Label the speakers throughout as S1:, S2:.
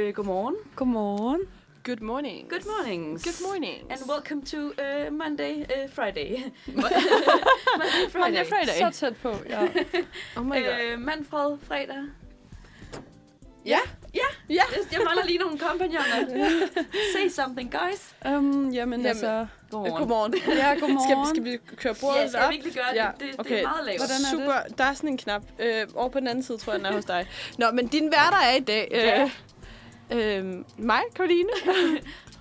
S1: Øh,
S2: Uh, godmorgen.
S3: Godmorgen.
S1: Good morning.
S2: Good morning.
S1: Good morning.
S2: And welcome to uh, Monday, uh, Friday. Monday, Friday.
S1: Monday, Friday.
S3: Så tæt på, ja.
S1: Oh my god.
S2: Øh, mandfred, fredag.
S1: Ja.
S2: Ja.
S1: Ja.
S2: Jeg, jeg mangler lige nogle kompagnoner. Say something, guys.
S3: Um, jamen,
S1: Jamen,
S3: altså...
S2: Godmorgen.
S1: Godmorgen.
S3: Ja,
S1: Skal,
S3: godmorgen.
S1: skal vi køre bordet
S2: Ja, skal
S1: op?
S2: vi ikke lige gøre det?
S1: Ja,
S2: Det, det, det
S1: okay.
S2: er meget lavt.
S3: Hvordan er
S1: Super. Der er sådan en knap. Øh, over på den anden side, tror jeg, den er hos dig. Nå, men din værter er i dag.
S2: Ja.
S1: Øh, øh, mig, Karoline.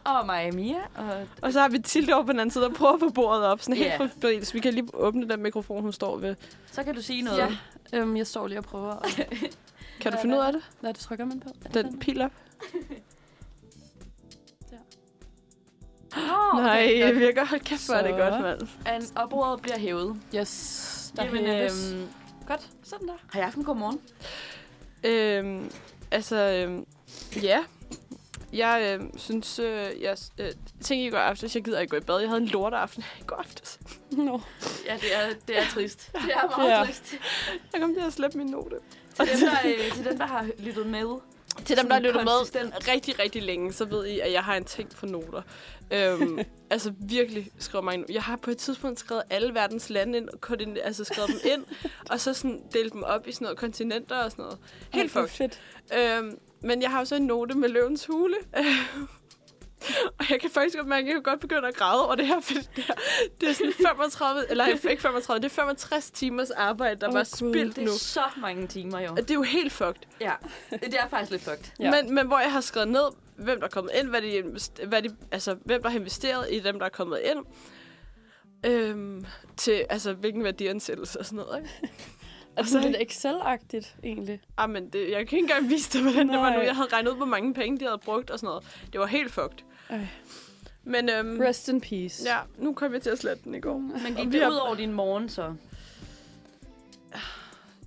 S2: Og mig og Mia. Og...
S1: Og så har vi Tilde over på den anden side og prøver på bordet op. Sådan helt
S2: Ja.
S1: yeah. forfældes. Vi kan lige åbne den mikrofon, hun står ved.
S2: Så kan du sige noget.
S3: Ja, øhm, jeg står lige og prøver. Og,
S1: Kan du finde ud af det?
S3: hvad det trykker man på? Er det
S1: Den pil op.
S2: Oh,
S1: Nej, det virker. Hold kæft, hvor er det
S3: Så.
S1: godt, mand.
S2: And, og bordet bliver hævet.
S3: Yes. Der
S2: Jamen,
S3: hæves.
S2: øhm,
S3: Godt.
S2: sådan der. Har jeg haft en god morgen?
S1: Øhm, altså, øhm, ja. Jeg øhm, synes, øh, jeg øh, tænkte i går aftes, jeg gider ikke gå i bad. Jeg havde en lorteaften i går aftes.
S3: Nå.
S2: Ja, det er, det er trist. Det er meget
S1: Ja.
S2: trist.
S1: Jeg kom til at slippe min note.
S2: Til dem, der, øh, til dem, der har lyttet med.
S1: Til dem, der har
S2: Sådan
S1: lyttet med
S2: konsistent.
S1: rigtig, rigtig længe, så ved I, at jeg har en ting for noter. Øhm, altså virkelig skrev mig ind. Jeg har på et tidspunkt skrevet alle verdens lande ind, og koordin- altså skrevet dem ind, og så sådan delt dem op i sådan noget kontinenter og sådan noget. Helt
S3: Ej, hvor
S1: fucked.
S3: Fedt.
S1: Øhm, men jeg har jo så en note med løvens hule. og jeg kan faktisk godt mærke, at jeg kan godt begynde at græde over det her, fordi det, her, det er sådan 35, eller ikke 35, det er 65 timers arbejde, der
S3: Åh,
S1: oh, var
S3: Gud.
S1: spildt
S2: Det er
S1: nu. Øh.
S2: så mange timer, jo.
S1: Og det er jo helt fucked.
S2: Ja, det er faktisk lidt fucked.
S3: Ja.
S1: Ja. Men, men hvor jeg har skrevet ned, hvem der er kommet ind, hvad de, invest- hvad de, altså, hvem der har investeret i dem, der er kommet ind. Øhm, til, altså, hvilken værdiansættelse og sådan noget. Ikke?
S3: Er det
S1: så-
S3: Altså, sådan lidt Excel-agtigt, egentlig?
S1: Ah, men det, jeg kan ikke engang vise dig, hvordan det var nu.
S3: Nej.
S1: Jeg havde regnet ud, hvor mange penge de havde brugt og sådan noget. Det var helt fucked.
S3: Ej.
S1: Men øhm,
S3: Rest in peace.
S1: ja, nu kom jeg til at slette den i går.
S2: Men
S1: Og
S2: gik
S1: vi
S2: det
S1: har-
S2: ud over din morgen, så?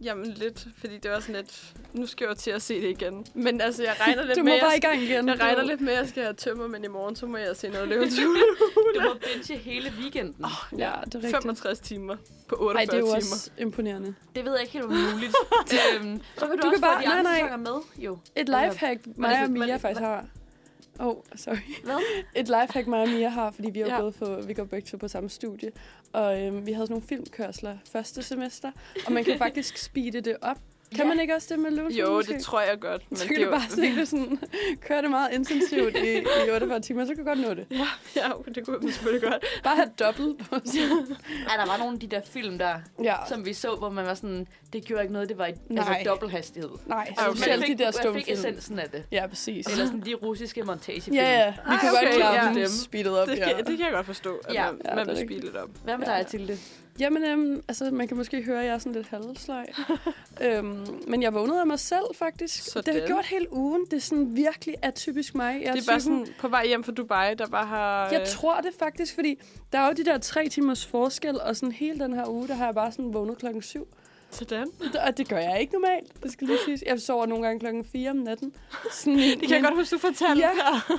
S1: Jamen lidt, fordi det var sådan lidt... Nu skal jeg jo til at se det igen. Men altså, jeg regner lidt
S3: Du
S1: med...
S3: må
S1: jeg
S3: bare i
S1: skal-
S3: gang igen.
S1: Jeg regner
S3: Du-
S1: lidt med, at jeg skal have tømmer, men i morgen, så må jeg se noget løbet
S2: Du må binge hele weekenden. Oh.
S3: Ja, det er rigtigt.
S1: 65 timer på
S3: Ej,
S1: 48
S3: det er jo
S1: timer.
S3: også imponerende.
S2: Det ved jeg ikke helt, om det er muligt. øhm, så kan du,
S3: Du
S2: du
S3: kan
S2: også kan få
S3: bare-
S2: de andre
S3: nej, nej.
S2: sæsoner med, jo.
S3: Et lifehack, mig
S2: det-
S3: og
S2: var
S3: Mia
S2: det-
S3: faktisk har. Åh, oh, sorry.
S2: Hvad?
S3: Et lifehack, mig og Mia har, fordi vi, er
S1: Ja.
S3: ja. for, vi går begge to på samme studie. Og øhm, vi havde sådan nogle filmkørsler første semester. Og man kan faktisk speede det op. Kan
S2: Ja.
S3: ja. man ikke også det med løbet?
S1: Jo, det tror jeg godt. Men
S3: Så
S1: det
S3: kan
S1: er
S3: du
S1: jo,
S3: bare se det sådan, køre det meget intensivt i, i 48 timer, så kan du godt nå det.
S1: Ja, okay, det kunne jeg selvfølgelig godt.
S3: Bare have dobbelt på sådan.
S2: Ja, der var nogle af de der film der,
S3: Ja,
S2: som vi så, hvor man var sådan, det gjorde ikke noget, det var et, altså
S3: Nej.
S2: dobbelt hastighed.
S3: nej,
S1: Okay.
S3: okay. specielt de der
S2: jeg fik
S3: stumfilm.
S2: essensen af det.
S3: Ja, præcis.
S2: Eller sådan de russiske montagefilm.
S3: Ja, ja, vi
S1: Ej,
S3: kan godt
S1: okay, ja.
S3: klare dem
S1: Dem.
S3: speedet op.
S1: Det
S3: ja.
S1: kan, det kan jeg godt forstå, at
S2: Ja.
S1: man,
S3: Ja,
S1: man
S3: det er
S1: vil
S3: rigtigt.
S1: spille lidt op.
S2: Hvad med
S3: Ja.
S2: dig, Tilde?
S3: Jamen, øhm, altså, man kan måske høre, at jeg er sådan lidt halvsløj. øhm, men jeg vågnede af mig selv, faktisk.
S1: Sådan.
S3: Det har jeg gjort hele ugen. Det er sådan virkelig atypisk mig. Jeg
S1: Det er
S3: typen-
S1: bare øh. sådan, på vej hjem fra Dubai, der bare har...
S3: Jeg tror det faktisk, fordi der er jo de der tre timers forskel, og sådan hele den her uge, der har jeg bare sådan vågnet klokken syv.
S1: Sådan.
S3: Og det gør jeg ikke normalt, det skal lige siges. Jeg sover nogle gange klokken 4 om natten. Sådan,
S1: Det kan jeg godt huske, du fortalte.
S3: Ja,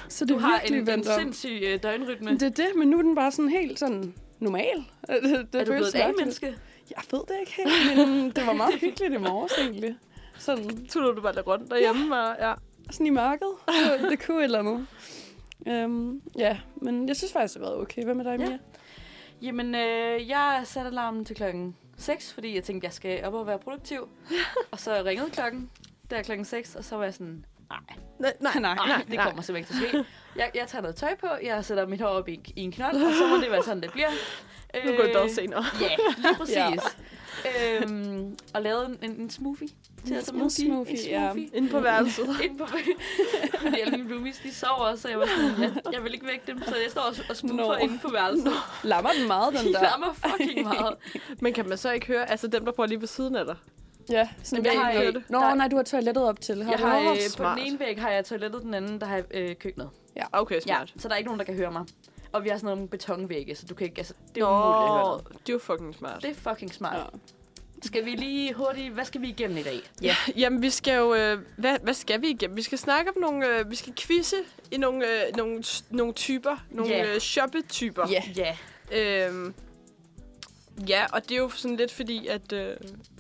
S3: så det
S2: Du
S3: er
S2: har
S3: virkelig
S2: en, en
S3: vendt om.
S2: sindssyg øh, døgnrytme.
S3: Det er det, men nu er den bare sådan helt sådan normal. Det, det
S2: er du blevet
S3: føles
S2: et
S3: mærkeligt.
S2: A-menneske?
S3: Jeg ved det ikke helt, men det var meget hyggeligt i morges egentlig. Sådan,
S1: Tuller du bare lidt rundt derhjemme, og ja.
S3: sådan i mørket. Det, det kunne et eller andet. Øhm, ja, men jeg synes faktisk, det har været okay. Hvad med dig,
S2: Ja.
S3: Mia? Ja.
S2: Jamen, øh, jeg satte alarmen til klokken 6, fordi jeg tænkte, jeg skal op og være produktiv. og så ringede klokken. Det er klokken 6, og så var jeg sådan, nej,
S1: Nej, nej, nej.
S2: nej, det kommer simpelthen ikke til at ske. Jeg, jeg tager noget tøj på, jeg sætter mit hår op i, i en knold, og så må det være sådan, det bliver. Øh,
S1: Nu går jeg bad senere.
S2: Ja, lige præcis. ja. Øhm, og lavede en, en, en smoothie. Til at tage med.
S3: En smoothie,
S2: en
S3: ja.
S2: smoothie.
S1: Inde på værelset.
S2: Inde på Fordi alle mine roomies, de sover, så jeg var sådan, jeg, jeg vil ikke vække dem, så jeg står og, og smoofer
S3: Nå.
S2: inde på værelset.
S3: Lammer den meget,
S2: De
S3: den der?
S2: larmer fucking meget.
S1: Men kan man så ikke høre, altså dem, der bor lige ved siden af dig?
S3: Ja, sådan
S2: Jamen, jeg
S3: væg-
S2: har,
S1: øh,
S3: Nå,
S2: der-
S3: nej, du har toilettet op til. Har
S2: Jeg
S3: du
S2: har,
S3: overhovedet-
S2: øh, på
S1: smart.
S2: den ene væg har jeg toilettet, den anden der har jeg øh, køkkenet.
S1: Okay, smart.
S2: Så der er ikke nogen, der kan høre mig. Og vi har sådan nogle betonvægge, så du kan ikke... Altså, det er
S1: Nå,
S2: umuligt at høre noget.
S1: det er jo fucking smart.
S2: Det er fucking smart.
S3: Ja.
S2: Ja. Skal vi lige hurtigt... Hvad skal vi igennem i dag?
S1: Ja, jamen vi skal jo, øh, hvad, hvad skal vi igennem? Vi skal snakke om nogle, øh, vi skal quizze i nogle, øh, nogle, nogle typer, nogle
S2: Ja.
S1: yeah. øh, shoppetyper.
S3: Ja.
S2: Ja.
S1: Øhm, Ja, og det er jo sådan lidt fordi, at øh,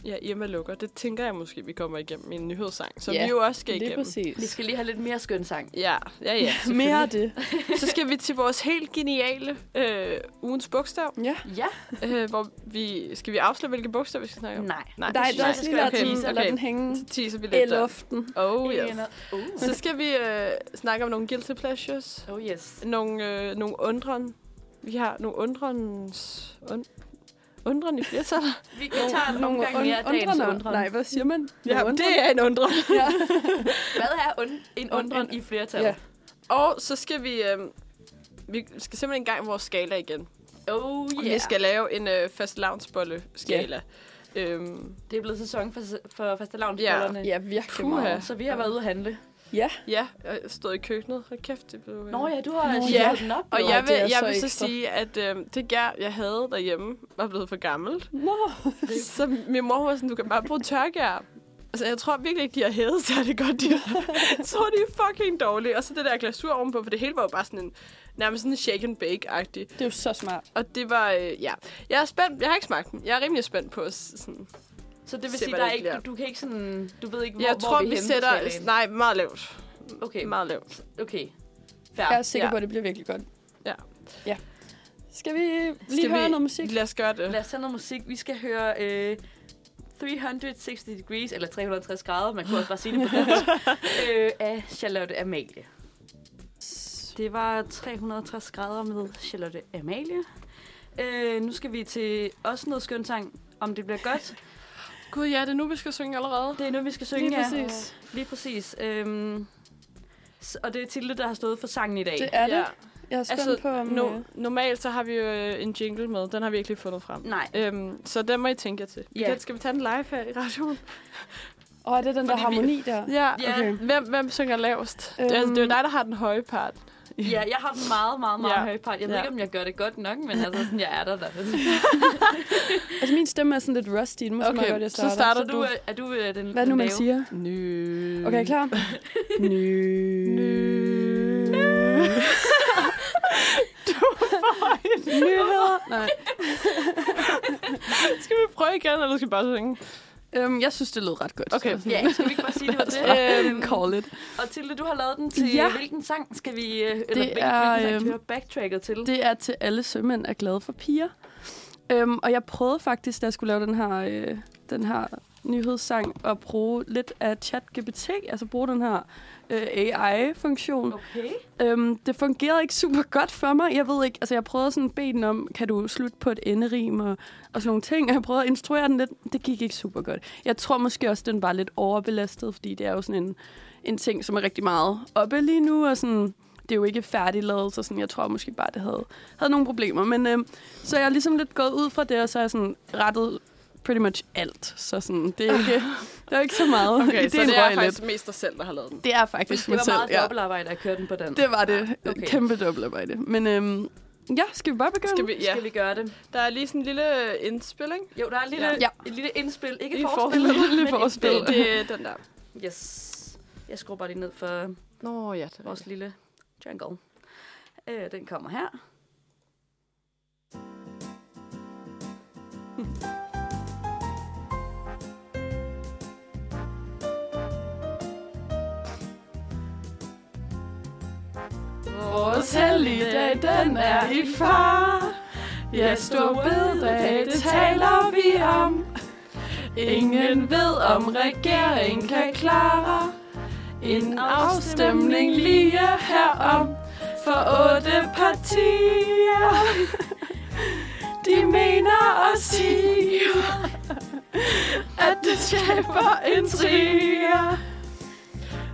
S1: ja, Irma lukker. Det tænker jeg måske, vi kommer igennem i en nyhedssang, som
S3: Ja,
S1: vi jo også skal
S3: Lige
S1: igennem.
S3: præcis.
S2: Vi skal lige have lidt mere skøn sang.
S1: Ja, ja, ja.
S3: Mere af det.
S1: Så skal vi til vores helt geniale øh, ugens bogstav,
S3: Ja.
S2: Ja,
S1: øh, hvor vi... Skal vi afsløre, hvilke bogstav vi skal snakke om?
S2: nej.
S1: Nej,
S3: Nej, der er
S2: Nej,
S3: også lige lavet
S2: okay,
S3: teaser, lad
S1: okay.
S3: den hænge
S1: Så teaser vi
S3: i
S1: lidt der.
S3: luften.
S1: Oh, yes.
S2: Uh.
S1: Så skal vi øh, snakke om nogle guilty pleasures.
S2: Oh yes.
S1: Nogle, øh, nogle undren. Vi har nogle undrens... Und, undren i flertal.
S2: Vi, vi tager en omgang mere af dagens
S3: undrener.
S2: undren.
S3: Nej, hvad siger man?
S1: Ja,
S3: Nogle
S1: det er en undren.
S3: Ja.
S2: Hvad er und, en undren i flertal?
S3: Ja.
S1: Og så skal vi... Øh, vi skal simpelthen i gang med vores skala igen.
S2: Oh
S1: Yeah.
S2: yeah.
S1: Vi skal lave en øh, fast skala yeah. øhm,
S2: Det er blevet sæson for, for fastelavnsbollerne.
S1: fastelavnsbollerne.
S3: ja, virkelig
S1: Puha.
S3: meget.
S2: Så vi har været ude at handle.
S3: Ja,
S1: Ja, jeg stod i køkkenet. Hold kæft, det blev... øh,
S2: Nå ja, du har
S3: Nå,
S2: Nå,
S1: ja.
S2: ja. den op.
S1: Og
S2: jo.
S3: Nå,
S1: jeg
S3: det
S1: vil,
S3: er
S1: jeg
S3: så
S1: vil så
S3: ekstra.
S1: sige, at øh, det gær, jeg havde derhjemme, var blevet for gammelt.
S3: Nå.
S1: Så min mor var sådan, du kan bare bruge tørgær. Altså, jeg tror virkelig ikke, de har hævet særlig godt. De jeg tror, de er fucking dårlige. Og så det der glasur ovenpå, for det hele var jo bare sådan en, nærmest sådan en shake and bake-agtig.
S3: det er jo så smart.
S1: Og det var, øh, ja. Jeg er spændt. Jeg har ikke smagt den. Jeg er rimelig spændt på, s- sådan.
S2: Så det vil
S1: Se,
S2: sige,
S1: hvad
S2: der er
S1: det
S2: ikke,
S1: bliver.
S2: du, du kan ikke sådan... Du ved ikke, hvor,
S1: jeg
S2: hvor
S1: tror,
S2: vi, er
S1: vi
S2: henne på
S1: sætter...
S2: skalaen.
S1: Nej, meget lavt.
S2: Okay,
S1: Meget lavt.
S2: okay.
S3: Jeg er
S2: Færd.
S3: sikker
S1: Ja.
S3: på, at det bliver virkelig godt.
S1: Ja.
S3: Ja. Skal vi lige
S1: Skal
S3: høre
S1: vi-
S3: noget musik?
S1: Lad os gøre det.
S2: Lad os tage noget musik. Vi skal høre øh, 360 degrees, eller 360 grader, man kunne også bare sige det på dansk, øh, af Charlotte Amalie. Det var 360 grader med Charlotte Amalie. Øh, nu skal vi til også noget skønt sang, om det bliver godt.
S1: Gud, ja, det er nu, vi skal synge allerede.
S2: Det er nu, vi skal synge
S3: Lige
S2: her.
S3: præcis.
S2: Lige præcis. Øhm, s- og det er Tilde, der har stået for sangen i dag.
S3: Det er det.
S1: Ja.
S3: Jeg er spændt
S1: Altså,
S3: på, om... øh,
S1: No, normalt så har vi jo øh, en jingle med. Den har vi ikke lige fundet frem.
S2: Nej.
S1: Øhm, så den må I tænke jer til.
S2: Ja.
S1: Yeah. Skal vi tage den live her i radioen?
S3: Åh, er det den der
S2: Fordi vi-
S3: harmoni der?
S1: Ja.
S2: Ja.
S3: Okay.
S1: Hvem, hvem synger lavest? Øhm.
S3: Øhm.
S1: Det, er, altså, det er jo dig, der har den høje part.
S2: Ja, jeg har den meget, meget, meget
S1: Ja.
S2: høj part. Jeg ved
S1: Ja.
S2: ikke, om jeg gør det godt nok, men altså, sådan, jeg er der. der.
S3: Altså, min stemme er sådan lidt rusty. Nu må okay,
S1: Okay,
S3: godt, jeg
S1: så
S3: starter.
S1: starter
S2: Så du,
S1: du.
S2: er, er du øh, den
S3: Hvad er det nu, man
S2: den lave?
S3: siger?
S1: Nø.
S3: Okay, er I klar? Nø. Nø. Nyheder. Nej.
S1: Skal vi prøve igen, eller skal vi bare synge?
S3: Øhm, jeg synes, det lød ret godt.
S1: Okay.
S2: Ja, skal vi ikke bare sige, det var det?
S1: Øhm,
S3: Call it.
S2: Og Tilde, du har lavet den til
S3: Ja.
S2: ja. hvilken sang skal vi... øh, Eller det hvilken,
S3: er,
S2: er, hvilken sang skal vi
S3: øhm,
S2: høre backtracket til? Det,
S3: Det er til alle sømænd er glade for piger. Øhm, og jeg prøvede faktisk, da jeg skulle lave den her, øh, den her nyhedssang, at bruge lidt af ChatGPT, altså bruge den her øh, AI-funktion.
S2: okay.
S3: Øhm, det fungerede ikke super godt for mig. Jeg ved ikke, altså jeg prøvede sådan at bede den om, kan du slutte på et enderim og, og sådan nogle ting. Og jeg prøvede at instruere den lidt. Det gik ikke super godt. Jeg tror måske også, den var lidt overbelastet, fordi det er jo sådan en, en ting, som er rigtig meget oppe lige nu. Og sådan, det er jo ikke færdiglavet, så sådan, jeg tror måske bare, det havde, havde nogle problemer. Men øhm, så jeg er ligesom lidt gået ud fra det, og så er jeg sådan rettet pretty much alt. Så sådan, det er ikke, der er ikke så meget.
S1: Okay, så
S3: Ideen
S1: det er
S3: røg
S1: faktisk mest dig selv, der har lavet den.
S3: Det er faktisk
S2: Det
S3: mig
S2: var
S3: selv,
S2: meget
S3: ja.
S2: dobbeltarbejde at køre den på den.
S3: Det var det.
S2: Okay.
S3: Okay. Kæmpe dobbeltarbejde. Men øhm, ja, skal vi bare begynde?
S1: Skal vi, ja.
S2: Skal vi gøre det?
S1: Der er lige sådan en lille øh, indspilling.
S2: Jo, der er et lille,
S3: Ja.
S2: ja. et lille indspil. Ikke
S1: Lige
S2: et
S1: forspil.
S2: forspil,
S3: Lille
S2: men
S3: forspil.
S2: indspil.
S1: Det, det er den der.
S2: Yes. Jeg skruer bare lige ned for
S1: Nå ja, det
S2: vores lille jungle. Øh, den kommer her.
S3: Vores helligdag, den er i far. Ja, stor bededag, det taler vi om. Ingen ved, om regeringen kan klare en afstemning lige herom. For otte partier, de mener og siger, at det skaber en trier.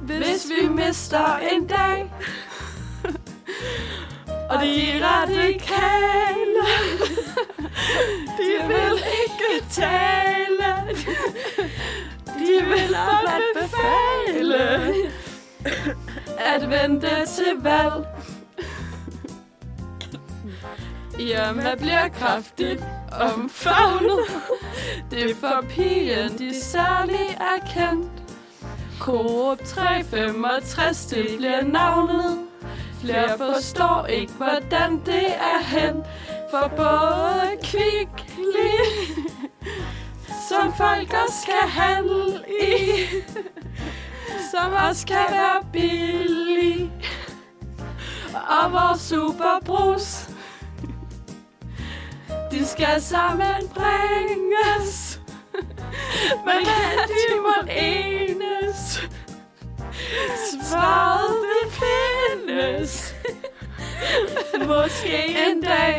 S3: Hvis vi mister en dag, og de radikale, de vil ikke tale. De vil blot befale at vente til valg. Irma bliver kraftigt omfavnet. Det er for pigen, de særlig er kendt. Coop 365, det bliver navnet. Flere forstår ikke, hvordan det er hen. For både kvickly, som folk også skal handle i, som også kan være billig, og vores superbrus, de skal sammenbringes, men kan de må enes. Svaret det findes. Måske en dag.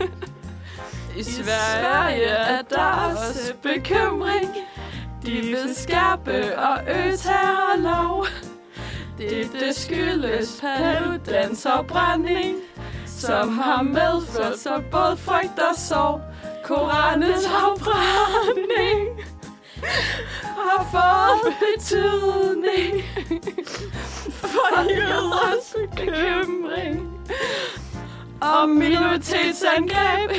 S1: I
S3: I Sverige er der også bekymring. De vil skærpe og øge terrorlov. Det, det skyldes paludans opbrænding, som har medført så både frygt og sorg. Koranens afbrænding har fået betydning for jøders bekymring om minoritetsangreb.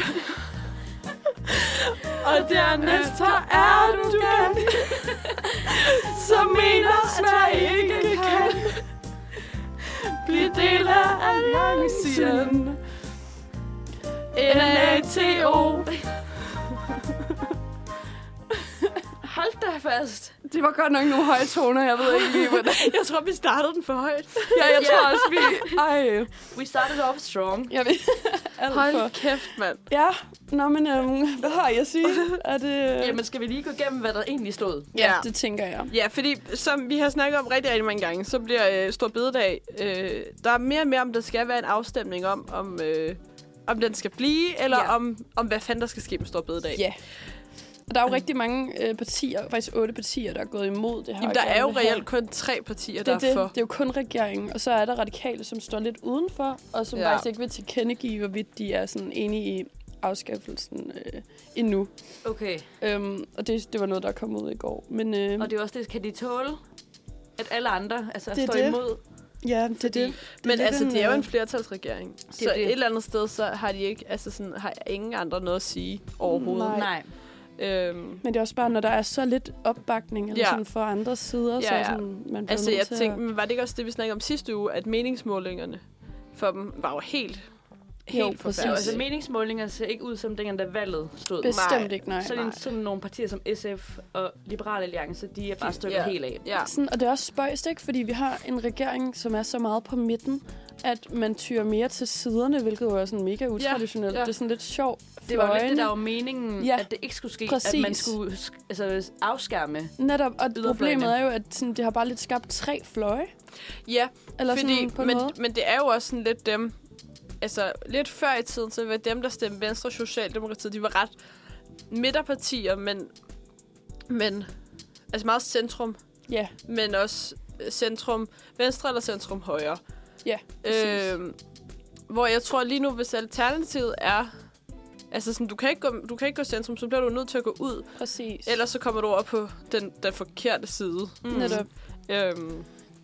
S3: Og dernæst har Erdogan, som mener, Sverige ikke kan blive del af alliancen. NATO.
S2: Hold da fast.
S3: Det var godt nok nogle høje toner, jeg ved ikke lige, hvordan.
S1: Jeg tror, vi startede den for højt.
S3: Ja, jeg tror også, vi... Ej,
S2: We started off strong.
S3: jeg ved alt for.
S1: Hold kæft, mand.
S3: Ja, nå, men øhm, hvad har jeg at sige? Er det...
S2: Jamen, skal vi lige gå igennem, hvad der egentlig stod?
S3: ja, det tænker jeg.
S1: Ja, fordi som vi har snakket om rigtig, rigtig mange gange, så bliver øh, Stor Bededag, øh, der er mere og mere om, der skal være en afstemning om, om, øh, om den skal blive, eller
S3: Ja.
S1: ja. om, om hvad fanden der skal ske med Stor Bededag.
S3: Ja. Og der er jo rigtig mange øh, partier, faktisk otte partier, der er gået imod det her.
S1: Jamen, der er jo
S3: gerne vil have-
S1: reelt kun tre partier,
S3: det er,
S1: der er
S3: det.
S1: for.
S3: det er jo kun regeringen, og så er der radikale, som står lidt udenfor, og som ja.
S1: Ja.
S3: faktisk ikke vil tilkendegive, hvorvidt de er sådan enige i afskaffelsen øh, endnu.
S2: Okay.
S3: Øhm, og det, det var noget, der kom ud i går. Men øh,
S2: Og det er også det, kan de tåle, at alle andre altså,
S3: Det er
S2: står
S3: det.
S2: imod?
S3: ja, det er det.
S1: Men
S3: lidt
S1: altså,
S3: en,
S1: det er jo
S3: øh,
S1: en flertalsregering. så
S2: det.
S1: et eller andet sted, så har de ikke, altså sådan, har ingen andre noget at sige overhovedet.
S3: Nej.
S2: Nej.
S1: Øhm,
S3: Men det er også bare, når der er så lidt opbakning eller ja.
S1: Ja.
S3: sådan fra andre sider, ja, ja. så
S1: Ja,
S3: er
S1: ja.
S3: sådan, man bliver
S1: altså,
S3: nødt
S1: jeg
S3: til
S1: tænkte,
S3: at...
S1: men var det ikke også det, vi snakkede om sidste uge, at meningsmålingerne for dem var jo helt,
S3: Jo,
S1: helt
S3: præcis.
S2: Ja, altså,
S1: forfærdelige.
S2: meningsmålingerne ser ikke ud som dengang, da valget stod.
S3: Bestemt
S1: Nej.
S3: ikke, nej.
S2: Så er det sådan nogle partier som SF og Liberal Alliance, de er bare stykket
S1: Ja.
S2: helt af.
S1: Ja.
S3: Sådan, og det er også spøjst, ikke? Fordi vi har en regering, som er så meget på midten, at man tyrer mere til siderne, hvilket jo er sådan mega utraditionelt. Ja,
S1: ja.
S3: ja. Det er sådan lidt sjovt.
S2: Det var jo lidt det,
S3: Fløjene.
S2: der var meningen,
S3: Ja.
S2: ja. at det ikke skulle ske,
S3: Præcis.
S2: at man skulle sk- altså, afskærme.
S3: Netop, og
S2: Yderfløjene.
S3: problemet er jo, at sådan, det har bare lidt skabt tre fløje.
S1: ja,
S3: Eller
S1: Fordi,
S3: sådan på en
S1: men,
S3: måde.
S1: men det er jo også sådan lidt dem... Altså, lidt før i tiden, så var dem, der stemte Venstre og Socialdemokratiet, de var ret midterpartier, men... men altså meget centrum,
S3: Ja,
S1: men også centrum venstre eller centrum højre.
S3: ja. præcis.
S1: Øhm, hvor jeg tror lige nu, hvis alternativet er... Altså sådan, du kan, ikke gå, du kan ikke gå centrum, så bliver du nødt til at gå ud.
S3: præcis.
S1: Ellers så kommer du over på den, den forkerte side.
S2: Mm.
S3: Netop.
S1: Øhm,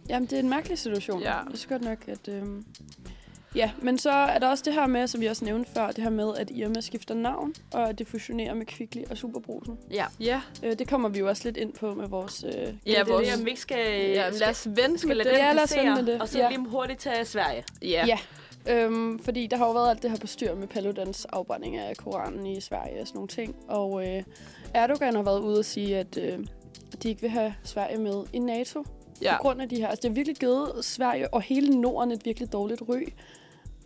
S3: Jamen, det er en mærkelig situation. Ja.
S1: Ja.
S3: Det er så godt nok, at... Øhm... Ja, men så er der også det her med, som vi også nævnte før, det her med, at Irma skifter navn, og at det fusionerer med Kvickly og Superbrusen.
S2: Ja.
S1: ja,
S3: Øh, det kommer vi jo også lidt ind på med vores... Øh,
S2: Ja, det er
S1: vores-
S2: det, om vi ikke skal,
S1: ja,
S2: ja,
S1: lad
S2: Øh, skal,
S1: os vente
S2: skal
S1: med
S2: lade
S1: det.
S3: Ja,
S2: dem
S3: lad os vente med det.
S2: og så
S3: Ja.
S2: lige hurtigt tage Sverige.
S1: Ja.
S3: Ja. Øhm, fordi der har jo været alt det her bestyr med Paludans afbrænding af Koranen i Sverige og sådan nogle ting. Og øh, Erdogan har været ude og sige, at øh, de ikke vil have Sverige med i NATO ja.
S1: ja.
S3: på grund af de her. Altså, det har virkelig givet Sverige og hele Norden et virkelig dårligt ry.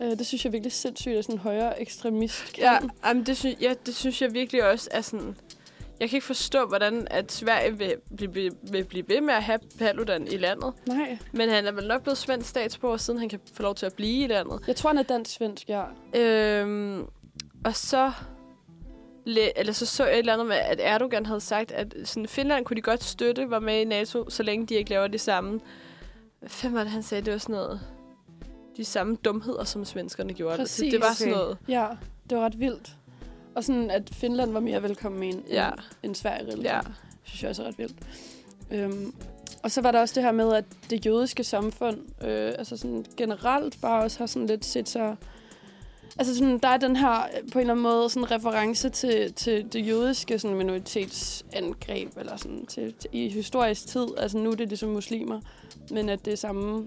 S3: Øh, det synes jeg er virkelig sindssygt, at sådan en højere ekstremist kan.
S1: Ja, jamen, det, synes, ja, det synes jeg virkelig også er sådan... Jeg kan ikke forstå, hvordan at Sverige vil blive, vil, vil blive ved med at have Paludan i landet.
S3: Nej,
S1: Men han er vel nok blevet svensk statsborger, siden han kan få lov til at blive i landet.
S3: jeg tror, han er dansk-svensk, ja.
S1: Øhm, og så... læ- Eller så så jeg et eller andet med, at Erdogan havde sagt, at sådan, Finland kunne de godt støtte, var med i NATO, så længe de ikke laver det samme. Hvad fanden var det, han sagde? Det var sådan noget... De samme dumheder, som svenskerne gjorde. Det-
S3: Præcis.
S1: Det var sådan
S2: Okay.
S1: noget...
S3: Ja, det var ret vildt. Og sådan, at Finland var mere velkommen end,
S1: Ja.
S3: end, end Sverige. relativt.
S1: Ja.
S3: synes jeg også er ret vildt. Øhm, og så var der også det her med, at det jødiske samfund øh, altså sådan generelt bare også har sådan lidt set sig... Altså sådan, der er den her øh, på en eller anden måde sådan reference til, til det jødiske sådan minoritetsangreb eller sådan til, til, i historisk tid. Altså nu er det ligesom muslimer, men at det er samme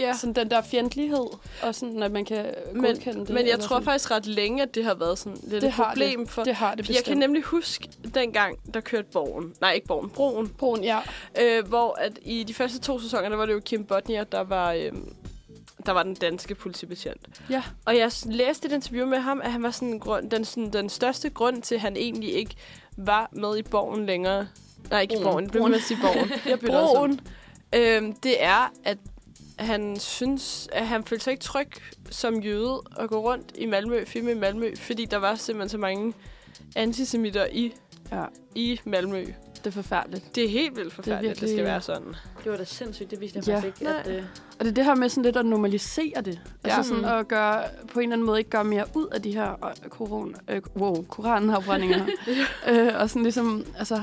S1: Ja.
S3: Sådan den der fjendtlighed, og sådan, at man kan godkende
S1: men,
S3: det.
S1: Men jeg
S3: eller
S1: tror
S3: sådan.
S1: faktisk ret længe, at det har været sådan lidt
S3: det
S1: et
S3: har
S1: problem
S3: det.
S1: for...
S3: Det har det
S1: jeg
S3: bestemt.
S1: kan nemlig huske dengang, der kørte Borgen. Nej, ikke Borgen. Broen.
S3: Broen, ja.
S1: Øh, hvor at i de første to sæsoner, der var det jo Kim Bodnia, der var, øh, der var den danske politibetjent.
S3: Ja.
S1: Og jeg s- læste et interview med ham, at han var sådan, en grund, den, sådan, den største grund til, at han egentlig ikke var med i Borgen længere. Nej, ikke i
S2: Broen.
S1: Borgen. Det blev man at sige Borgen.
S3: Jeg
S1: Broen, øh, det er, at han synes, at han følte sig ikke tryg som jøde at gå rundt i Malmø, filme i Malmø, fordi der var simpelthen så mange antisemitter i,
S3: Ja,
S1: i Malmø.
S3: det er forfærdeligt.
S1: Det er helt vildt forfærdeligt, det,
S3: virkelig-
S1: det skal være sådan.
S2: Det var da sindssygt, det viste jeg
S3: Ja.
S2: faktisk ikke. At,
S1: Nej.
S2: øh,
S3: Og det er det her med sådan lidt at normalisere det. Ja.
S1: Ja.
S3: Altså sådan at gøre, på en eller anden måde ikke gøre mere ud af de her øh, koron, øh, wow, koranafbrændinger. øh, og sådan ligesom, altså,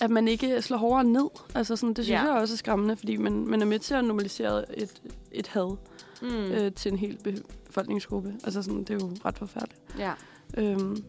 S3: at man ikke slår hårdere ned. Altså sådan, det synes
S2: Ja.
S3: ja. jeg også er skræmmende, fordi man, man er med til at normalisere et, et had
S2: mm,
S3: mm. øh, til en hel befolkningsgruppe. Altså sådan, det er jo ret forfærdeligt.
S2: ja.
S3: Øhm,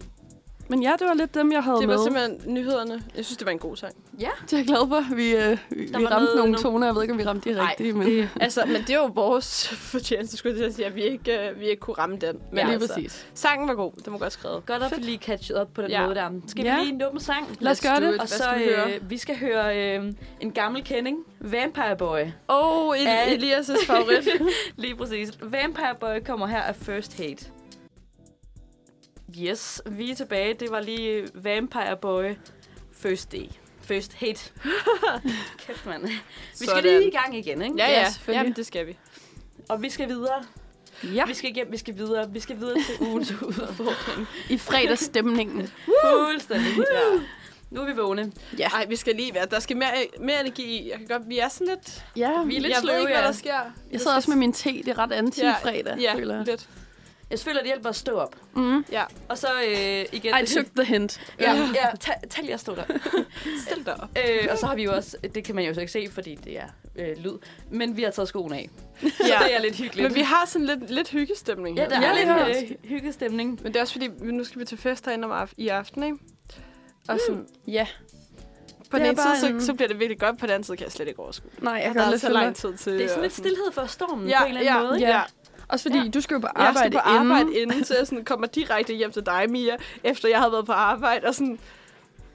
S3: men ja, det var lidt dem, jeg havde
S1: Det
S3: med.
S1: var simpelthen nyhederne. Jeg synes, det var en god sang.
S3: Det er jeg glad for. Vi, øh, vi,
S2: Der
S3: vi ramte
S2: var noget-
S3: nogle
S2: nogle-
S3: toner. Jeg ved ikke, om vi ramte de
S1: Nej,
S3: rigtige, men
S2: Det,
S1: altså, men det er jo vores fortjeneste, skulle jeg til at sige, at vi ikke, øh, vi ikke kunne ramme den. Men
S3: ja, lige
S1: altså,
S3: præcis.
S1: Sangen var god, den var godt skrevet.
S2: godt at vi lige catchet op på den
S1: Ja.
S2: måde der. Skal
S3: Ja.
S2: vi lige nå en sang?
S3: Lad os gøre
S1: do
S3: det.
S1: it.
S2: Og
S1: Altså, Hvad
S2: så,
S1: skal vi høre?
S2: øh, vi skal høre øh, en gammel kending, Vampire Boy.
S3: øh,
S1: Åh, oh,
S2: Ja.
S1: Elias' favorit.
S2: Lige præcis. Vampire Boy kommer her af First Hate. Yes, vi er tilbage. Det var lige Vampire Boy First Day. First Hate. Kæft, mand. Vi skal
S1: Sådan.
S2: lige i gang igen, ikke?
S1: ja,
S3: Ja,
S1: ja, ja
S3: selvfølgelig.
S1: Jamen, det skal vi.
S2: Og vi skal videre.
S1: Ah.
S3: Ja,
S2: Vi skal igennem, vi skal videre. Vi skal videre til ugens udfordring.
S3: i fredagsstemningen.
S2: Fuldstændig. Ja. Nu er vi vågne.
S1: Ja. Ej, vi skal lige være. Der skal mere, mere energi i. Jeg kan godt, vi er sådan lidt...
S3: Ja,
S2: Vi er lidt
S1: jeg
S2: sløve,
S1: ved ikke,
S2: ja.
S1: hvad der sker.
S3: jeg sidder også med min te. Det er ret anti-fredag,
S1: ja,
S3: føler jeg.
S1: lidt.
S2: Jeg føler, det hjælper at stå op.
S3: Mm.
S1: Ja,
S2: Og så øh, igen...
S3: I took the hint.
S2: Ja, ja tag, tag lige at stå der.
S1: stil dig op.
S2: Øh, og så har vi jo også... Det kan man jo så ikke se, fordi det er øh, lyd. Men vi har taget skoen af. Så
S1: Ja.
S2: det er lidt hyggeligt.
S1: Men vi har sådan lidt, lidt hyggestemning
S2: Ja,
S1: her.
S2: der
S3: Ja,
S2: er
S3: det er
S2: lidt øh, hyggestemning.
S1: Men det er også fordi, vi- nu skal vi til fest herinde om af- i aften, ikke? Og
S3: Mm.
S1: sådan,
S3: Ja.
S1: på
S3: Det
S1: den
S3: er
S1: ene
S3: bare
S1: side,
S3: en-
S1: så, så bliver det virkelig godt. På den anden side kan jeg slet ikke overskue. det.
S3: Nej, jeg
S1: Der
S3: kan
S1: er
S3: lidt
S1: så
S3: følge
S1: lang tid til.
S2: Det er sådan
S1: og
S2: lidt stillhed for stormen
S1: Ja,
S2: på en eller anden
S1: ja,
S2: måde. ikke?
S3: Ja. Også fordi, du skal jo på
S1: Jeg skal
S3: arbejde
S1: på arbejde inden, inden så jeg sådan kommer direkte hjem til dig, Mia, efter jeg havde været på arbejde. Og sådan,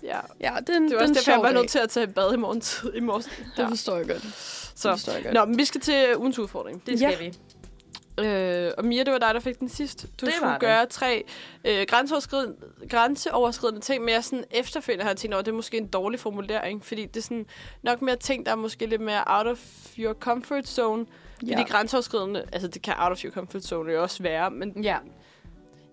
S1: ja.
S3: Ja, det er en,
S1: Det var
S3: det er
S1: også derfor,
S3: en
S1: jeg
S3: sjov
S1: var
S3: dag.
S1: nødt til at tage bad i morgen tid i morges.
S3: Det
S1: Ja,
S3: forstår jeg godt. Det
S1: så.
S3: forstår jeg godt.
S1: Nå, men vi skal til ugens udfordring.
S2: Det skal
S3: Ja.
S2: vi.
S1: Øh, og Mia, det var dig, der fik den sidst. Du
S2: Det
S1: det
S2: var
S1: skulle
S2: det.
S1: gøre tre øh, grænseoverskridende, grænseoverskridende ting, men jeg sådan efterfølgende har jeg tænkt over, at det er måske en dårlig formulering, fordi det er sådan nok mere ting, der er måske lidt mere out of your comfort zone. Ja. Fordi grænseoverskridende, altså det kan out of your comfort zone jo også være, men
S2: Ja.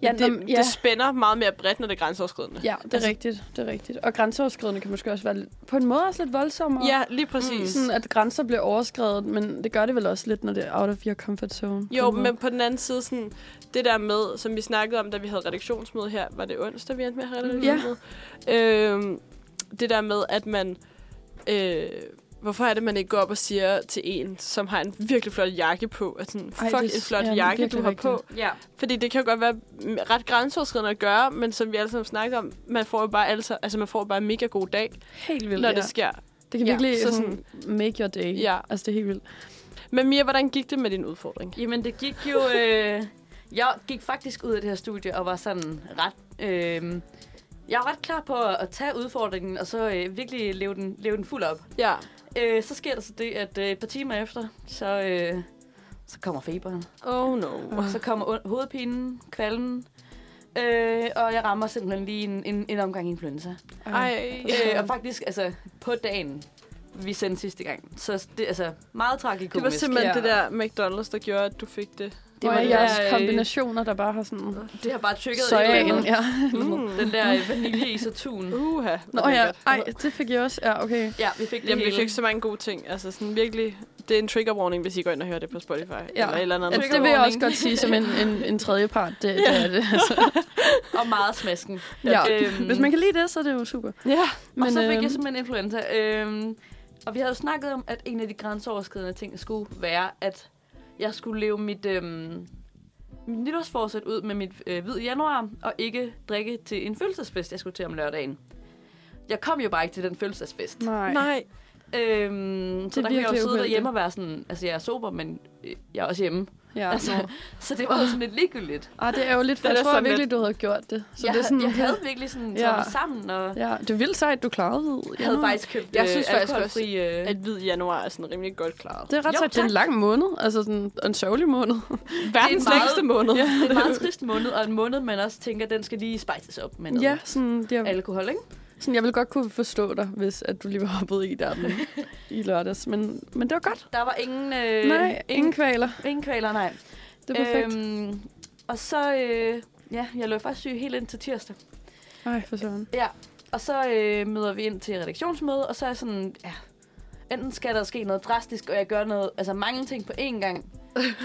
S3: ja,
S1: det,
S3: nå,
S1: det spænder meget mere bredt, når det er grænseoverskridende.
S3: Ja, det er altså, rigtigt, det er rigtigt. Og grænseoverskridende kan måske også være lidt- på en måde også lidt voldsommere.
S1: Ja, lige præcis.
S3: Mm. Sådan, at grænser bliver overskrevet, men det gør det vel også lidt, når det er out of your comfort zone. på
S1: Jo,
S3: en måde.
S1: men på den anden side, sådan, det der med, som vi snakkede om, da vi havde redaktionsmøde her, var det onsdag, vi endte med at have
S3: Mm.
S1: redaktionsmøde? Ja. Øhm, det der med, at man... Øh, hvorfor er det, man ikke går op og siger til en, som har en virkelig flot jakke på, at sådan,
S3: Ej,
S1: fuck,
S3: det er
S1: en flot
S3: ja,
S1: jakke,
S3: virkelig
S1: du har
S3: rigtigt.
S1: på.
S2: Ja.
S1: Fordi det kan jo godt være mm, ret grænseoverskridende at gøre, men som vi alle sammen snakker om, man får jo bare, altså, altså man får jo bare en mega god dag,
S3: Helt vildt,
S1: når
S3: ja.
S1: det sker.
S3: Det kan
S1: Ja,
S3: virkelig
S1: så
S3: sådan, make your day.
S1: Ja.
S3: Altså, det er helt vildt.
S1: Men Mia, hvordan gik det med din udfordring?
S2: Jamen, det gik jo... Øh, jeg gik faktisk ud af det her studie og var sådan ret... Øh, jeg var ret klar på at at tage udfordringen, og så øh, virkelig leve den, leve den fuld op.
S1: Ja,
S2: Øh, så sker der så det, at øh, et par timer efter, så, øh, så kommer feberen.
S1: oh no.
S2: Og så kommer on- hovedpinen, kvalmen, øh, og jeg rammer simpelthen lige en, en, en omgang influenza.
S1: Ej.
S2: Øh, og faktisk, altså, på dagen, vi sendte sidste gang. Så det er altså meget tragikomisk.
S1: Det var simpelthen
S3: Ja.
S1: ja. det der McDonald's, der gjorde, at du fik det.
S3: Det
S2: det
S3: var
S2: var det
S3: jeres
S2: der, øh,
S3: kombinationer, der bare har sådan...
S2: Det har bare trykket
S3: Sojaen, ja.
S1: Mm.
S2: Den der øh, vaniljeis og tun.
S1: Uha.
S3: Mm. Nå ja, ej, det fik jeg også. Ja, okay.
S2: Mm. Ja, vi fik det
S1: Jamen, vi
S2: hele.
S1: fik så mange gode ting. Altså, sådan virkelig... Det er en trigger warning, hvis I går ind og hører det på Spotify. Ja. Eller et eller andet.
S3: Altså, det vil jeg også godt sige som en, en, en tredje part. Det, ja. det er det. Altså,
S2: Og meget smasken.
S3: ja.
S2: Øhm,
S3: Hvis man kan lide det, så er det jo super.
S1: Ja.
S2: og så fik
S3: øhm,
S2: jeg simpelthen influenza. Øhm, og vi havde jo snakket om, at en af de grænseoverskridende ting skulle være, at jeg skulle leve mit, øhm, mit nytårsforsæt ud med mit øh, hvid januar, og ikke drikke til en fødselsfest, jeg skulle til om lørdagen. Jeg kom jo bare ikke til den fødselsfest.
S3: Nej.
S1: Nej.
S2: Øhm, så
S3: er
S2: der kunne jeg jo
S3: virkelig
S2: sidde
S3: uheldigt.
S2: derhjemme og være sådan, altså jeg er sober, men øh, jeg er også hjemme.
S3: Ja.
S2: Altså, så det var jo sådan lidt ligegyldigt.
S3: Ah, det er jo lidt, for
S1: Den
S3: jeg
S1: er
S3: tror
S1: sådan
S3: virkelig, du havde gjort det. Så
S2: jeg,
S3: det er sådan,
S2: jeg havde virkelig sådan taget
S3: Ja.
S2: ja. mig sammen, og
S3: Ja, det er vildt sejt, du klarede det.
S2: jeg havde
S3: Januar.
S2: faktisk købt
S1: Jeg
S2: øh,
S1: synes faktisk
S2: alkoholfri, øh,
S1: At hvid januar er sådan rimelig godt klaret.
S3: Det er ret
S2: Jo,
S3: sejt. Det er en lang måned. Altså sådan en sørgelig måned.
S1: Verdens
S2: meget-
S1: længste måned.
S2: det er en meget trist måned, og en måned, man også tænker, den skal lige spices op med noget
S3: Ja, sådan, det er,
S2: alkohol, ikke?
S3: sådan, jeg vil godt kunne forstå dig, hvis at du lige var hoppet i der den, i lørdags. Men, men det var godt.
S2: Der var ingen, øh,
S3: Øh, Nej, ingen kvaler.
S2: ingen kvaler, nej.
S3: Det er perfekt. Øhm,
S2: Øhm, og så, øh, ja, jeg lå faktisk syg helt ind til tirsdag.
S3: Ej, for søren.
S2: Ja, og så øh, møder vi ind til redaktionsmøde, og så er jeg sådan, ja, enten skal der ske noget drastisk, og jeg gør noget, altså mange ting på én gang,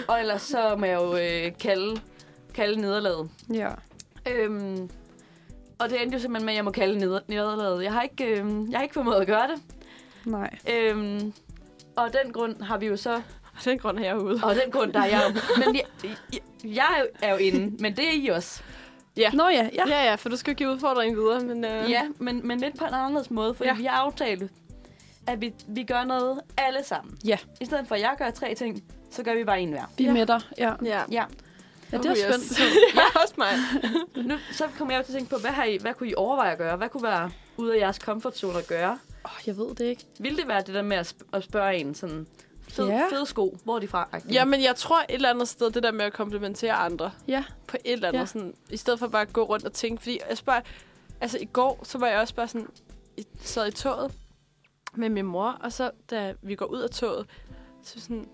S2: og ellers så må jeg jo øh, kalde, kalde nederlaget.
S3: Ja.
S2: Øhm, og det endte jo simpelthen med, at jeg må kalde neder- nederlaget. Jeg har ikke, øh, jeg har ikke formået at gøre det.
S3: Nej.
S2: Øhm, og af den grund har vi jo så...
S1: Af den grund er jeg ude.
S2: Og af den grund, der er jeg jo... Men jeg, jeg, jeg er jo- er jo inde, men det er I også.
S3: Nå ja, ja.
S1: Ja, ja, for du skal jo give udfordringen videre, men... Øh,
S2: Ja, men, men lidt på en anderledes måde, fordi
S1: Ja.
S2: ja. vi har aftalt, at vi, vi gør noget alle sammen.
S3: Ja.
S2: I stedet for, at jeg gør tre ting, så gør vi bare en hver.
S3: Vi er
S1: Ja.
S3: med dig. Ja.
S1: ja.
S2: Ja.
S3: ja det er
S1: Oh, yes.
S3: spændt.
S1: ja, også mig.
S2: Nu, så kommer jeg jo til at tænke på, hvad, har I, hvad kunne I overveje at gøre? Hvad kunne være ude af jeres komfortzone at gøre?
S3: Åh, jeg ved det ikke.
S2: Vil det være det der med at, sp- at spørge en sådan... Fed,
S3: Ja.
S2: fede sko, hvor er de fra? Agtig?
S1: Jamen, jeg tror et eller andet sted, det der med at komplementere andre
S3: Ja.
S1: på et eller andet,
S3: Ja.
S1: ja. sådan, i stedet for bare at gå rundt og tænke, fordi jeg spørger, altså i går, så var jeg også bare sådan, i- sad i toget med min mor, og så da vi går ud af toget, så sådan,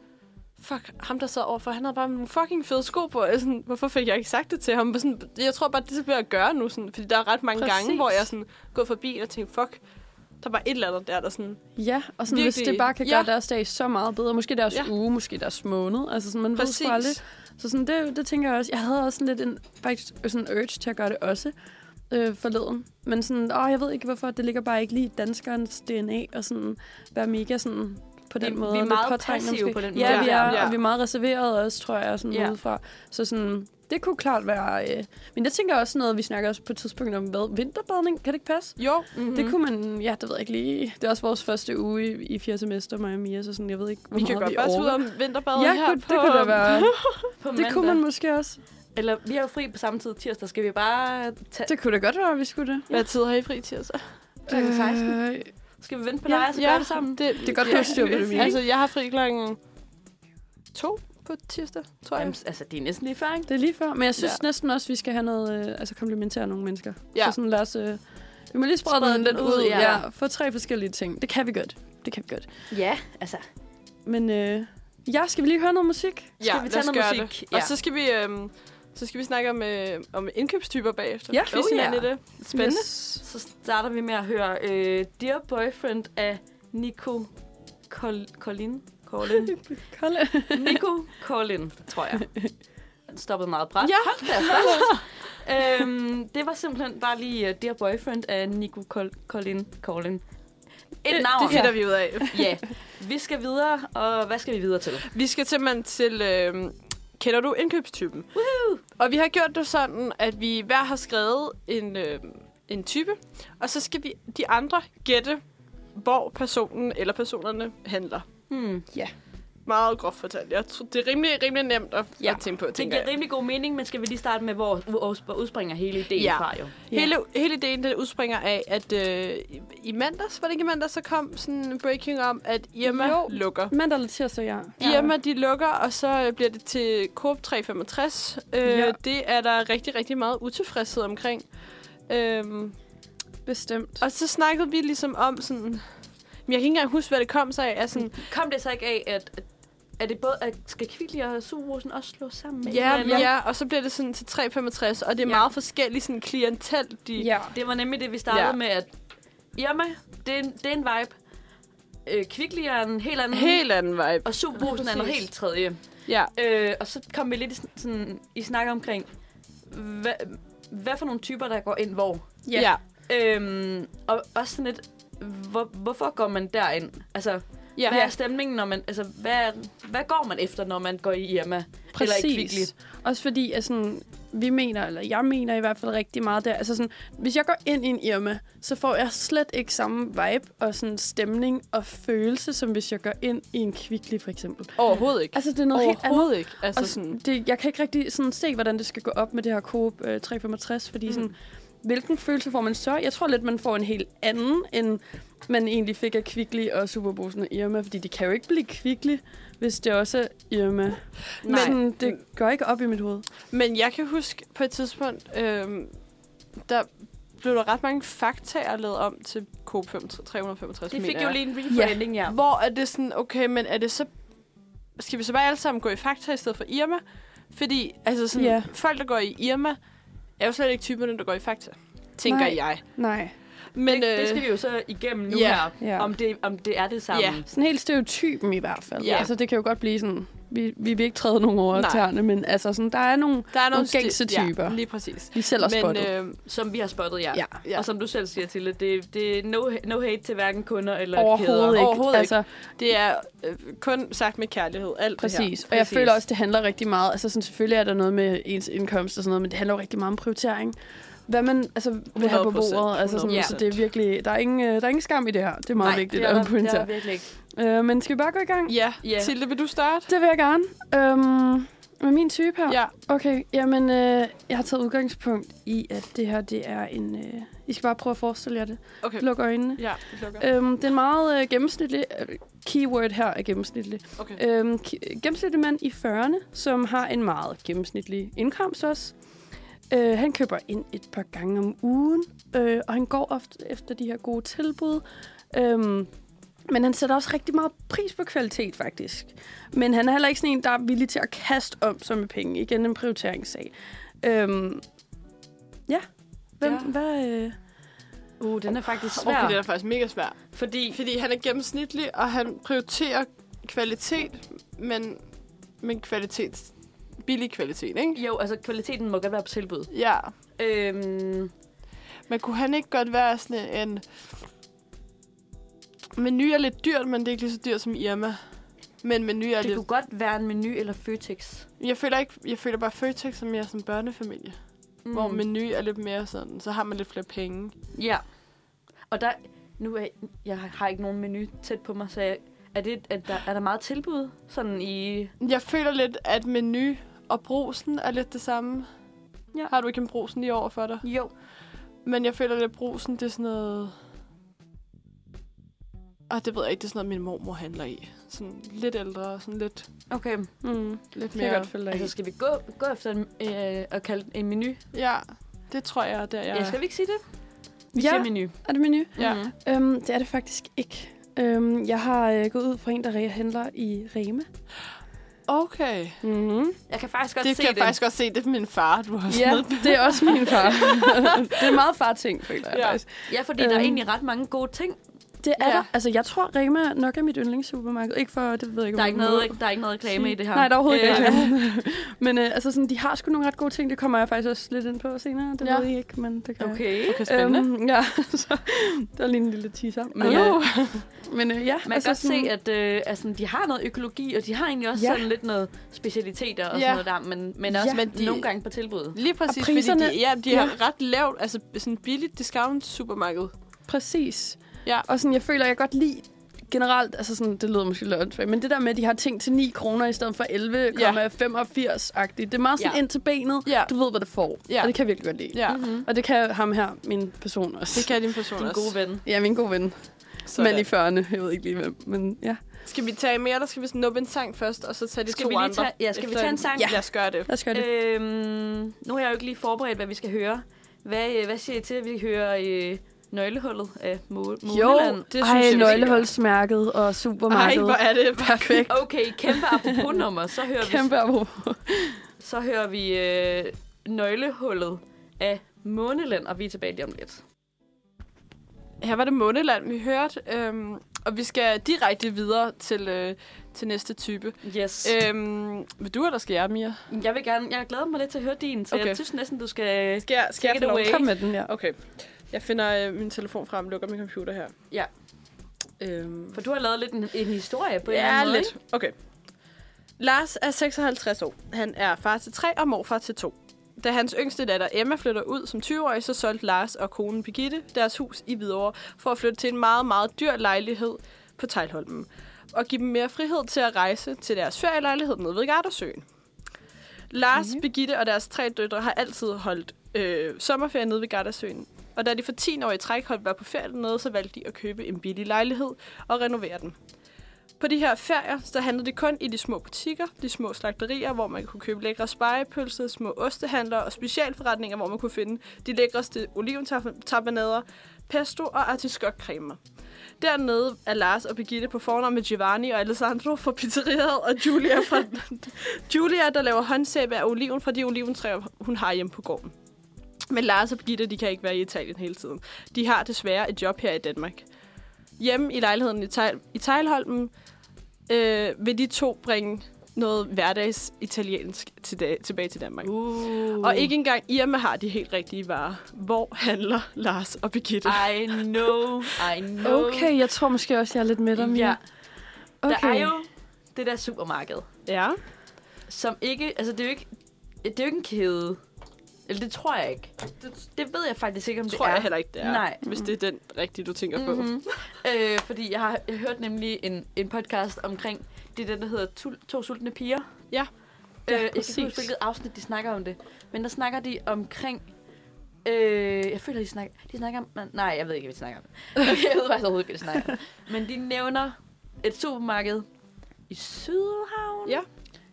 S1: fuck, ham der sad overfor, han havde bare nogle fucking fede sko på, og jeg sådan, hvorfor fik jeg ikke sagt det til ham? Og Sådan, jeg tror bare, det er ved at gøre nu, sådan, fordi der er ret mange Præcis. gange,
S3: Præcis.
S1: hvor jeg sådan, går forbi og tænker, fuck, der var et eller andet der, der sådan,
S3: Ja, og sådan, hvis
S1: Virkelig.
S3: det bare kan
S1: Ja.
S3: gøre deres dag så meget bedre. Måske deres
S1: Ja.
S3: uge, måske deres måned. Altså, sådan, man ved sgu aldrig.
S1: præcis.
S3: Så sådan, det, det tænker jeg også. Jeg havde også sådan lidt en, faktisk sådan en urge til at gøre det også øh, forleden. Men sådan, åh, jeg ved ikke hvorfor, det ligger bare ikke lige i danskernes DNA og sådan være mega sådan på den
S2: Vi-
S3: måde.
S2: vi er
S3: lidt
S2: meget
S3: påtrængende
S2: passive
S3: måske.
S2: på den
S3: Ja,
S1: måde.
S3: vi er,
S1: Ja.
S3: og vi er meget reserveret også, tror jeg, sådan
S2: Ja.
S3: ja. udefra. Så sådan, det kunne klart være... Øh, men jeg tænker også noget, vi snakker også på et tidspunkt om hvad, vinterbadning. Kan det ikke passe?
S1: Jo,
S2: Mhm.
S3: Mm-hmm.
S2: Mm.
S3: Det kunne man, ja, det ved jeg ikke lige. Det er også vores første uge i, i fjerde semester, mig og Mia, så sådan, jeg ved ikke, hvor
S1: vi kan
S3: meget
S1: godt
S3: vi
S1: bare tage ud
S3: overgår.
S1: om vinterbadet
S3: Ja,
S1: her
S3: kunne,
S1: på,
S3: det kunne da være.
S2: på
S3: Det kunne man måske også.
S2: Eller vi har jo fri på samme tid tirsdag, skal vi bare tage...
S3: Det kunne da godt være, at vi skulle det.
S1: Hvad tid har I fri tirsdag?
S2: Klokken 16.
S3: Øh,
S2: Skal vi vente på dig, og så gøre Altså, det sammen?
S1: Det,
S3: det er godt, du har styr på det, Mia.
S1: Altså, jeg har fri klokken to på tirsdag, tror jeg.
S2: Jamen, altså, det er næsten lige før, ikke?
S3: det er lige før. Men jeg synes
S1: Ja.
S3: ja. næsten også, vi skal have noget, øh, altså komplementere nogle mennesker.
S1: Ja.
S3: Så sådan, lad os, øh, vi må lige sprede den lidt ud.
S2: ja.
S3: Ja. få tre forskellige ting. Det kan vi godt. Det kan vi godt.
S2: Ja, altså.
S3: Men øh, ja, skal vi lige høre noget musik?
S2: Skal vi tage noget
S1: gøre
S2: musik?
S1: Det. Og
S2: Ja.
S1: så skal vi... Øhm, så skal vi snakke om, øh, om indkøbstyper bagefter.
S3: Ja.
S1: Quiz
S2: Oh,
S1: hinanden
S2: ja.
S1: i det. Spændende.
S3: Yes.
S2: Så starter vi med at høre øh, Dear Boyfriend af Nico Col- Colin. Colin.
S3: Kolde.
S2: Nico Colin, tror jeg. Den stoppede meget bræt.
S1: Ja.
S2: Hold da fast. øhm, det var simpelthen bare lige uh, Dear Boyfriend af Nico Col- Colin. Colin. Et navn.
S1: Det finder vi ud af.
S2: Ja. Vi skal videre, og hvad skal vi videre til?
S1: Vi skal simpelthen til... Øh, kender du indkøbstypen? Woohoo! Og vi har gjort det sådan, at vi hver har skrevet en, øh, en type, og så skal vi de andre gætte, hvor personen eller personerne handler.
S2: Hmm.
S1: Meget groft fortalt. Jeg tror, det er rimelig, rimelig nemt at, ja.
S2: Ja.
S1: at tænke på,
S2: Det
S1: tænker
S2: giver
S1: jeg.
S2: rimelig god mening, men skal vi lige starte med, hvor hvor udspringer hele ideen
S1: Ja.
S2: fra jo?
S3: Ja.
S1: Hele, hele ideen den udspringer af, at øh, i- i mandags, var det ikke i mandags, så kom sådan en breaking om, at Irma jo.
S3: Jo.
S1: lukker.
S3: Mandag eller tirsdag, ja.
S1: Irma, de lukker, og så øh, bliver det til Coop 365. Øh, ja.
S3: Ja.
S1: Det er der rigtig, rigtig meget utilfredshed omkring. Øhm,
S3: Bestemt.
S1: og så snakkede vi ligesom om sådan... Men jeg kan ikke engang huske, hvad det kom sig af. Er sådan,
S2: Kom det så ikke af, at, at er det både, at skal Kvickly og Superbrusen også slås sammen? med
S1: ja,
S2: hinanden?
S1: ja, og så bliver det sådan til 365, og det er ja.
S3: Ja.
S1: meget forskelligt sådan klientel, de...
S3: Ja.
S2: Det var nemlig det, vi startede
S1: Ja.
S2: ja. med, at Irma, det er en, det er en vibe. Øh, Kvickly er en helt anden.
S1: Mm-hmm. Helt anden vibe.
S2: Og Superbrusen er noget
S3: Præcis.
S2: helt tredje.
S1: Ja.
S2: Øh, og så kom vi lidt i, sådan- sådan, i snak omkring, hvad, hvad for nogle typer, der går ind hvor.
S3: Ja.
S1: ja.
S2: Øhm, og også sådan lidt, hvor, hvorfor går man derind? Altså,
S1: Ja,
S2: Hvad er stemningen, når man... Altså, hvad, hvad går man efter, når man går i Irma? Eller i Kvickly?
S3: Også fordi, at sådan, vi mener, eller jeg mener i hvert fald rigtig meget der. Altså sådan, hvis jeg går ind i en Irma, så får jeg slet ikke samme vibe og sådan stemning og følelse, som hvis jeg går ind i en Kvickly for eksempel.
S1: Overhovedet ikke.
S3: Altså, det er noget helt andet.
S1: Overhovedet ikke. Altså
S3: Altså,
S1: sådan,
S3: sådan... det, jeg kan ikke rigtig sådan se, hvordan det skal gå op med det her Coop øh, 365, fordi mm. sådan, hvilken følelse får man så? Jeg tror lidt, man får en helt anden, end man egentlig fik af Kvickly og Superbosen og Irma, fordi de kan jo ikke blive Kvickly, hvis det også er Irma. Men
S1: Nej.
S3: sådan, det går ikke op i mit hoved.
S1: Men jeg kan huske på et tidspunkt, øh, der blev der ret mange faktaer lavet om til Coop 5 365,
S2: Det fik
S1: mener
S2: jo
S1: jeg.
S2: lige en rebranding, ja.
S1: Hvor er det sådan, okay, men er det så... Skal vi så bare alle sammen gå i fakta i stedet for Irma? Fordi altså sådan,
S3: Ja.
S1: folk, der går i Irma, er jo slet ikke typerne, der går i fakta. Tænker
S3: Nej.
S1: jeg.
S3: Nej.
S1: Men,
S2: det, det skal
S1: øh,
S2: vi jo så igennem nu
S1: ja,
S2: her,
S3: ja.
S2: Om, det, om det er det samme.
S1: Ja.
S3: Sådan helt stereotypen i hvert fald.
S1: Ja.
S3: Altså, det kan jo godt blive sådan, vi, vi vil ikke træde nogen over
S1: Nej.
S3: tæerne, men altså, sådan, der er nogle,
S1: der er nogle
S3: nogle gængse
S1: sti-
S3: typer.
S1: Ja, lige præcis.
S3: vi selv har
S1: Men
S3: spottet.
S1: øh,
S2: Som vi har spottet jer.
S3: ja.
S1: ja.
S2: Og som du selv siger, Tille, det, det er no, no hate til hverken kunder eller kæder.
S3: Overhovedet ikke.
S1: Overhovedet ikke.
S3: altså,
S1: det er øh, kun sagt med kærlighed. Alt det her.
S3: Præcis. Og jeg
S2: Præcis.
S3: føler også, det handler rigtig meget... Altså sådan, selvfølgelig er der noget med ens indkomst og sådan noget, men det handler jo rigtig meget om prioritering. Hvad man altså, vil have på
S1: 100%,
S3: bordet. Altså sådan,
S1: 100%.
S3: Så det er virkelig... Der er, ingen, øh, der er ingen skam i det her. Det er meget
S2: Nej,
S3: vigtigt
S2: det er
S3: at
S2: der- det er
S3: pointere.
S2: der virkelig ikke.
S3: Øh, men skal vi bare gå i gang?
S1: Ja,
S2: Ja.
S1: yeah. Tilde, vil du starte?
S3: Det vil jeg gerne. Øhm, med min type her?
S1: Ja.
S3: Okay, jamen, øh, jeg har taget udgangspunkt i, at det her, det er en... Øh, I skal bare prøve at forestille jer det.
S1: Okay.
S3: Luk øjnene.
S1: Ja, vi lukker.
S3: Øhm, det er en meget øh, gennemsnitlig... øh, Keyword her er gennemsnitlig.
S1: Okay.
S3: Øhm, ki- gennemsnitlig mand i 40'erne, som har en meget gennemsnitlig indkomst også. Øh, han køber ind et par gange om ugen, øh, og han går ofte efter de her gode tilbud. Øhm, men han sætter også rigtig meget pris på kvalitet, faktisk. Men han er heller ikke sådan en, der er villig til at kaste om sig med penge. Igen en prioriteringssag. Øhm, ja. Hvem,
S2: Ja.
S3: ja. Hvad, øh,
S2: Uh, den er faktisk svær.
S1: Okay, det er faktisk mega svært.
S2: Fordi
S1: Fordi han er gennemsnitlig, og han prioriterer kvalitet, men, men kvalitet, billig kvalitet, ikke?
S2: jo, altså kvaliteten må godt være på tilbud.
S1: Ja,
S2: Øhm,
S1: men kunne han ikke godt være sådan en... Menu er lidt dyrt, men det er ikke lige så dyrt som Irma. Men menu er
S2: det
S1: lidt...
S2: kunne godt være en menu eller Føtex.
S1: Jeg føler, ikke, jeg føler bare Føtex som mere som børnefamilie. Mm.
S2: Mm.
S1: Hvor menu er lidt mere sådan, så har man lidt flere penge.
S2: Ja. Og der... Nu er, jeg har ikke nogen menu tæt på mig, så jeg, er, det, er, der, er der meget tilbud? Sådan i...
S1: Jeg føler lidt, at menu og brusen er lidt det samme.
S2: Ja.
S1: Har du ikke en brusen lige over for dig?
S2: Jo.
S1: Men jeg føler lidt, at brusen, det er sådan noget... Og det ved jeg ikke, det er sådan noget, min mormor handler i. Sådan lidt ældre og sådan lidt,
S2: Okay.
S3: mm,
S1: lidt
S3: det kan
S1: mere...
S3: jeg godt følge dig i.
S2: Altså, skal vi gå, gå efter en, øh, og kalde den en menu?
S1: Ja, det tror jeg, er der
S2: Ja.
S1: jeg...
S2: ja. skal vi ikke sige det? Vi
S3: Ja.
S2: siger menu.
S3: Er det menu?
S1: Ja.
S2: Mhm.
S3: Øhm, det er det faktisk ikke. Øhm, jeg har øh, gået ud fra en, der re- handler i Rema.
S1: Okay.
S3: Mm-hmm.
S2: Jeg kan faktisk godt
S1: det
S2: se
S1: kan jeg
S2: det.
S1: faktisk også se, det er min far, du har
S3: Ja,
S1: smidt.
S3: det er også min far. det er meget far-ting, føler jeg
S1: Ja.
S3: ja. faktisk.
S2: Ja, fordi øhm. der er
S3: Øhm.
S2: egentlig ret mange gode ting.
S3: Det er
S1: Ja.
S3: ja. der. Altså, jeg tror, Rema nok er mit yndlingssupermarked. Ikke for, det ved jeg ikke,
S2: Der er
S3: om
S2: ikke
S3: man må
S2: noget, der er ikke noget reklame i det her.
S3: Nej, der er overhovedet
S2: Øh,
S3: øh. ikke. Men øh, altså, sådan, de har sgu nogle ret gode ting. Det kommer jeg faktisk også lidt ind på senere. Det
S1: Ja.
S3: ja. ved I ikke, men det kan jeg.
S2: Okay.
S1: Okay, spændende. Øhm,
S3: Øhm, ja, så der er lige en lille teaser.
S1: Uh.
S3: Men,
S2: Hallo.
S3: øh, men øh, ja,
S2: Man kan godt se, at øh, altså, de har noget økologi, og de har egentlig også
S3: Ja.
S2: sådan lidt noget specialiteter og
S1: Ja.
S2: sådan noget der, men, men også
S3: Ja.
S2: men
S1: Men
S2: de...
S1: de-
S2: nogle gange på tilbud.
S1: Lige præcis,
S3: priserne-
S1: fordi de, ja, de
S3: Ja.
S1: har ret lavt, altså sådan billigt discount-supermarked.
S3: Præcis.
S1: Ja.
S3: Og sådan, jeg føler, jeg godt lide generelt, altså sådan, det lyder måske lidt åndssvagt, men det der med, at de har ting til 9 kroner i stedet for 11,85-agtigt, det er meget sådan
S2: Ja.
S3: ja. ind til benet.
S1: Ja.
S3: Du ved, hvad du får,
S1: Ja.
S3: og det kan jeg virkelig godt lide.
S1: Ja,
S2: Mm-hmm.
S3: Og det kan ham her, min person også.
S1: det kan din person
S2: Din
S1: også.
S2: gode ven.
S3: Ja, min gode ven.
S1: Sådan.
S3: Mand i 40'erne, jeg ved ikke lige hvem, men ja.
S1: Skal vi tage mere, eller skal vi snuppe en sang først, og så tage de
S2: Skal
S1: to
S2: vi lige
S1: andre?
S2: tage- ja, skal vi
S1: efter
S2: tage en sang?
S1: Ja. Lad os gøre det.
S3: Lad os gøre det. Øh.
S2: Øhm, nu har jeg jo ikke lige forberedt, hvad vi skal høre. Hvad, øh, hvad siger I til, at vi hører øh, Nøglehullet af Måneland?
S1: det synes jeg, vi
S3: Ej,
S1: skal
S3: nøglehuldsmærket og
S1: Ej,
S3: supermarkedet.
S1: hvor er det perfekt.
S2: Okay, kæmpe apropos-nummer, så hører vi,
S3: Kæmpe apropos.
S2: så hører vi øh, Nøglehullet af Måneland, og vi er tilbage lige om lidt.
S1: Her var det Måneland, vi hørte, øhm, og vi skal direkte videre til, øh, til næste type.
S2: Yes.
S1: Øhm, vil du, eller skal jeg, Mia?
S2: Øh, jeg vil gerne, jeg glæder mig lidt til at høre din, så okay.
S1: Okay.
S2: jeg synes næsten, du skal...
S1: Skal jeg, skal
S2: Take it away.
S3: Kom med den, ja.
S1: Okay. Jeg finder øh, min telefon frem, lukker min computer her.
S2: Ja.
S1: Øhm,
S2: For du har lavet lidt en, en historie på en eller
S1: ja,
S2: anden måde,
S1: lidt. Okay. Lars er 56 år. Han er far til tre og morfar til to. Da hans yngste datter Emma flytter ud som 20-årig, så solgte Lars og konen Birgitte deres hus i Hvidovre for at flytte til en meget, meget dyr lejlighed på Tejlholmen og give dem mere frihed til at rejse til deres ferielejlighed nede ved Gardasøen. Lars,
S2: Mhm.
S1: mm-hmm. Birgitte og deres tre døtre har altid holdt øh, sommerferie nede ved Gardasøen. Og da de for 10 år i træk holdt var på ferie dernede, så valgte de at købe en billig lejlighed og renovere den. På de her ferier, så handlede det kun i de små butikker, de små slagterier, hvor man kunne købe lækre spejepølser, små ostehandlere og specialforretninger, hvor man kunne finde de lækreste oliventabernader, pesto og artiskokcremer. Dernede er Lars og Birgitte på fornavn med Giovanni og Alessandro fra pizzeriet, og Julia, fra Julia der laver håndsæbe af oliven fra de oliventræer, hun har hjemme på gården. Men Lars og Birgitte, de kan ikke være i Italien hele tiden. De har desværre et job her i Danmark. Hjemme i lejligheden i, Tejl, i Tejlholmen øh, vil de to bringe noget hverdags italiensk til da- tilbage til Danmark. Uh.
S2: Uh.
S1: Og ikke engang Irma har de helt rigtige varer. Hvor handler Lars og Birgitte?
S2: I know, I know.
S3: Okay, jeg tror måske også, jeg er lidt med dig, Mia.
S2: Ja.
S3: Okay.
S2: Der er jo det der supermarked,
S1: Ja.
S2: som ikke... Altså, det er jo ikke, det er jo ikke en kæde. Eller det tror jeg ikke. Det, det ved jeg faktisk ikke, om
S1: Tror
S2: det er.
S1: jeg heller ikke, det er.
S2: Nej.
S1: Hvis det er den rigtige, du tænker på.
S2: Mm-hmm. øh, fordi jeg har jeg hørt nemlig en, en podcast omkring det der, der hedder Tul- To Sultne Piger.
S1: Ja.
S2: Øh,
S3: Ja,
S2: jeg kan
S3: præcis.
S2: ikke huske, hvilket afsnit de snakker om det. Men der snakker de omkring... Øh, jeg føler, de snakker, de snakker om... Nej, jeg ved ikke, hvad de snakker om. Okay, jeg ved faktisk overhovedet ikke, hvad de snakker om. Men de nævner et supermarked i Sydhavn.
S1: Ja.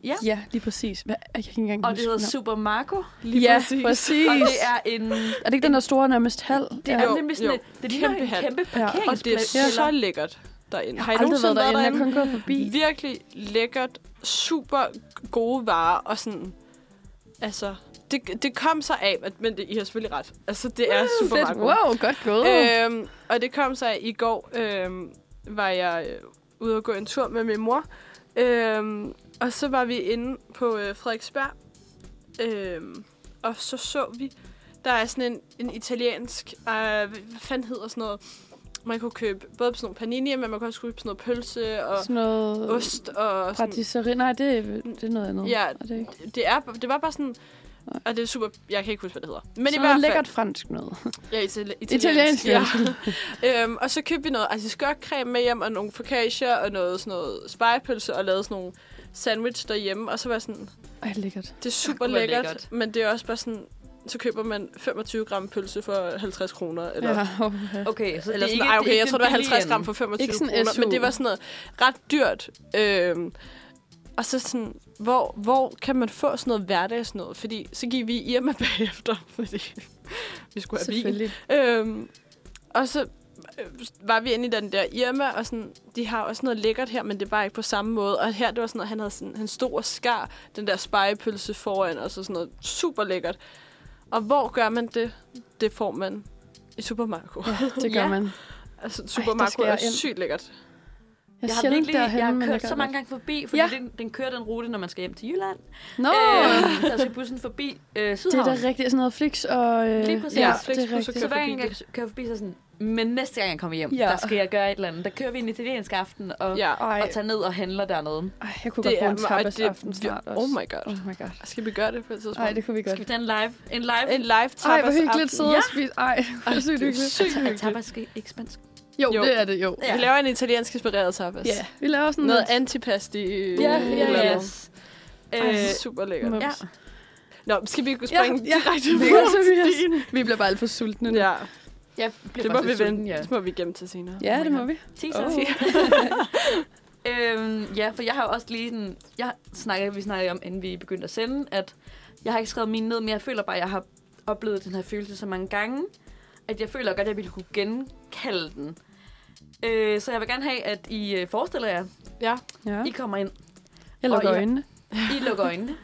S2: Ja.
S3: Ja, lige præcis. Hvad? Jeg kan ikke engang
S2: Og det
S3: huske
S2: hedder
S3: navnet.
S2: Supermarco.
S1: Lige
S3: Ja,
S1: præcis.
S3: præcis.
S2: Og det er en...
S3: Er det ikke den der store nærmest halv?
S2: Det
S3: Ja.
S2: er
S1: Jo,
S2: nemlig sådan
S1: jo.
S2: en, det ligner
S1: Kæmpe
S2: en
S1: hal.
S2: kæmpe
S3: Ja, og det er
S1: Og det er
S2: parkeringsplads.
S1: så lækkert derinde. Har I
S3: Jeg har aldrig
S1: nogensinde
S3: været derinde, jeg
S1: været
S3: har kun gået forbi.
S1: Virkelig lækkert, super gode varer og sådan... Altså, det, det kom sig af, at, men det, I har selvfølgelig ret. Altså, det er super meget godt.
S3: Wow, godt gået.
S1: Øhm, og det kom sig af, i går øhm, var jeg øh, ude og gå en tur med min mor. Øhm, og så var vi inde på øh, Frederiksberg. Øhm, og så så vi, der er sådan en, en italiensk, øh, hvad hvad fanden hedder sådan noget? Man kunne købe både på sådan nogle panini, men man kunne også købe sådan noget pølse og
S3: sådan noget...
S1: ost. Og sådan,
S3: Patisserie. Nej, det, er- det er noget andet.
S1: Ja,
S3: er det ikke?
S1: det, er, det var bare sådan... Og det er super... Jeg kan ikke huske, hvad det hedder. Men
S3: Men
S1: i
S3: sådan
S1: hvert
S3: noget
S1: fald...
S3: lækkert fransk noget.
S1: Ja, itali-
S3: Italiensk,
S1: ja. øhm, og så købte vi noget artiskokcreme med hjem, og nogle focaccia, og noget, sådan noget spejepølse, og lavede sådan nogle sandwich derhjemme. Og så var jeg sådan,
S3: Ej, lækkert.
S1: det er super
S2: Det var
S1: lækkert, lækkert,
S2: lækkert.
S1: men det er også bare sådan, så køber man 25 gram pølse for 50 kroner. Eller, ja.
S3: okay.
S2: Okay, så
S1: eller sådan,
S2: det er ikke,
S1: ej, okay,
S2: det er
S1: jeg
S2: ikke
S1: tror, det
S2: den
S1: var 50
S2: billige
S1: gram
S2: ende.
S1: for 25
S3: Ikke sådan
S1: kroner,
S3: SU.
S1: men det var sådan noget ret dyrt. Øhm, og så sådan, hvor, hvor kan man få sådan noget hverdagsnød? Fordi så gik vi i Irma bagefter, fordi vi skulle have vin.
S3: Selvfølgelig.
S1: Øhm, og så øh, var vi inde i den der Irma, og sådan, de har også noget lækkert her, men det er bare ikke på samme måde. Og her, det var sådan noget, han havde sådan, han stod og skar den der spejepølse foran, og så sådan noget super lækkert. Og hvor gør man det? Det får man i Supermarko. Ja.
S3: Det gør
S2: Ja.
S3: man.
S1: Altså,
S3: der
S1: Supermarko
S3: skal
S1: er
S3: jeg ind.
S1: sygt lækkert.
S3: Jeg,
S2: Jeg
S3: er
S2: har
S3: sjældent
S2: virkelig
S3: derhen,
S2: jeg
S3: men
S2: har kørt
S3: gør
S2: så
S3: det.
S2: mange gange forbi, fordi
S3: Ja.
S2: ja. den, den kører den rute, når man skal hjem til Jylland.
S3: Nå,
S2: Øh, der skal bussen forbi øh,
S3: det er
S2: Sydhavn.
S3: da rigtigt. Sådan noget flix og... Øh,
S2: Lige præcis.
S3: Ja,
S1: Flix
S3: det er
S1: plus og
S2: så
S3: rigtigt.
S2: hver
S1: kører
S2: gang jeg kører forbi, så er sådan, men næste gang jeg kommer hjem,
S3: Ja.
S2: ja. der skal jeg gøre et eller andet. Der kører vi en italiensk aften og, ja.
S1: Ja.
S3: Ej,
S2: og tager ned og handler dernede.
S3: ej, jeg kunne
S1: Det
S3: godt bruge
S1: er,
S3: en
S1: og
S3: tapas aften
S1: det,
S3: snart
S1: vi-
S3: også.
S1: oh my god.
S3: Oh my god.
S1: Skal vi gøre det på et tidspunkt?
S3: Ej, det kunne vi godt.
S2: Skal vi tage en live? En live?
S1: En live tapas
S3: Ej, hvor hyggeligt
S1: aften.
S3: sidde og spise. Ej, hvor sygt
S1: det er
S3: hyggeligt.
S1: sygt
S2: Er
S1: hyggeligt.
S2: tapas ikke- ikke spansk?
S3: Jo,
S1: Jo.
S3: det er det, jo.
S1: Vi laver en italiensk inspireret tapas.
S3: Ja, vi laver sådan
S1: Noget antipasti. øh,
S3: Ja,
S1: et
S3: ja,
S1: eller
S3: ja.
S1: andet.
S2: Yes.
S1: Ej,
S2: Øh,
S1: super lækkert.
S3: Mums.
S2: ja.
S1: Nå, skal vi ikke
S3: Ja,
S1: springe
S3: ja.
S1: direkte
S3: Det
S1: på
S3: er så vi, vi bliver bare alt for sultne nu.
S1: Ja,
S2: Jeg bliver
S1: det må
S2: faktisk
S1: vi
S2: lidt sulten,
S1: vente.
S2: Ja.
S1: Det må vi gemme til senere.
S3: Ja,
S2: Oh my
S3: det må
S2: God.
S3: vi.
S2: Teaser.
S3: Oh.
S2: øhm, ja, for jeg har jo også lige sådan... Jeg snakker, vi snakkede om, inden vi begyndte at sende, at jeg har ikke skrevet mine ned, men jeg føler bare, at jeg har oplevet den her følelse så mange gange, at jeg føler godt, at jeg ville kunne genkalde den. Øh, så jeg vil gerne have, at I øh, forestiller jer,
S1: Ja.
S3: Ja.
S2: I kommer ind,
S3: Jeg
S2: Og
S3: lukker
S2: I-
S3: øjnene.
S2: I lukker øjnene.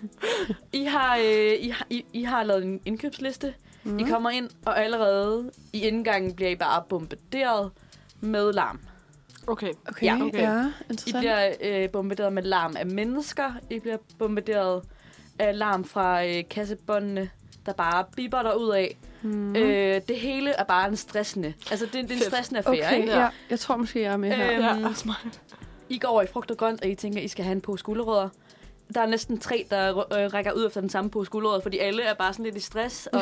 S2: I har, øh, I, har- I, I har lavet en indkøbsliste. Mm. I kommer ind, og allerede i indgangen bliver I bare bombarderet med larm.
S1: Okay.
S3: Okay, ja,
S2: Ja,
S3: okay.
S1: okay.
S3: ja
S2: I
S3: interessant.
S2: bliver øh, bombarderet med larm af mennesker. I bliver bombarderet af larm fra øh, kassebåndene, der bare biber dig ud af.
S3: mm.
S2: Mm. Øh, det hele er bare en stressende. Altså, det, det er en
S1: Fedt.
S2: stressende affære,
S3: okay,
S2: ikke?
S3: ja. Jeg
S1: Øh,
S3: tror måske, jeg er med her.
S2: Øhm,
S1: Ja, også mig.
S2: I går over i frugt og grønt, og I tænker, I skal have en pose gulerødder. der er næsten tre, der øh, rækker ud efter den samme pose guldråd, fordi alle er bare sådan lidt i stress, og,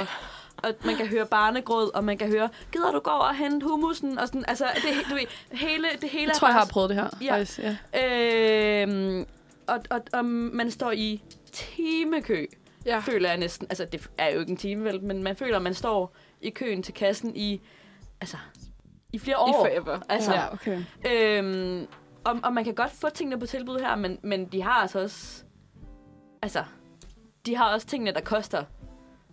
S2: og man kan høre barnegråd, og man kan høre, gider du gå over og hente humusen? Og sådan, altså, det, du ved, hele, det hele
S3: Jeg
S2: er
S3: tror, jeg har
S2: bare-
S3: prøvet det her.
S2: Ja.
S3: Faktisk. Ja.
S2: Øhm, og, og, og man står i timekø,
S1: Ja.
S2: føler jeg næsten. Altså, det er jo ikke en time, vel, men man føler, at man står i køen til kassen i, altså, i flere år.
S1: I forever.
S2: altså,
S3: ja, okay.
S2: ja. øhm, og, og man kan godt få tingene på tilbud her, men, men de har altså også... Altså, de har også tingene, der koster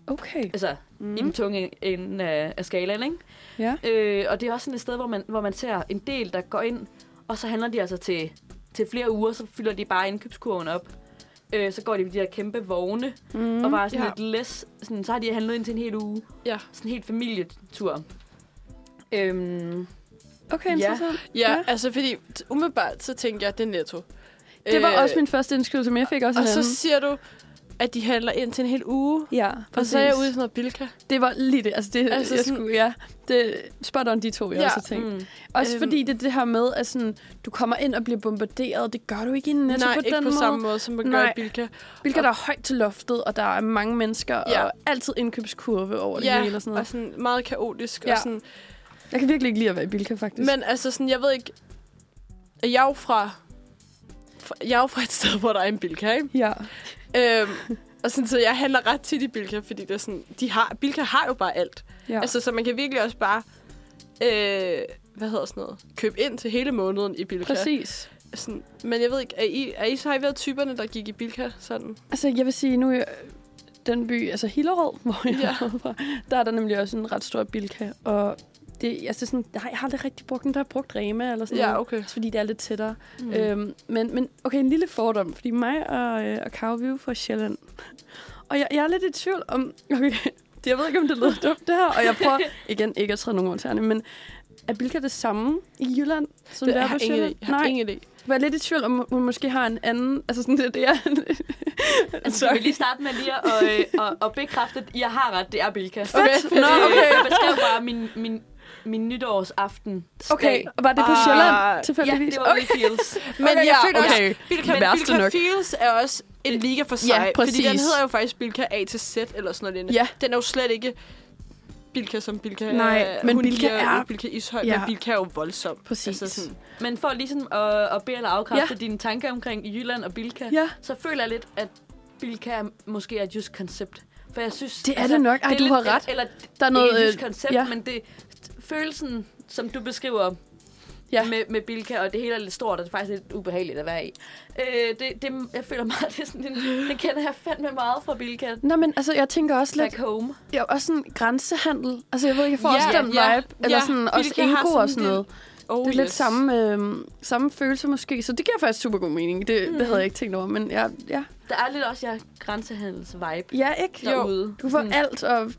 S3: Okay.
S2: altså, mm. i den tunge ende øh, af, af skalaen, ikke?
S3: Mhm. Ja.
S2: Øh, og det er også sådan et sted, hvor man, hvor man ser en del, der går ind, og så handler de altså til, til flere uger, så fylder de bare indkøbskurven op. Øh, så går de med de der kæmpe vogne, mm,
S3: Mhm.
S2: og bare sådan
S1: ja.
S2: ja. lidt læs. Sådan, så har de handlet ind til en hel uge.
S1: Ja.
S2: Sådan en helt familietur. Øhm,
S3: Okay,
S2: Ja.
S3: interessant.
S1: Ja,
S3: Ja.
S1: altså fordi t- umiddelbart, så tænkte jeg, det er netto.
S3: Det var
S1: Øh,
S3: også min første indskrivelse, men jeg fik også
S1: Og
S3: en
S1: så
S3: anden.
S1: siger du, at de handler ind til en hel uge.
S3: Ja,
S1: Og så er jeg ude i sådan noget bilka.
S3: Det var lige det. Altså, det
S1: Altså
S3: altså, jeg
S1: sådan-
S3: skulle, ja. Det, spot on de to, jeg
S1: Ja,
S3: ja, også har tænkt.
S2: mm.
S3: Også
S1: Øhm.
S3: fordi det er det her med, at sådan, du kommer ind og bliver bombarderet, det gør du ikke i Netto
S1: Nej,
S3: på
S1: ikke
S3: den
S1: på
S3: måde.
S1: samme måde, som man gør i
S3: Nej.
S1: bilka.
S3: Hvilket der er højt til loftet, og der er mange mennesker,
S1: Ja.
S3: ja. og altid indkøbskurve over det
S1: Ja,
S3: hele og sådan
S1: og
S3: noget.
S1: sådan meget kaotisk. Ja. Og
S3: Ja.
S1: sådan.
S3: Jeg kan virkelig ikke lide at være i Bilka, faktisk.
S1: Men altså sådan, jeg ved ikke... Jeg er jo fra... fra- Jeg er jo fra et sted, hvor der er en bilka, ikke?
S3: Ja.
S1: Øhm, og sådan, så jeg handler ret tit i Bilka, fordi det er sådan, de har, Bilka har jo bare alt.
S3: ja.
S1: Ja. Altså, så man kan virkelig også bare, øh, hvad hedder sådan noget, købe ind til hele måneden i Bilka.
S3: Præcis.
S1: Sådan, men jeg ved ikke, er I, er I så har I været typerne, der gik i Bilka sådan?
S3: Altså, jeg vil sige, nu er jeg- den by, altså Hillerød, hvor jeg
S1: Ja.
S3: ja. er fra, der er der nemlig også en ret stor Bilka, og det, altså sådan, nej, jeg har aldrig rigtig brugt den, der har jeg brugt Rema eller sådan noget.
S1: okay.
S3: Også fordi det er lidt tættere.
S2: Mm.
S3: Mm.
S2: Øh,
S3: Øhm, men, men okay, en lille fordom, fordi mig og, øh, og Karo, vi er jo fra Sjælland. Og jeg, jeg er lidt i tvivl om, okay, det- jeg ved ikke, om det lyder dumt det her, og jeg prøver igen ikke at træde nogen over tæerne, men er Bilka det samme i Jylland, som
S1: Det,
S3: det, det
S1: jeg
S3: er på
S1: har ingen
S3: Sjælland?
S1: idé. Jeg har ingen idé.
S3: Jeg er lidt i tvivl om, hun måske har en anden... Altså, sådan det, det er...
S2: altså, skal vi lige starte med lige at og, øh, og, og bekræfte, at jeg har ret, det er Bilka.
S1: Okay,
S3: Fedt. Nå, okay.
S2: Jeg beskrev bare min, min, min nytårsaften.
S3: Okay, og var det på
S1: Ah.
S3: Sjælland
S2: Ja,
S3: tilfældigvis?
S2: det var okay. feels.
S1: Men okay, jeg føler
S3: okay.
S1: også, Bilka, men
S3: Værste
S1: Bilka
S3: nok.
S1: Feels er også en liga for sig. Fordi
S3: præcis.
S1: den hedder jo faktisk Bilka A til Z eller sådan noget. lignende.
S3: Ja.
S1: Den er jo slet ikke Bilka som Bilka.
S3: Nej,
S1: øh,
S3: men
S1: hun
S3: Bilka
S1: giver jo
S3: er-
S1: ikke Bilka Ishøj, ja.
S3: Ja.
S1: men Bilka er jo voldsom. Altså
S3: Præcis.
S1: sådan,
S2: Men for ligesom at, at bede eller afkræfte
S3: Ja.
S2: ja. dine tanker omkring Jylland og Bilka,
S3: Ja.
S2: så føler jeg lidt, at Bilka er måske er et jysk koncept. For jeg synes... altså,
S3: Det er det nok. Ej,
S2: det er
S3: du
S2: lidt-
S3: har ret.
S2: Eller,
S3: Der er
S2: noget, det er et
S3: noget... øh,
S2: jysk koncept, ja.
S3: ja.
S2: men det følelsen, som du beskriver
S3: Ja.
S2: ja. med, med Bilka, og det hele er lidt stort, og det er faktisk lidt ubehageligt at være i. Øh, det, det, jeg føler meget, det er sådan en, det kender jeg fandme meget fra Bilka.
S3: Nå, men altså, jeg tænker også lidt...
S2: Back home.
S3: Det er jo også sådan grænsehandel. Altså, jeg ved ikke, jeg får
S1: Ja,
S3: også den
S1: ja,
S3: vibe. Eller
S1: ja.
S3: sådan, også
S1: Hvilket har
S3: Ingo
S1: sådan
S3: og sådan
S1: lidt-
S3: noget.
S1: Oh,
S3: Det er lidt
S1: yes.
S3: samme, øh, samme følelse måske. Så det giver faktisk super god mening. Det, mm. det havde jeg ikke tænkt over, men ja, ja.
S2: Der er lidt også jeg grænsehandels-vibe
S3: Ja, ikke?
S2: derude.
S3: Du får
S2: Sådan-
S3: alt, og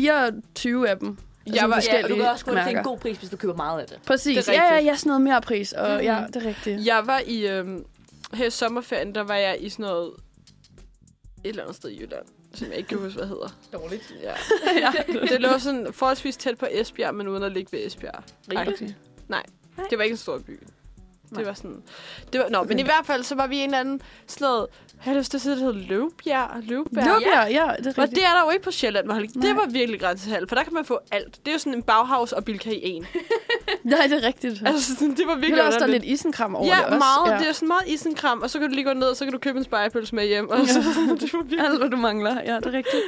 S3: 24 af dem. Altså,
S1: Jeg var-
S2: Ja, og du
S3: forskellige
S2: kan også gå til en
S3: mærker.
S2: god pris, hvis du køber meget af det.
S3: Præcis.
S1: Det er
S3: Ja, ja,
S1: rigtigt.
S3: ja, sådan noget mere pris. Og mm. ja, det er rigtigt.
S1: Jeg var i... Øhm, her i sommerferien, der var jeg i sådan noget... Et eller andet sted i Jylland, som jeg ikke kan huske, hvad hedder.
S2: Dårligt.
S1: Ja. Det lå sådan forholdsvis tæt på Esbjerg, men uden at ligge ved Esbjerg.
S2: Ribe.
S1: Nej, det var ikke en stor by.
S2: Nej.
S1: Det var sådan... Det var, nå, men i hvert fald, så var vi i en eller anden sådan noget... Jeg har lyst til at sige, det hedder Løvbjerg. Løvbjerg.
S3: Lukker, ja. ja, det er
S1: Og
S3: rigtigt.
S1: det er der jo ikke på Sjælland, Marie. Det
S3: Nej.
S1: var virkelig grænsehandel, for der kan man få alt. Det er jo sådan en baghavs og Bilka i en.
S3: Nej, det er rigtigt.
S1: Altså, sådan, det var virkelig
S3: Det er også, der er
S1: underligt.
S3: lidt isenkram over
S1: ja,
S3: det også.
S1: meget. Ja. Det er sådan meget isenkram, og så kan du lige gå ned, og så kan du købe en spejepølse med hjem. Og ja. så, det, var virkelig,
S3: alt, hvad du mangler. Ja, det er rigtigt.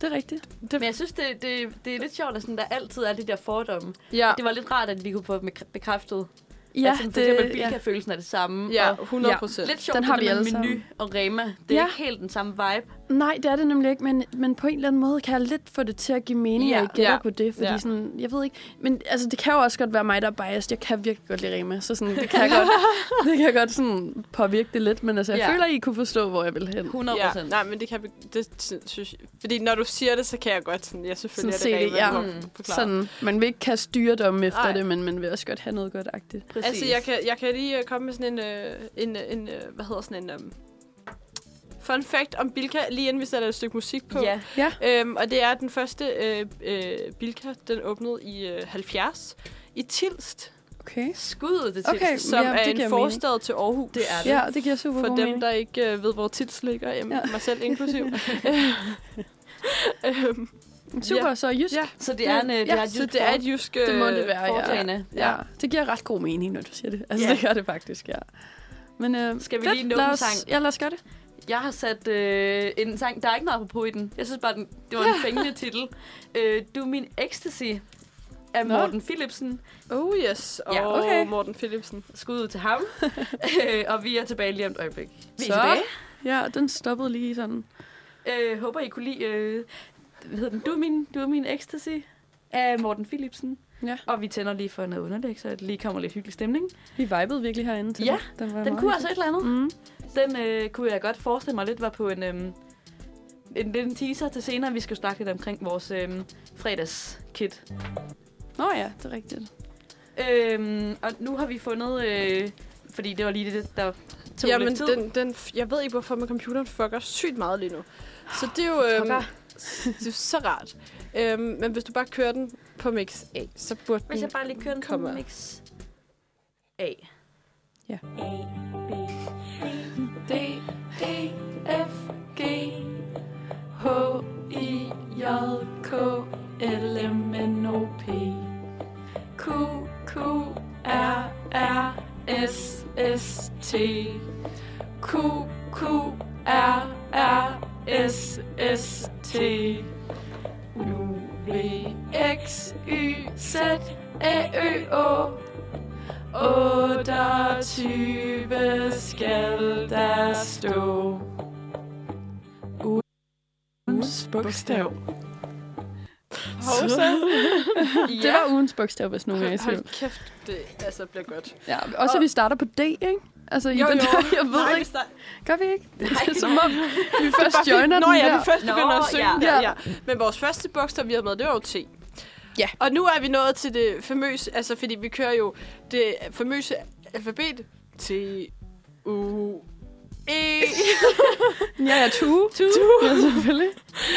S3: Det er rigtigt.
S2: Men jeg synes, det, det, det er lidt sjovt, at sådan, der altid er de der fordomme.
S1: ja,
S2: Det var lidt rart, at vi kunne få dem bekræftet.
S3: Ja,
S2: at sådan, Altså, for eksempel Bilka-følelsen er det samme.
S1: ja,
S2: Og
S1: 100 procent.
S2: lidt sjovt,
S3: Den har
S2: det
S3: vi
S2: der med
S3: alle sammen.
S2: menu og Rema. Det er
S3: Ja.
S2: ikke helt den samme vibe.
S3: Nej, det er det nemlig ikke, men, men på en eller anden måde kan jeg lidt få det til at give mening,
S2: Ja,
S3: ja, jeg gætter
S1: ja,
S3: ja, på det, fordi
S1: ja.
S3: ja. sådan, jeg ved ikke, men altså, det kan jo også godt være mig, der er biased. Jeg kan virkelig godt lide Rema, så sådan, det kan jeg godt, det kan jeg godt sådan påvirke det lidt, men altså, jeg
S2: Ja.
S3: ja. føler, I kunne forstå, hvor jeg vil hen.
S2: 100
S1: Ja,
S2: procent.
S1: nej, men det kan vi, det sy- synes jeg. Fordi når du siger det, så kan jeg godt sådan, ja, selvfølgelig
S3: Sådan
S1: er
S3: se
S1: det
S3: det,
S1: rent,
S3: ja.
S1: men du har forklaret.
S3: Sådan, man vil ikke kan styre dem efter
S1: Nej.
S3: Ej. det, men man vil også godt have noget godt-agtigt.
S2: Præcis.
S1: Altså, jeg kan, jeg kan lige øh, komme med sådan en, øh, en, øh, en øh, hvad hedder sådan en, um, fun fact om Bilka, lige inden vi sætter et stykke musik på.
S2: Ja.
S3: Ja,
S1: Øhm, og det er at den første øh, øh, Bilka, den åbnede i øh, 70, i Tilst.
S3: Okay.
S2: Skuddet det til.
S3: Okay.
S1: som
S3: Jamen,
S1: er
S3: det giver
S1: en
S3: mening.
S1: forstad til Aarhus.
S2: Det er det.
S3: Ja, det giver super
S1: For
S3: god
S1: dem,
S3: mening.
S1: der ikke øh, ved, hvor tits ligger, øh,
S3: Ja.
S1: mig selv inklusiv. øhm,
S3: Super, så jysk.
S1: ja,
S2: Så det er en, øh, det
S3: Ja,
S2: er et
S1: så det er et jysk øh,
S3: Det må det være, ja.
S2: foretagende.
S3: ja. ja. Det giver ret god mening, når du siger det. Altså,
S2: Ja.
S3: yeah. det gør det faktisk, ja. Men øh,
S2: Skal vi
S3: fedt.
S2: lige nå
S3: Lad
S2: en
S3: os-
S2: sang?
S3: Ja, lad os gøre det.
S2: Jeg har sat øh, en sang, der er ikke noget på i den. Jeg synes bare, den, det var en fængende titel. Øh, du er min ecstasy af
S3: Nå.
S2: Morten Philipsen.
S1: Oh yes, og
S2: Ja,
S1: ja,
S3: okay.
S1: okay. Morten Philipsen.
S2: Skud ud til ham. øh, og vi er tilbage lige om et øjeblik. Vi
S3: Så.
S2: er tilbage.
S3: Ja, den stoppede lige sådan.
S2: Øh, håber, I kunne lide... Øh, hvad hedder den? Du er min, du er min ecstasy af Morten Philipsen.
S3: Ja.
S2: Og vi tænder lige for noget underlæg, så der lige kommer lidt hyggelig stemning.
S3: Vi vibede virkelig herinde til
S2: Ja,
S3: den. den, var
S2: Den
S3: meget
S2: kunne altså et eller andet.
S3: Mm.
S2: Den øh, kunne jeg godt forestille mig lidt var på en, øhm, en, en teaser til senere. Vi skal jo snakke lidt omkring vores øhm, fredagskit.
S3: Nå ja, det er rigtigt.
S2: Øhm, og nu har vi fundet... Øh, fordi det var lige det, der tog Jamen,
S1: Jamen,
S2: lidt tid.
S1: den, den, jeg ved ikke, hvorfor, men computeren fucker sygt meget lige nu. Så det er jo, øhm,
S2: Fucker.
S1: det er jo så rart. Øhm, men hvis du bare kører den på mix A, så burde
S2: Hvis
S1: den...
S2: jeg bare lige kører den på
S1: Kommer.
S2: mix A.
S3: D, E, F, G, H, I, J, K, L, M, N, O, P, Q, Q, R, R, S, S, T, Q, Q, R, R, S, S, T, U, V, X, Y, Z, A, Ø, Å, 28 skal der stå. Ugens bogstav.
S1: Hovsa.
S3: Det var ugens bogstav, hvis nogen er i
S1: Hold,
S3: tvivl.
S1: hold kæft, det altså bliver godt.
S3: Ja, også at vi starter på D, ikke? Altså, i den der, jeg ved
S1: Nej,
S3: ikke.
S1: hvis der-
S3: Gør vi ikke? Det er som om, vi først
S1: Bare fordi-
S3: joiner
S1: Nå,
S3: den
S1: ja,
S3: der.
S1: vi først
S2: Nå,
S1: begynder at synge
S2: ja.
S1: ja. der,
S3: Ja.
S1: ja. Men vores første bogstav, vi havde med, det var jo T.
S3: Ja.
S1: Og nu er vi nået til det famøse, altså fordi vi kører jo det famøse alfabet. T, U, E.
S3: Ja, ja, tue. Tue. Ja, selvfølgelig.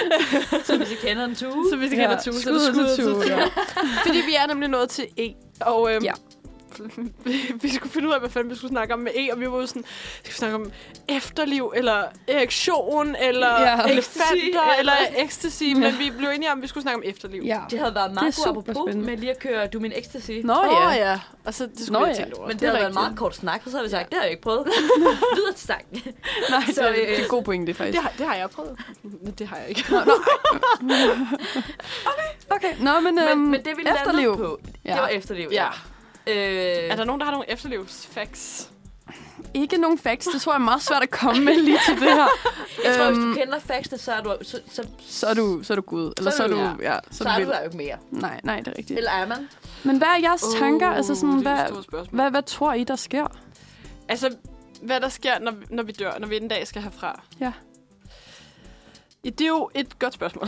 S2: Så hvis I kender den tue.
S1: så hvis I
S3: Ja,
S1: kender ja. Tue, så er
S3: skud
S1: det
S3: ud til
S1: skud
S3: Tue,
S1: ud til
S3: ja.
S1: Tue. Fordi vi er nemlig nået til E. Og øhm,
S3: Ja.
S1: ja. vi skulle finde ud af, hvad fanden vi skulle snakke om med E, og vi var jo sådan, skal vi snakke om efterliv, eller erektion, eller
S3: Ja.
S1: ja. elefanter,
S2: Ecstasy,
S1: ecstasy, eller ecstasy, men vi blev enige om, at vi skulle snakke om efterliv.
S3: Ja.
S2: Det havde været
S3: Det
S2: meget
S3: er
S2: god
S3: super
S2: apropos
S3: spændende.
S2: med lige at køre Du er min ecstasy.
S3: Nå
S1: Åh
S3: ja.
S1: oh, ja. Og så det skulle
S3: Nå,
S1: Nå, jeg
S3: ja.
S1: ja. tænkt over.
S2: Men det,
S3: det er
S2: det havde været en
S3: rigtigt.
S2: meget kort snak, for så havde vi sagt, det har jeg ikke prøvet. Lyder til sang.
S3: Øhm, Nej, det,
S2: Så,
S3: er-
S2: øh,
S3: det er en god pointe, faktisk.
S1: Det har, det har jeg prøvet. Men det har jeg ikke.
S3: Okay, nå, men, øhm,
S2: Men, men det vi
S3: efterliv.
S2: landede på, det
S3: Ja.
S2: var efterliv.
S1: ja.
S2: Øh,
S1: Er der nogen, der har nogle efterlivsfacts?
S3: Ikke nogen facts, det tror jeg er meget svært at komme med lige til det her.
S2: jeg tror, hvis du
S3: øhm,
S2: kender facts, så er du, så, så,
S3: Så er du, så er du gud. Eller så er du, ja, så
S2: så
S3: er
S2: er
S3: du
S2: du
S3: vild.
S2: der jo ikke mere.
S3: Nej, nej, det er rigtigt.
S2: Eller er man?
S3: Men hvad er jeres oh, tanker? Altså sådan,
S1: det er
S3: hvad,
S1: et stort spørgsmål.
S3: hvad, hvad tror I, der sker?
S1: Altså, hvad der sker, når, når vi dør, når vi en dag skal herfra?
S3: Ja.
S1: Ja, Det er jo et godt spørgsmål.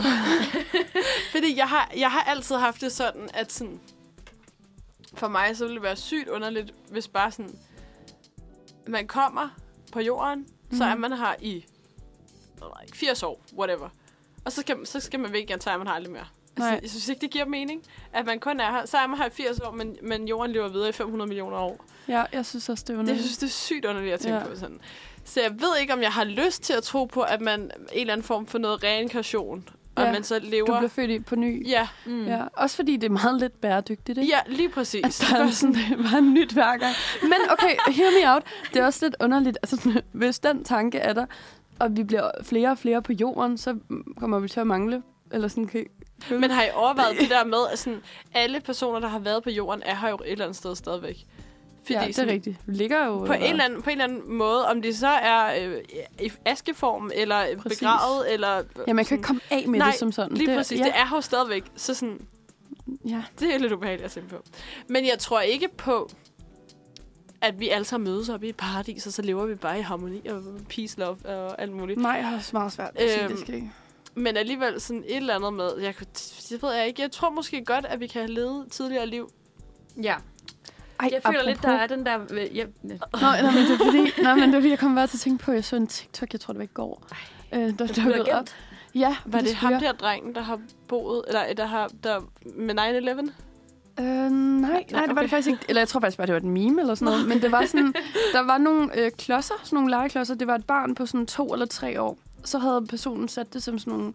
S1: Fordi jeg har, jeg har altid haft det sådan, at sådan, for mig så ville det være sygt underligt, hvis bare sådan, man kommer på jorden, mm. så er man her i jeg ved ikke, 80 år, whatever. Og så skal, så skal man væk igen, så er man her aldrig mere. Altså,
S3: Nej.
S1: jeg synes ikke, det giver mening, at man kun er her. Så er man her i 80 år, men, men jorden lever videre i 500 millioner år.
S3: Ja, jeg synes også, det er
S1: Det,
S3: underligt.
S1: jeg synes, det er sygt underligt at tænke
S3: Mm. Ja.
S1: ja. på sådan. Så jeg ved ikke, om jeg har lyst til at tro på, at man en eller anden form for noget reinkarnation, og
S3: Ja.
S1: ja. man så lever...
S3: Du bliver født i på ny.
S1: Ja,
S2: Mm.
S3: Ja, også fordi det er meget lidt bæredygtigt, ikke?
S1: ja, lige
S3: At
S1: præcis.
S3: der er sådan, det var nyt hver gang. Men okay, hear me out. Det er også lidt underligt. Altså, sådan, hvis den tanke er der, og vi bliver flere og flere på jorden, så kommer vi til at mangle. Eller sådan, kan
S1: Men har I overvejet det der med, at sådan, alle personer, der har været på jorden, er her jo et eller andet sted stadigvæk? Fordi
S3: ja, det er
S1: sådan,
S3: rigtigt. Vi ligger jo...
S1: På en, eller anden, på en eller anden måde, om det så er øh, i askeform, eller
S3: Præcis.
S1: præcis. begravet, eller...
S3: Ja, man kan ikke komme af med
S1: Nej,
S3: det som sådan.
S1: Lige
S3: det,
S1: præcis,
S3: Ja,
S1: det er her jo stadigvæk. Så sådan,
S3: ja.
S1: Det er lidt ubehageligt at tænke på. Men jeg tror ikke på, at vi alle sammen mødes op i et paradis, og så lever vi bare i harmoni og peace, love og alt muligt.
S3: Nej, jeg har også meget svært ved at sige, det
S1: Øhm,
S3: skal ikke.
S1: Men alligevel sådan et eller andet med, jeg, kunne, det ved jeg ikke, jeg tror måske godt, at vi kan have levet tidligere liv.
S2: ja.
S3: Ej,
S2: Jeg føler lidt, der
S3: apropos-
S2: er den der... øh, Ja,
S3: Nå, nej, men det er fordi, nej, men det er fordi, jeg kom bare til at tænke på, at jeg så en TikTok, jeg tror, det var i går. Øh, der dukkede op.
S2: Agent.
S3: Ja,
S1: Var det, det ham
S3: skulle jeg.
S1: der drengen, der har boet, eller øh, der har, der med 9-11?
S3: Øh, nej, nej, det var det faktisk ikke. Eller jeg tror faktisk bare, det var et meme eller sådan noget. Men det var sådan, der var nogle øh, klodser, sådan nogle legeklodser. Det var et barn på sådan to eller tre år. Så havde personen sat det som sådan nogle...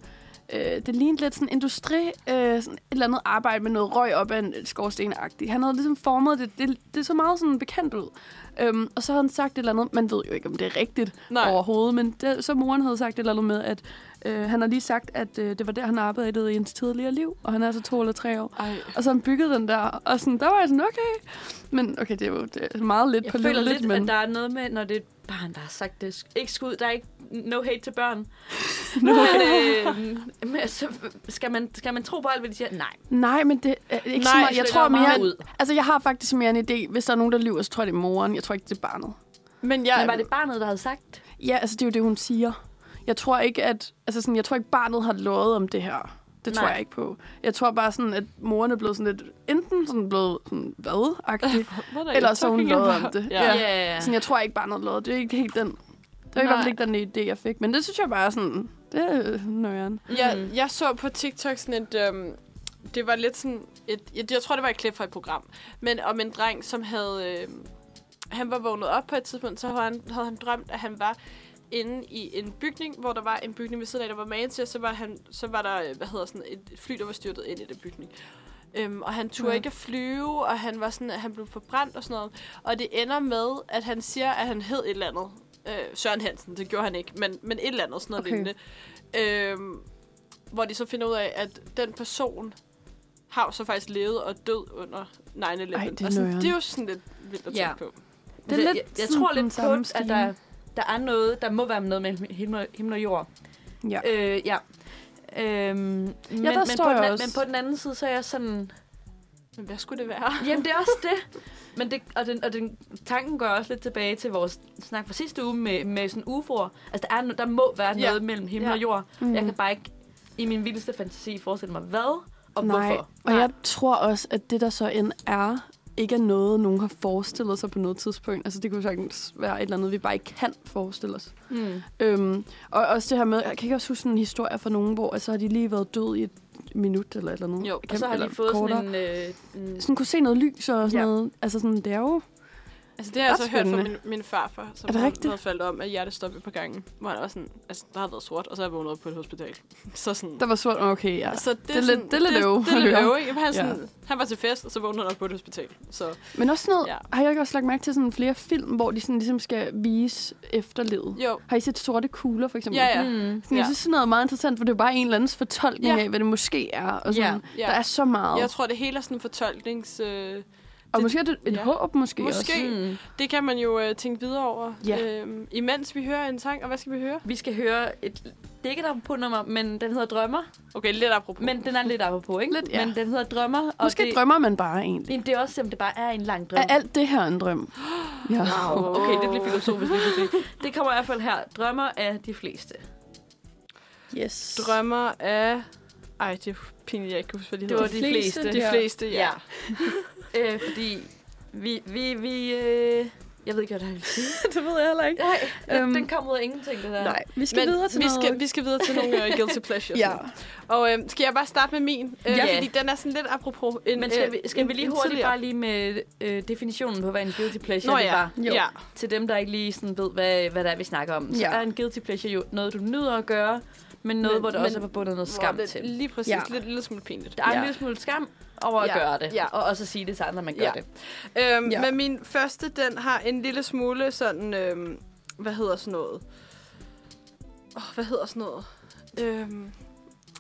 S3: Øh, det lignede lidt sådan industri, øh, sådan et eller andet arbejde med noget røg op af en skorsten -agtig. Han havde ligesom formet det. Det, det så meget sådan bekendt ud. Øhm, og så havde han sagt et eller andet. Man ved jo ikke, om det er rigtigt
S1: Nej.
S3: overhovedet. Men det, så moren havde sagt et eller andet med, at øh, han har lige sagt, at øh, det var der, han arbejdede i hans tidligere liv. Og han er altså to eller tre år.
S1: Ej.
S3: Og så han byggede den der, og sådan, der var jeg sådan, okay. Men okay, det er jo det er meget lidt
S2: Jeg
S3: på
S2: føler lidt,
S3: men
S2: at der er noget med, når det er et barn, der har sagt det. Sk- Ikke skud, der er ikke no hate til børn.
S3: No.
S2: Men, øh, men så skal, man, skal man tro på alt, hvad de siger? Nej.
S3: Nej, men det er ikke Nej, så
S1: Nej,
S3: meget. Jeg
S2: det
S3: tror
S2: er meget
S3: mere,
S2: ud.
S3: altså jeg har faktisk mere en idé. Hvis der er nogen, der lyver, så tror jeg, det er moren. Jeg tror ikke, det er barnet.
S1: Men jeg...
S2: Men var det barnet, der havde sagt?
S3: Ja, altså det er jo det, hun siger. Jeg tror ikke, at altså sådan, jeg tror ikke, barnet har lovet om det her. Det tror
S2: Nej.
S3: jeg ikke på. Jeg tror bare sådan, at moren er blevet sådan lidt, enten sådan blevet sådan, hvad
S1: Hvordan?
S3: eller så har hun
S1: fucking
S3: lovet
S1: bare-
S3: om det.
S1: Ja.
S2: Ja, ja, ja.
S3: Sådan, jeg tror ikke, barnet lovede. Det er ikke helt den. Det var i
S1: Nej.
S3: hvert fald ikke den idé, jeg fik. Men det synes jeg bare er sådan, det er nøjeren.
S1: Jeg, jeg så på TikTok sådan et... Øhm, det var lidt sådan... Et, jeg, jeg tror, det var et klip fra et program. Men om en dreng, som havde... Øhm, han var vågnet op på et tidspunkt, så havde han, havde han drømt, at han var inde i en bygning, hvor der var en bygning ved siden af, der var magen til, og så var, han, så var der øh, hvad hedder sådan, et fly, der var styrtet ind i den bygning. Øhm, og han turde
S3: Ja.
S1: ja. ikke at flyve, og han var sådan, at han blev forbrændt og sådan noget. Og det ender med, at han siger, at han hed et eller andet. Øh, Søren Hansen, det gjorde han ikke, men, men et eller andet sådan noget
S3: Okay.
S1: okay. lignende. Øhm, hvor de så finder ud af, at den person har jo så faktisk levet og død under 9-11. Ej, det,
S3: Ej, det er
S1: og sådan,
S3: nøjeren.
S1: det er jo sådan lidt vildt at tænke
S2: Ja.
S1: ja. på.
S3: Det er lidt
S2: jeg, jeg
S3: sådan
S2: tror
S3: den
S2: lidt
S3: samme
S2: på, at
S3: stil.
S2: der, der er noget, der må være noget mellem himmel, og- himmel og jord.
S3: Ja.
S2: Øh, ja. Øhm, men, men,
S3: står
S2: på
S3: jeg
S2: den,
S3: også.
S2: men på den anden side, så er jeg sådan...
S1: Men hvad skulle det være?
S2: Jamen, det er også det. Men det, og, den, og den, tanken går også lidt tilbage til vores snak fra sidste uge med, med sådan UFO'er. Altså, der, er, no- der må være
S1: Ja.
S2: noget mellem himmel
S1: Ja.
S2: og jord.
S3: Mm.
S2: øh, Jeg kan bare ikke i min vildeste fantasi forestille mig, hvad og
S3: Nej.
S2: hvorfor.
S3: Og jeg tror også, at det, der så end er, ikke er noget, nogen har forestillet sig på noget tidspunkt. Altså, det kunne sagtens være et eller andet, vi bare ikke kan forestille os.
S2: Mm.
S3: Øhm, og også det her med, jeg kan ikke også huske sådan en historie fra nogen, hvor altså, har de lige været død i et minut eller et eller andet.
S1: Jo,
S2: Og så har de
S3: eller
S2: fået
S3: kortere.
S2: sådan en... Øh, en
S3: sådan kunne se noget lys og sådan
S2: Ja.
S3: noget. Altså sådan, det er jo...
S1: Altså, det har jeg
S3: Ret
S1: så hørt fra min,
S3: spændende.
S1: min farfar, som
S3: Er det
S1: havde-
S3: rigtigt?
S1: havde faldet om, at hjertestoppet på gangen. Hvor han var sådan, altså, der har været sort, og så er jeg vågnet op på et hospital. så sådan...
S3: Der var sort, okay, ja.
S1: altså,
S3: det er lidt- det er lidt øve
S1: Det, det er
S3: at
S1: lidt
S3: høre.
S1: øve, ikke? Jamen, Han,
S3: Ja.
S1: sådan, han var til fest, og så vågnede han op på et hospital. Så
S3: Men også sådan noget, ja.
S1: Ja.
S3: har jeg ikke også lagt mærke til sådan flere film, hvor de sådan ligesom skal vise efterlivet?
S1: jo,
S3: Har I set Sorte Kugler, for eksempel?
S1: Ja, ja.
S2: Mm.
S3: Sådan, jeg
S1: Ja.
S3: synes, sådan noget er meget interessant, for det er jo bare en eller andens fortolkning ja.
S1: Ja.
S3: af, hvad det måske er. Og sådan.
S2: Ja,
S1: ja.
S3: Der er så meget.
S1: jeg tror, det hele er sådan en fortolknings... Øh,
S3: og
S1: det-
S3: måske er det et ja.
S1: ja.
S3: håb, måske,
S1: Måske.
S3: også.
S2: Mm.
S1: det kan man jo øh, tænke videre over,
S3: Ja.
S1: øhm, imens vi hører en sang. Og hvad skal vi høre?
S2: Vi skal høre et... Det er ikke et apropos nummer, men den hedder Drømmer.
S1: Okay, lidt apropos.
S2: Men den er lidt apropos, ikke?
S3: Lidt, ja.
S2: Men den hedder Drømmer. Og
S3: Måske
S2: det,
S3: drømmer man bare egentlig.
S2: Jamen, det er også, om det bare er en lang drøm.
S3: Er alt det her en drøm? Ja.
S2: Wow. Okay, det bliver
S1: filosofisk lige pludselig.
S2: Det kommer i hvert fald her. Drømmer af de fleste.
S3: Yes.
S1: Drømmer af... Ej, det er pinligt, jeg ikke kan huske, hvad de
S2: Det var
S1: hedder.
S2: de fleste.
S1: de fleste, ja.
S2: øh, fordi vi... vi, vi øh, jeg ved ikke, hvad det er, jeg vil sige.
S3: det ved jeg heller ikke.
S2: Nej,
S3: Øhm,
S2: øhm, den kom ud af ingenting, det der.
S3: Nej, vi skal videre til
S1: vi,
S3: noget.
S1: skal, vi skal videre til nogle uh, guilty pleasures.
S3: Ja.
S1: Og øhm, skal jeg bare starte med min? Øh,
S2: Ja.
S1: Fordi den er sådan lidt apropos. En,
S2: Men skal
S1: øh,
S2: vi, skal
S1: en-
S2: vi lige
S1: en
S2: hurtigt
S1: tidligere.
S2: bare lige med øh, definitionen på, hvad en guilty pleasure
S1: Nå
S2: det
S1: ja,
S2: var?
S3: Jo.
S1: ja.
S2: Til dem, der ikke lige sådan ved, hvad, hvad det er, vi snakker om. Så
S3: Ja.
S2: er en guilty pleasure jo noget, du nyder at gøre, men noget,
S1: Men-
S2: hvor der
S1: men-
S2: også er forbundet noget skam
S1: Hvor det-
S2: til.
S1: Lige præcis,
S3: Ja.
S1: ja. lidt lille smule pinligt.
S2: Der er en
S3: Ja.
S2: lille smule skam over at
S1: Ja.
S2: gøre det,
S1: Ja.
S2: og også at sige det til andre, at man gør
S1: Ja.
S2: det.
S1: Øhm,
S3: Ja.
S1: ja. Men min første, den har en lille smule sådan, øhm, hvad hedder sådan noget? Oh, hvad hedder sådan noget? Øhm,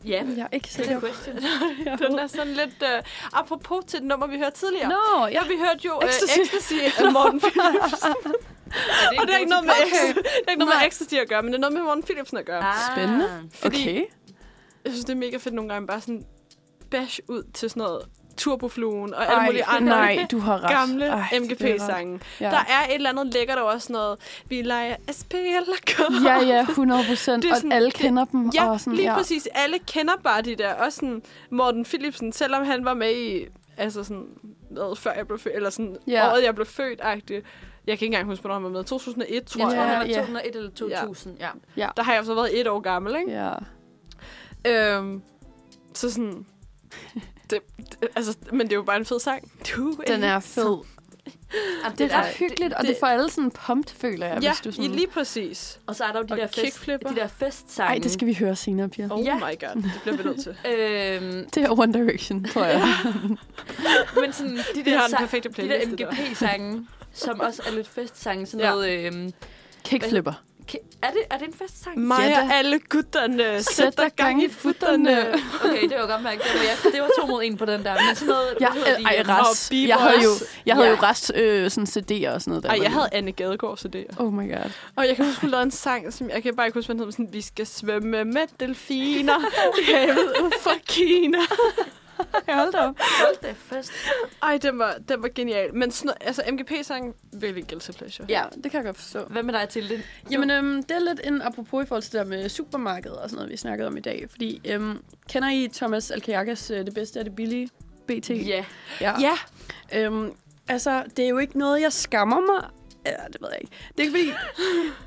S2: Ja,
S3: Jeg er ikke
S2: Good
S3: sikker.
S2: question.
S1: den er sådan lidt, øh, apropos til det nummer, vi hørte tidligere.
S3: Nå, ja.
S1: Ja, vi hørte jo øh,
S3: Ecstasy.
S1: Ecstasy. af Morten Philipsen.
S2: det
S1: Og det er ikke noget med, ecstasy, det er ikke noget
S3: Nej.
S1: med Ecstasy at gøre, men det er noget med Morten Philipsen at gøre.
S3: Spændende.
S2: Ah.
S1: Fordi
S3: Okay.
S1: jeg synes, det er mega fedt nogle gange bare sådan bash ud til sådan noget turbofluen og alle
S3: Ej,
S1: mulige andre
S3: nej, du har ret.
S1: gamle
S3: Ej, det bliver ret.
S1: MGP-sange.
S3: Ja.
S1: Der er et eller andet lækkert og også noget, vi leger SP eller K.
S3: Ja, ja, 100 procent.
S1: Det er
S3: Og
S1: sådan-
S3: alle kender dem.
S1: Ja,
S3: og sådan,
S1: lige
S3: ja.
S1: præcis. Alle kender bare de der. Også sådan Morten Philipsen, selvom han var med i, altså sådan, hvad, før jeg blev født, eller sådan
S3: Ja.
S1: ja. året, jeg blev født -agtigt. Jeg kan ikke engang huske, hvornår han var med. 2001, tror
S2: Jeg
S1: jeg.
S2: tror, han var
S3: Ja, ja.
S2: 201 eller 2000, ja.
S1: Der har jeg så været et år gammel, ikke?
S3: Ja.
S1: Øhm, så sådan... det, det, altså, men det er jo bare en fed sang.
S3: Du,
S4: Den er fed.
S2: Jamen,
S4: Det er ret
S2: der-
S4: hyggeligt, og
S1: det-
S4: det får alle sådan pumped, føler jeg,
S1: ja,
S4: hvis du sådan...
S1: lige præcis.
S2: Og så er der jo de
S1: Og
S2: der, fest,
S1: kickflipper.
S2: de der festsange.
S3: Nej, det skal vi høre senere, Pia.
S1: Oh ja.
S2: Ja.
S1: my god, det bliver vi nødt til.
S2: Øhm,
S3: Det er One Direction, tror jeg.
S2: men sådan, de
S1: Vi
S2: der,
S1: har den
S2: sang-
S1: perfekte
S2: de
S1: playlist.
S2: der
S1: det der.
S2: MGP-sange, som også er lidt festsange. Sådan
S1: Ja.
S2: noget, øhm,
S3: Kickflipper.
S2: ki- er, det, er det en festsang?
S1: Mig
S4: Ja,
S1: og
S4: da.
S1: alle gutterne, sæt dig gang i futterne.
S2: Okay, det var jeg godt mærke. Det var, ja, det var to mod en på den der. Men sådan noget,
S3: Ja,
S2: hvad hedder de?
S3: ej, rest.
S1: Og Bieber
S3: Jeg havde jo, jeg havde
S2: Ja.
S3: jo rest øh, sådan CD'er og sådan noget. Der
S1: Ej,
S3: var
S1: jeg
S3: i.
S1: havde Anne Gadegaard, så det.
S3: Oh my god.
S1: Og jeg kan huske, hun lavede en sang, som jeg kan bare ikke huske, hvad den hedder, men sådan, vi skal svømme med delfiner i havet ud fra Kina.
S3: Hold da op.
S2: Hold da fast.
S1: Ej, den var, den var genial. Men sådan, noget- altså, MGP-sangen, virkelig guilty pleasure.
S2: Ja.
S3: Det kan jeg godt forstå.
S2: Hvad med dig, til det?
S3: Jamen, øhm, det er lidt en apropos i forhold til det der med supermarkedet og sådan noget, vi snakkede om i dag. Fordi, øhm, kender I Thomas Alkajakas øh, Det bedste er det billige? BT?
S2: Ja.
S3: Ja.
S1: ja.
S3: Øhm, altså, det er jo ikke noget, jeg skammer mig. Ja, det ved jeg ikke. Det er ikke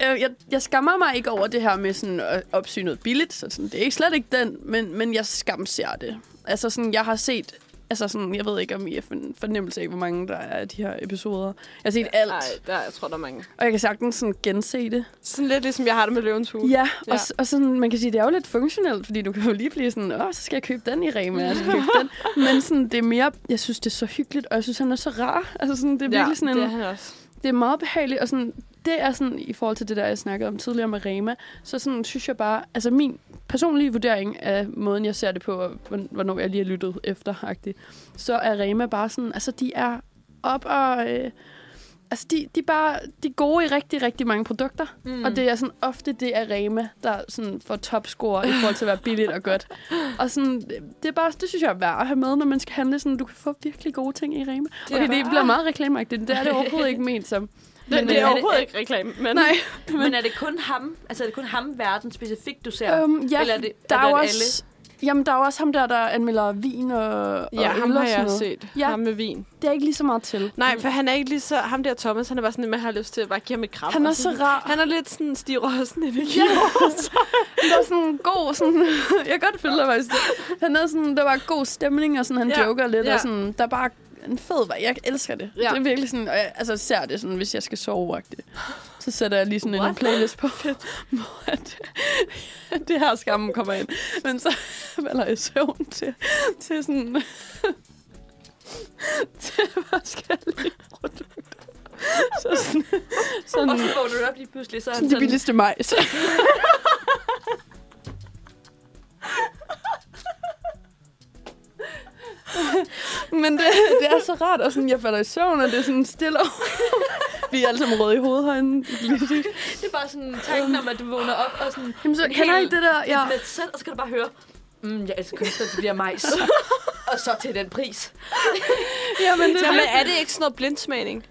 S3: fordi... øh, jeg, jeg skammer mig ikke over det her med sådan at opsy noget billigt. Så sådan, det er ikke slet ikke den, men, men jeg skamser det. Altså sådan, jeg har set... Altså sådan, jeg ved ikke, om I har en fornemmelse af, hvor mange der er af de her episoder. Jeg har set alt,
S1: Ej, der, jeg tror, der er mange.
S3: og jeg kan sagtens sådan gense det.
S1: Sådan lidt ligesom jeg har det med løvens hule.
S3: Ja,
S1: Ja.
S3: ja. Og, s- og sådan, man kan sige, det er jo lidt funktionelt, fordi du kan jo lige blive sådan, åh, så skal jeg købe den i Rema, og så skal jeg købe den. Men sådan, det er mere, jeg synes, det er så hyggeligt, og jeg synes, han er så rar. Altså sådan, det er virkelig sådan en,
S1: det er han også.
S3: det er meget behageligt, og sådan, det er sådan, i forhold til det der, jeg snakkede om tidligere med Rema, så sådan, synes jeg bare, altså min personlige vurdering af måden, jeg ser det på, og hvorn- hvornår jeg lige har lyttet efter, agtigt, så er Rema bare sådan, altså de er op og... Øh, altså de, de, er bare, de er gode i rigtig, rigtig mange produkter,
S2: Mm.
S3: mm. og det er sådan ofte det er Rema, der sådan får topscore i forhold til at være billigt og godt. Og sådan, det er bare, det synes jeg er værd at have med, når man skal handle sådan, du kan få virkelig gode ting i Rema.
S2: er
S3: Okay, det
S2: bare-
S3: bliver meget reklameagtigt, det er det overhovedet ikke ment som.
S1: Det,
S2: Men,
S1: det
S2: øh,
S1: er
S2: er det-
S1: overhovedet ikke reklame, men
S3: Nej.
S2: Men er det kun ham? Altså er det kun ham verden specifikt, du ser?
S3: Øhm, ja,
S2: Eller er det-
S3: der
S2: er
S3: er, jo
S2: det
S3: også, jamen, der er jo også ham der, der anmelder vin og,
S1: ja,
S3: og øl
S1: ham
S3: og
S1: har
S3: sådan
S1: jeg
S3: noget.
S1: set. Ja.
S3: Ja.
S1: Ham med vin.
S3: Det er ikke lige så meget til.
S1: Nej, for han er ikke lige så... Ham der Thomas, han er bare sådan, at man har lyst til at bare give ham et kram.
S3: altså, Han er
S1: og
S3: så
S1: sådan-
S3: rar.
S1: Han er lidt sådan Stig Rossen energi.
S3: Ja, han er sådan en god, sådan, jeg kan godt følge dig faktisk. Han er sådan, der var god stemning, og sådan, han
S1: Ja,
S3: ja, joker lidt,
S1: ja.
S3: ja. og sådan, der er bare en fed vej. Jeg elsker det.
S1: Ja.
S3: Ja. Det er virkelig sådan, og jeg, altså ser det sådan, hvis jeg skal sove -agtigt. Så sætter jeg lige sådan en
S2: What?
S3: playlist på, hvor at, det her skammen kommer ind. Men så falder jeg i søvn til, til sådan... til forskellige produkter. Så sådan, sådan,
S2: Og så vågner du op lige pludselig, så er
S3: sådan det
S2: han sådan,
S3: billigste majs. Men det, det er så rart, og sådan, jeg falder i søvn, og det er sådan stille og Vi er alle sammen røde i hovedhøjden.
S2: det er bare sådan tanken om, at du vågner op og sådan
S3: Jamen, så kender I det der?
S2: ja.
S3: Ja.
S2: med et sæt, og så kan du bare høre, mm, jeg elsker kun, så det bliver majs. og så til den pris.
S3: Jamen, det,
S1: Så, men er det ikke sådan noget blindsmagning?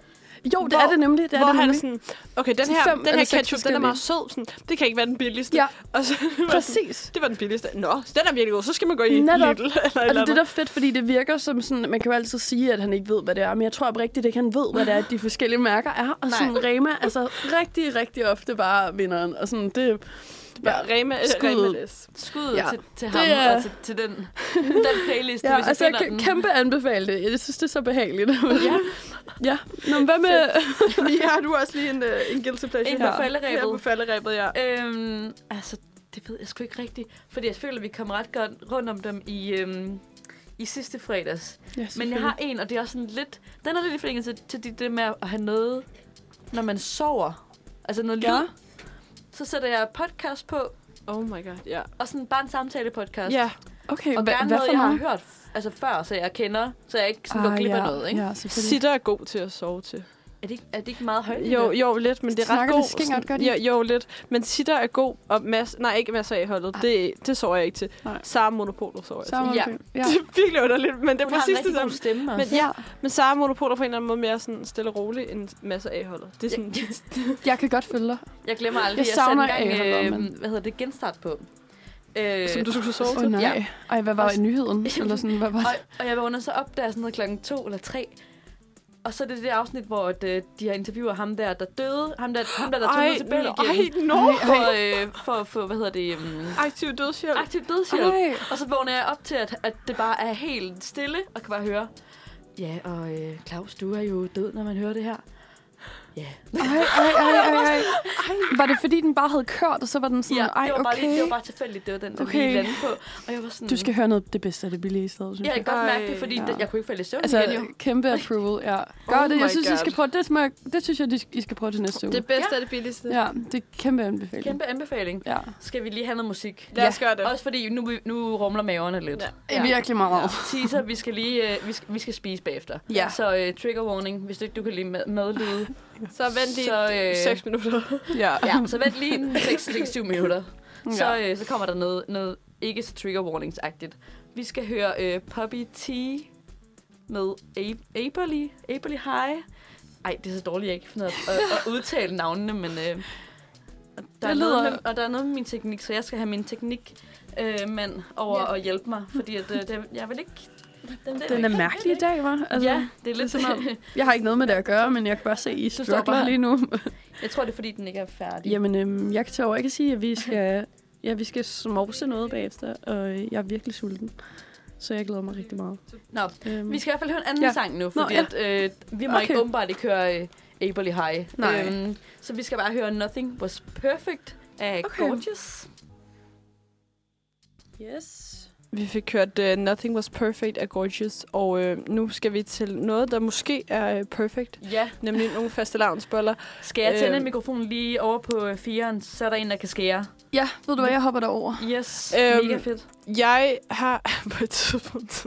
S3: jo, det er det nemlig. Det er
S1: hvor
S3: det
S1: han er
S3: nemlig.
S1: sådan, okay, den
S3: Til
S1: her,
S3: fem
S1: den her
S3: eller seks
S1: ketchup, den er
S3: forskellige.
S1: meget sød. Sådan, det kan ikke være den billigste.
S3: Ja.
S1: Og så,
S3: Præcis.
S1: det var den billigste. Nå, den er virkelig god. Så skal man gå i
S3: Netop.
S1: Lidl. Eller et
S3: Og det
S1: eller
S3: er det,
S1: andet.
S3: der er fedt, fordi det virker som sådan... Man kan jo altid sige, at han ikke ved, hvad det er, men jeg tror oprigtigt ikke, han ved, hvad det er, at de forskellige mærker er. Og
S2: Nej.
S3: sådan Rema, altså rigtig, rigtig ofte bare vinderen. Og sådan, det,
S1: Ja, Rema,
S3: Skud.
S1: Rema S.
S2: Skud ja.
S3: Ja.
S2: til, til ham
S3: er-
S2: og til, til den, den playlist, ja,
S3: Ja,
S2: hvis
S3: altså
S2: jeg
S3: jeg
S2: finder
S3: kan
S2: den.
S3: kæmpe anbefale det. Jeg synes, det er så behageligt.
S2: Ja.
S3: ja. Nå, men hvad med...
S1: Ja, har du også lige en, øh, en guilty pleasure?
S2: En
S3: Ja.
S2: på
S1: Ja, på
S2: falderæbet.
S1: falderæbet, ja.
S2: Øhm, altså, det ved jeg sgu ikke rigtigt, fordi jeg føler, at vi kom ret godt rundt om dem i, øhm, i sidste fredags.
S3: Ja,
S2: Men jeg har en, og det er også sådan lidt... Den er lidt i forlængelse til, til det, det med at have noget, når man sover. Altså noget lyd.
S3: Ja.
S2: Så sætter jeg podcast på,
S1: Oh my god, ja.
S2: og sådan bare en samtale-podcast.
S1: Ja,
S3: Okay,
S2: Og
S3: hva-
S2: gerne
S3: hvad
S2: noget,
S3: for
S2: jeg har
S3: noget? Ah,
S2: hørt f- altså før, så jeg kender, så jeg ikke sådan
S1: Ah,
S2: går glip af noget, ikke?
S3: Ja, selvfølgelig.
S1: sitter er god til at sove til.
S2: Er, det ikke? er det ikke meget højt?
S1: Jo, jo, lidt, men det er ret
S3: Snakker
S1: god.
S3: de skingert,
S1: sådan-
S3: gør de?
S1: Jo, jo, lidt. Men sitter er god, og mas nej, ikke masser af holdet. Det, det sover jeg ikke til.
S3: Nej.
S1: Sara Monopoler sover jeg
S3: Samme
S2: Ja.
S3: film. ja.
S1: til. Det er virkelig underligt, men det er
S2: Hun har en
S1: præcis det
S2: rigtig god
S1: samme.
S2: stemme
S1: Men,
S2: også.
S1: ja,
S3: Ja.
S1: men Sara Monopoler på en eller anden måde mere sådan stille og rolig end masser af holdet. Det er sådan,
S2: Jeg,
S3: Jeg kan godt følge dig.
S2: jeg glemmer aldrig,
S3: Jeg
S2: jeg,
S3: savner
S2: jeg satte
S3: Agerholm,
S2: engang,
S3: men-
S2: øh, hvad hedder det, genstart på. Øh,
S1: som du skulle sove
S3: Åh
S1: til.
S3: oh, nej.
S2: Ja.
S3: Ja. Ej, hvad var
S2: Også-
S3: nyheden? Eller sådan, hvad var
S2: og, og jeg vågner så op, der er sådan noget klokken to eller tre. Og så er det det afsnit, hvor at, øh, de har interviewer ham der, der døde. Ham der, ham der, der tog
S1: Ej,
S2: ned til Belgien.
S1: ej, no.
S2: For, øh, for, for, hvad hedder det? Um,
S1: Aktiv dødshjælp.
S2: aktiv dødshjælp. Og så vågner jeg op til, at, at det bare er helt stille, og kan bare høre. Ja, og øh, Claus, du er jo død, når man hører det her. Ja.
S3: Ej, ej, ej, ej, ej. Var det, fordi den bare havde kørt, og så var den sådan,
S2: ja,
S3: ej,
S2: det var bare, lige,
S3: okay.
S2: det var bare tilfældigt, det var den, der
S3: Okay.
S2: okay. lige landede på. Og jeg var sådan...
S3: Du skal høre noget af det bedste af det billige i stedet, synes
S2: Ja, jeg kan
S3: jeg.
S2: godt
S1: Ej.
S2: mærke det, fordi
S3: Ja.
S2: ja. det, jeg kunne ikke falde i søvn altså, igen, jo.
S3: Altså, kæmpe approval, ja. Gør
S1: Oh
S3: det,
S1: my
S3: jeg synes, I
S1: God.
S3: skal prøve, det, smag, det synes jeg, I skal prøve til næste uge.
S1: Det bedste
S2: Ja.
S1: er det billigste.
S3: ja, det er kæmpe anbefaling.
S2: Kæmpe anbefaling.
S3: Ja.
S2: Skal vi lige have noget musik?
S1: Lad os gøre det.
S2: Også fordi nu, nu rumler maverne lidt.
S1: Ja.
S3: ja. Virkelig meget.
S2: Teaser, vi skal lige øh, vi skal, vi skal spise bagefter.
S3: Ja.
S2: Så øh, trigger warning, hvis ikke du kan lide med, medlyde.
S1: Så vent lige
S2: Så, øh,
S1: 6 minutter.
S3: Ja.
S2: Ja, så vent lige en 6-7 minutter. Så,
S3: Ja.
S2: øh, så kommer der noget, noget ikke så trigger warnings-agtigt. Vi skal høre øh, Poppy T med A- Aperly, Aperly High. Ej, det er så dårligt, jeg ikke kan finde ud af at, at udtale navnene, men... Øh, og der er
S3: Det
S2: noget
S3: lyder-
S2: med, og der er noget med min teknik, så jeg skal have min teknik øh, mand over
S1: Ja.
S2: at hjælpe mig, fordi at, øh, det, jeg vil ikke... Den, der,
S3: Den er mærkelig i dag, var.
S2: Altså, ja, det er lidt
S3: det er
S2: som om...
S3: Jeg har ikke noget med det at gøre, men jeg kan bare se, I
S2: står
S3: struggler
S2: bare-
S3: lige nu.
S2: Jeg tror, det er, fordi den ikke er færdig.
S3: Jamen, øhm, jeg kan tage over. Jeg kan sige, at vi skal, ja, vi skal smovse noget bagefter, og øh, jeg er virkelig sulten. Så jeg glæder mig rigtig meget.
S2: Nå,
S3: Øhm,
S2: Vi skal i hvert fald høre en anden
S3: Ja.
S2: ja. sang nu,
S3: Nå,
S2: fordi
S3: ja.
S2: Nå, ja. at, øh, vi må
S3: Okay.
S2: okay. ikke åbenbart ikke høre øh, Aberly High.
S3: Nej.
S2: Øhm, så vi skal bare høre Nothing Was Perfect af
S3: Okay.
S2: okay. Gorgeous.
S3: Yes.
S1: Vi fik hørt uh, Nothing Was Perfect af Gorgeous, og uh, nu skal vi til noget, der måske er uh, perfect,
S2: Ja,
S1: nemlig nogle faste lavnsboller.
S2: skal jeg tænde
S1: Øhm.
S2: øhm. mikrofonen lige over på øh, fireren, så er der en, der kan skære.
S3: Ja, ved du hvad, jeg hopper derover.
S2: Yes,
S1: Øhm.
S2: øhm. mega fedt.
S1: Jeg har på et tidspunkt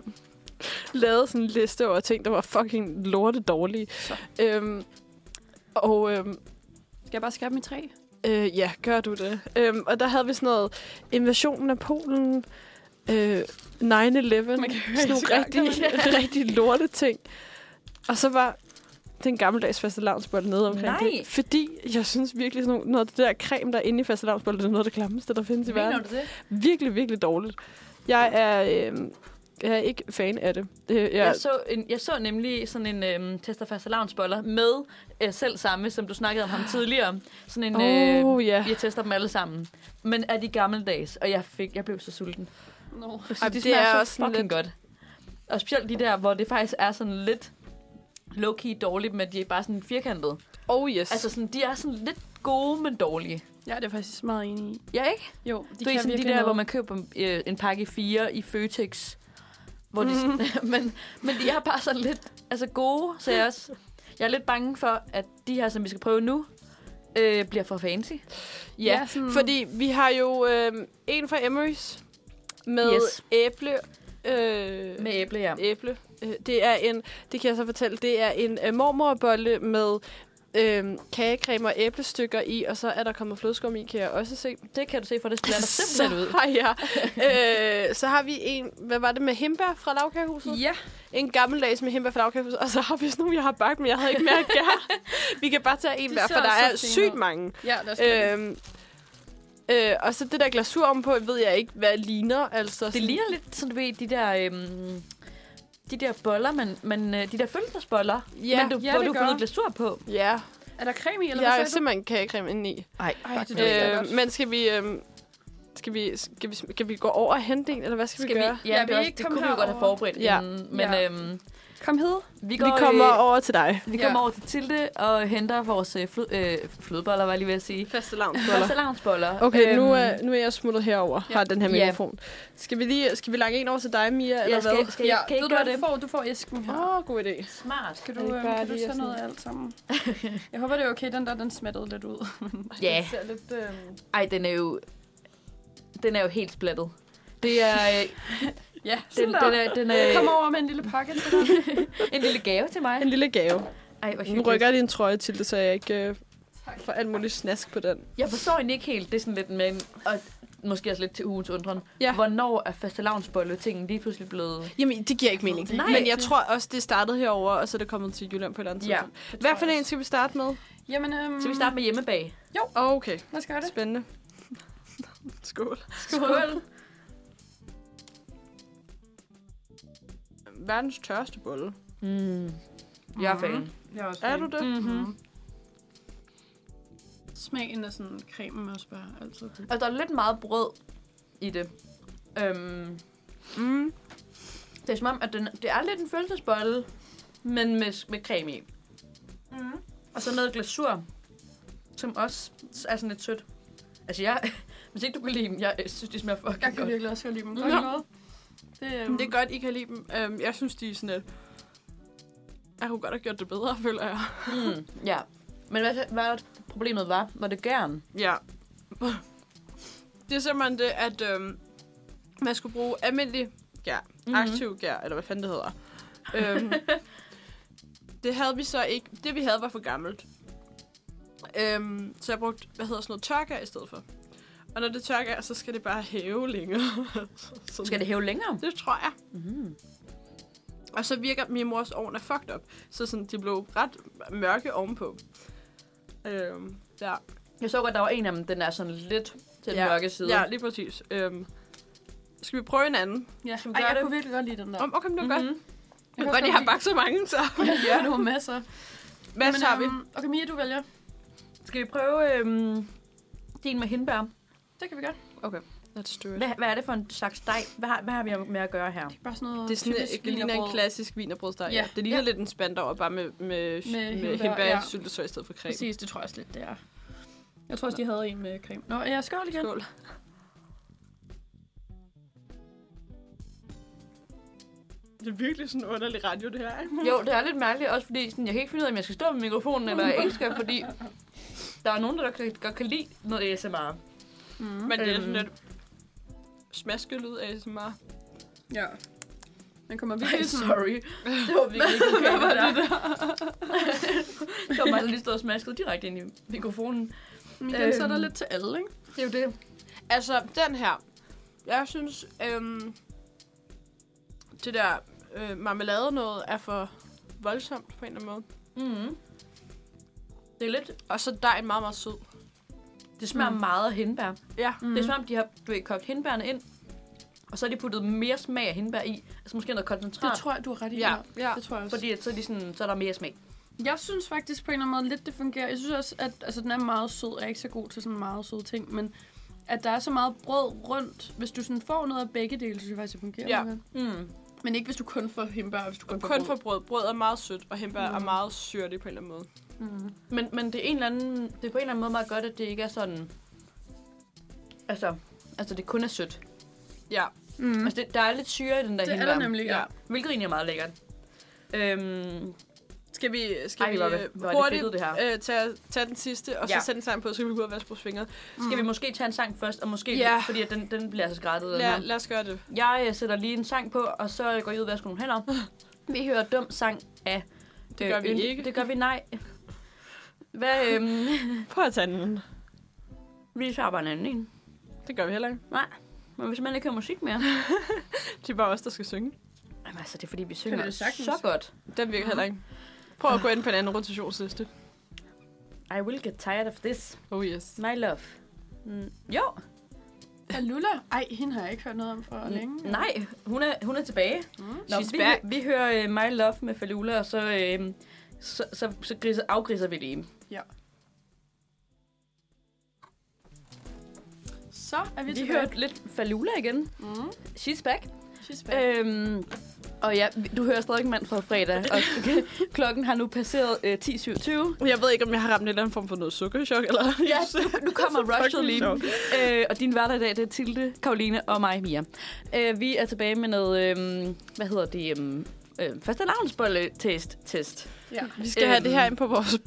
S1: lavet sådan en liste over ting, der var fucking lorte dårlige. Øhm, og øhm,
S3: Skal jeg bare skære dem i tre?
S1: øh, ja, gør du det. Øhm, og der havde vi sådan noget invasionen af Polen, øh, 9-11, sådan nogle rigtig, rigtig lorte ting. Og så var den gammeldags faste nede omkring
S2: Nej.
S1: det. Fordi jeg synes virkelig, sådan nogle- noget af det der creme, der er inde i faste det er noget af det klammeste, der findes i verden
S2: Mener du det?
S1: virkelig, virkelig dårligt. Jeg er, øh, jeg er ikke fan af det. Øh,
S2: Ja.
S1: jeg,
S2: Jeg, så en, jeg så nemlig sådan en øhm, tester faste lavnsboller med øh, selv samme, som du snakkede om ham tidligere. Sådan en,
S1: oh, ja.
S2: jeg tester dem alle sammen. Men er de gammeldags, og jeg, fik, jeg blev så sulten.
S3: No.
S2: Fordi
S1: Ej,
S2: de
S1: det
S2: smager
S1: er
S2: så
S1: også sådan
S2: fucking lidt... godt. Og specielt de der, hvor det faktisk er sådan lidt low-key dårligt, men de er bare sådan firkantede.
S1: Oh yes.
S2: Altså sådan, de er sådan lidt gode, men dårlige.
S3: Ja, det er faktisk meget enig i.
S2: Ja, ikke?
S3: Jo,
S2: De det er sådan de der, noget. hvor man køber øh, en pakke i fire i Føtex. Hvor de, mm. men, men de er bare sådan lidt altså gode, så jeg er også... Jeg er lidt bange for, at de her, som vi skal prøve nu, øh, bliver for fancy.
S1: ja,
S3: ja,
S2: Mm.
S3: sådan-
S1: fordi vi har jo øh, en fra Emery's med
S2: Yes.
S1: æble. Øh,
S2: Med æble, ja.
S1: æble. Øh, Det er en, det kan jeg så fortælle, det er en øh, mormorbolle med øh, kagecreme og æblestykker i, og så er der kommet flødeskum i, kan jeg også se.
S2: Det kan du se, for det splatter
S1: så,
S2: simpelthen ud.
S1: har jeg, øh, så har vi en, hvad var det med himbær fra lavkagehuset?
S2: Ja,
S1: en gammeldags med himbær fra lavkagehuset, og så har vi sådan nogle, jeg har bagt, men jeg havde ikke mere at gøre. vi kan bare tage en
S3: De
S1: hver,
S3: ser
S1: for der
S3: så
S1: er
S3: fine
S1: sygt
S3: ud.
S1: mange.
S3: Ja, lad os øh,
S1: Øhm, øh, og så det der glasur om på, ved jeg ikke, hvad ligner. Altså,
S2: Det
S1: sådan-
S2: ligner lidt, sådan du ved, de der... Øhm, de der boller, men, men øh, de der fødselsdagsboller,
S1: Ja,
S2: men du,
S3: ja,
S2: hvor
S3: det
S2: du
S3: gør.
S2: har fået glasur på.
S1: ja.
S3: Er der creme i, eller
S1: jeg
S3: hvad
S1: er
S3: sagde du?
S1: simpelthen kagecreme inde i.
S2: Nej,
S3: Ej, det lyder
S1: Øh,
S3: øh, godt.
S1: men skal vi, øhm, skal vi, skal vi, skal vi gå over og hente en, eller hvad skal,
S2: skal vi,
S1: vi
S2: ja,
S1: gøre?
S3: Ja,
S2: ja
S3: vi
S2: det, er også,
S3: ikke
S2: det
S3: komme
S2: kunne vi jo godt have
S3: herover.
S2: forberedt
S1: Ja.
S2: ja. inden, men
S3: Ja.
S2: øhm,
S3: Kom hed.
S2: vi,
S1: Vi,
S2: går,
S1: kommer
S2: øh,
S1: over til dig.
S2: vi kommer
S3: Ja.
S2: over til Tilde og henter vores øh, flød, øh, flødeboller, var jeg lige ved at sige.
S1: Faste lavnsboller.
S2: Fastelavnsboller.
S1: Okay, øhm, nu,
S2: øh,
S1: er, nu er jeg smuttet herover,
S3: Ja.
S1: ja. har den her
S2: Ja.
S1: mikrofon. Skal vi lige, skal vi lange en over til dig, Mia, eller hvad?
S2: ja, skal, skal, ja,
S3: ved
S2: kan I ikke
S3: du,
S2: gøre
S3: hvad,
S2: det?
S3: du, får, du får æsken her.
S1: Åh, oh, god idé.
S2: Smart.
S3: Kan du,
S1: Er det
S3: øhm,
S1: bare
S3: kan du
S1: lige
S3: tage
S1: sådan-
S3: noget af alt sammen? Jeg håber, det er okay. Den der, den smattede lidt ud.
S2: Ja.
S1: ser lidt, øh...
S2: Ej, den er jo... Den er jo helt splattet. Det er... Øh,
S3: ja,
S2: den, den øh, er, den er
S3: Kom over med en lille pakke til dig.
S2: en lille gave til mig.
S1: En lille gave.
S2: Ej, hvor
S1: Nu
S2: hyggeligt.
S1: rykker jeg lige en trøje til det, så jeg ikke øh, får alt muligt snask på den.
S2: Jeg forstår egentlig ikke helt, det er sådan lidt men og måske også lidt til ugens undren.
S1: Ja.
S2: Ja. Hvornår er fastelavnsbolle tingen lige pludselig blevet...
S1: Jamen, det giver ikke mening.
S2: Nej.
S1: Men jeg tror også, det startede herover, og så er det kommet til Jylland på et eller andet
S2: Ja,
S1: tidspunkt. Hvad for en skal vi starte med?
S3: Jamen, øhm,
S2: Skal vi starte med hjemmebag?
S1: Okay,
S3: Lad os gøre det.
S1: spændende. Skål.
S2: Skål.
S1: Verdens tørste bolle.
S2: Mm. Jeg er fan.
S4: Jeg også
S1: Er du det?
S2: Mm-hmm.
S4: Smagen af sådan cremen også bare altid.
S2: Og der er lidt meget brød i det. Øhm,
S1: Mm.
S2: det er som om, at den, det er lidt en følelsesbolle, men med, med creme i.
S4: Mm.
S2: Og så noget glasur, som også er sådan lidt sødt. Altså jeg, hvis ikke du kan lide dem, jeg øh, synes, de smager fucking
S4: Jeg kan
S2: godt.
S4: virkelig også godt lide dem.
S1: Nå.
S4: Der er noget. Det, øhm,
S1: Det er godt, I kan lide dem. Øhm, jeg synes, de er sådan lidt... Jeg kunne godt have gjort det bedre, føler jeg.
S2: Mm, ja. Men hvad, hvad problemet var, var det gæren?
S1: Ja. Det er simpelthen det, at øhm, man skulle bruge almindelig
S2: Mhm.
S1: gær. Mm-hmm. Aktiv gær, eller hvad fanden det hedder. øhm, det havde vi så ikke. Det, vi havde, var for gammelt. Øhm, så jeg brugte, hvad hedder sådan noget, tørgær i stedet for. Og når det tørker, så skal det bare hæve længere. Så-
S2: Skal det hæve længere?
S1: Det tror jeg.
S2: Mm.
S1: Og så virker min mors ovn er fucked up. Så sådan, de blev ret mørke ovenpå. Øhm, ja.
S2: Jeg så godt, der var en af dem, den er sådan lidt til den
S1: ja.
S2: mørke side.
S1: Ja, lige præcis. Øhm, skal vi prøve en anden?
S4: ja.
S2: Skal vi
S4: Ej,
S2: gøre
S4: jeg
S2: det?
S4: kunne virkelig godt lide den der.
S1: Om, okay, men det var godt.
S2: mm-hmm.
S1: Det var godt, jeg har bagt så mange, så.
S4: Ja, du har masser.
S1: Hvad så har vi?
S4: øhm, Okay, Mia, du vælger.
S2: Skal vi prøve øhm, din med hindbær?
S4: Det kan vi godt.
S1: Let's do
S2: Hvad, hvad er det for en slags dej? Hvad har, hvad har vi med at gøre her?
S4: Det er bare sådan noget
S1: Det, er sådan, øh,
S4: typisk
S1: det ligner en
S4: wienerbrød.
S1: klassisk vinerbrødsteg. Ja.
S4: Ja.
S1: Det ligner
S4: Ja.
S1: lidt en spandauer, bare med, med, med, med
S4: hindbær,
S1: hindbær ja.
S4: ja.
S1: syltetøj i stedet for creme.
S4: Præcis, det tror jeg også lidt, det er. Jeg tror også, de havde en med creme. Nå, ja, skål igen.
S1: Skål. Det er virkelig sådan en underlig radio, det her. ikke?
S2: Jo, det er lidt mærkeligt, også fordi sådan, jeg kan ikke finde ud af, om jeg skal stå med mikrofonen, eller jeg ikke skal, fordi der er nogen, der kan- godt kan lide noget ASMR.
S4: Mm.
S1: Men det er sådan
S2: Øhm.
S1: lidt smaskelyd af så meget.
S4: Ja. Den kommer
S2: Ej,
S4: virkelig sådan...
S2: sorry. Det var virkelig ikke okay, Hvad var det der? det var bare sådan lige stået og smasket direkte ind i mikrofonen.
S4: Men igen, så er der
S2: Øhm.
S4: lidt til alle, ikke?
S2: Det er jo det.
S1: Altså, den her. Jeg synes, øhm, det der øh, marmelade noget er for voldsomt på en eller anden måde.
S2: Mm-hmm. Det er lidt...
S1: Og så dejen meget, meget sød.
S2: Det smager mm.
S4: Mm.
S2: meget af hindbær.
S1: Ja.
S2: Mm. Det er som om, de har du ved, kogt hindbærene ind, og så har de puttet mere smag af hindbær i. Altså måske noget koncentrat.
S4: Det tror jeg, du har ret i.
S1: Ja, ja.
S4: Det tror jeg også.
S2: Fordi at så, er de sådan, så er der mere smag.
S4: Jeg synes faktisk på en eller anden måde lidt, det fungerer. Jeg synes også, at altså, den er meget sød. Jeg er ikke så god til sådan meget søde ting, men at der er så meget brød rundt. Hvis du sådan får noget af begge dele, synes jeg faktisk, det fungerer.
S1: Ja.
S4: meget godt.
S2: Mm.
S4: Men ikke hvis du kun får hindbær, og hvis du kun,
S1: Kun
S4: får
S1: for brød. Brød er meget sødt, og hembær mm. er
S4: Mm.
S1: meget syrlig på en eller anden måde.
S4: Mm.
S2: Men, men det, er en eller anden, det er på en eller anden måde meget godt, at det ikke er sådan... Altså, altså det kun er sødt.
S1: Ja.
S4: Mm.
S2: Altså, det, der er lidt syre i den der
S4: Det er
S2: hindbær.
S4: der nemlig, ja.
S1: Ja.
S2: Hvilket egentlig er meget lækkert. Øhm,
S1: Skal vi, skal
S2: Ej,
S1: vi
S2: hvor er det-
S1: øh,
S2: hvor er det
S1: hurtigt
S2: fedtet, det her.
S1: øh, tage, tage den sidste, og ja.
S2: Ja.
S1: så sætte den sammen på, så kan vi gå ud og vaske vores fingre.
S2: Skal vi måske tage en sang først, og måske...
S1: Mm. Ja.
S2: Fordi at den, den bliver altså skrættet. Den
S1: Lad,
S2: her.
S1: lad os gøre det.
S2: Jeg øh, sætter lige en sang på, og så går jeg ud og vasker nogle hænder. Vi hører dum sang af... øh,
S1: Det gør vi ikke.
S2: Det gør vi nej. Hvad, øhm,
S1: Prøv at tage den.
S2: vi tager bare en anden en.
S1: Det gør vi heller ikke.
S2: Nej, men hvis man ikke hører musik mere.
S1: Det er bare os, der skal synge.
S2: Jamen, altså, det er fordi, vi synger
S4: vi jo sagtens.
S2: så godt.
S1: Den virker heller ikke. Prøv at gå ind på en anden rotationsliste.
S2: I will get tired of this.
S1: Oh yes.
S2: My love. Mm, jo,
S4: Alula? Ej, hende har jeg ikke hørt noget om
S2: Mm.
S4: for længe.
S2: nej, hun er, hun er tilbage.
S4: Mm.
S2: Nå,
S1: She's
S2: vi,
S1: back.
S2: vi hører uh, My Love med Falula, og så, uh, så, så, så griser, afgriser vi det.
S4: Så er vi,
S2: Vi
S4: tilbage.
S2: hører lidt Falula igen.
S4: Mm.
S2: She's back.
S4: She's back.
S2: Øhm, og ja, vi- du hører stadig mand fra fredag, og klokken har nu passeret øh, 10.27.
S1: Jeg ved ikke, om jeg har ramt en eller anden form for noget sukkerchok, eller
S2: Ja, nu kommer rushet lige.
S1: sjovt.
S2: Øh, og din hverdag i dag, det er Tilde, Karoline og mig, Mia. Øh, vi er tilbage med noget, øh, hvad hedder det, øh, øh, første test test.
S4: Ja.
S1: Vi skal øhm. have
S2: Øhm.
S1: det her ind på vores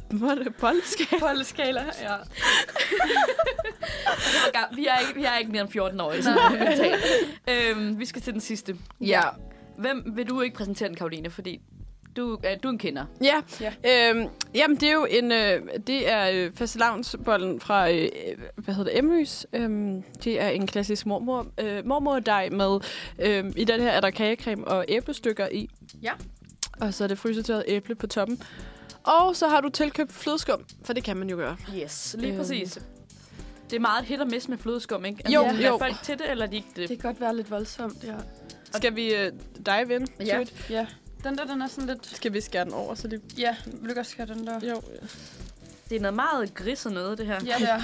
S1: boldskab.
S4: Bolleskala, ja.
S2: Vi er ikke, vi er ikke mere end 14 år, så øh, vi skal til den sidste.
S1: Ja.
S2: Hvem vil du ikke præsentere den, Karoline, fordi du, øh, du er en kender.
S1: Ja. Øhm, jamen, det er jo en... Øh, det er øh, fastelavnsbollen fra, øh, hvad hedder det, Emrys. Øhm, det er en klassisk mormor, øh, mormordej med... Øh, I den her er der kagecreme og æblestykker i.
S4: Ja.
S1: Og så er det frysetørret æble på toppen. Og så har du tilkøbt flødeskum, for det kan man jo gøre.
S2: Yes, lige
S1: Øhm.
S2: præcis. Det er meget hit og miss med flødeskum, ikke? Altså,
S1: Jo,
S2: er
S1: jo.
S2: folk til det, eller er de ikke det?
S4: Det kan godt være lidt voldsomt, ja.
S1: Skal vi øh, dive ind?
S2: Ja.
S1: to it?
S4: Ja.
S3: Den der, den er sådan lidt...
S1: Skal vi skære den over, så det...
S3: Ja, vil du ikke også have den der?
S1: Jo,
S2: Det er noget meget gris og noget, det her.
S3: Ja, der.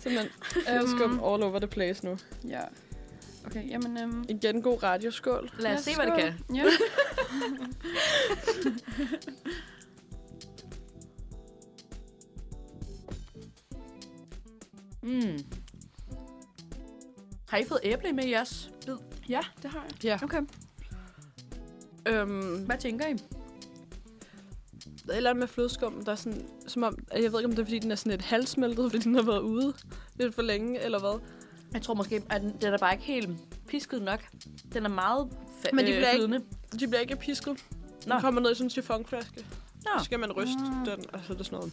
S1: simpelthen. Jeg
S3: Øhm.
S1: skal all over the place nu.
S3: ja. Okay, jamen... Øhm,
S1: Igen god radioskål.
S2: Lad os
S3: ja,
S2: se, hvad det
S3: skål.
S2: kan.
S3: Ja.
S2: Mm. Har I fået æble med i jeres bid?
S3: ja, det har jeg.
S2: Okay.
S1: Øhm,
S2: Hvad tænker I?
S1: der er et eller andet med flødeskum, der er sådan, som om, jeg ved ikke, om det er, fordi den er sådan lidt halvsmeltet, fordi den har været ude lidt for længe, eller hvad.
S2: Jeg tror måske, at den den er bare ikke helt pisket nok. Den er meget fa-
S1: Men de
S2: øh,
S1: bliver ikke-
S2: flydende.
S1: De bliver ikke pisket.
S2: Nå.
S1: Den kommer ned i sådan en chiffonflaske.
S2: Nå.
S1: Så skal man ryste
S3: Mm.
S1: den, og så er det sådan noget.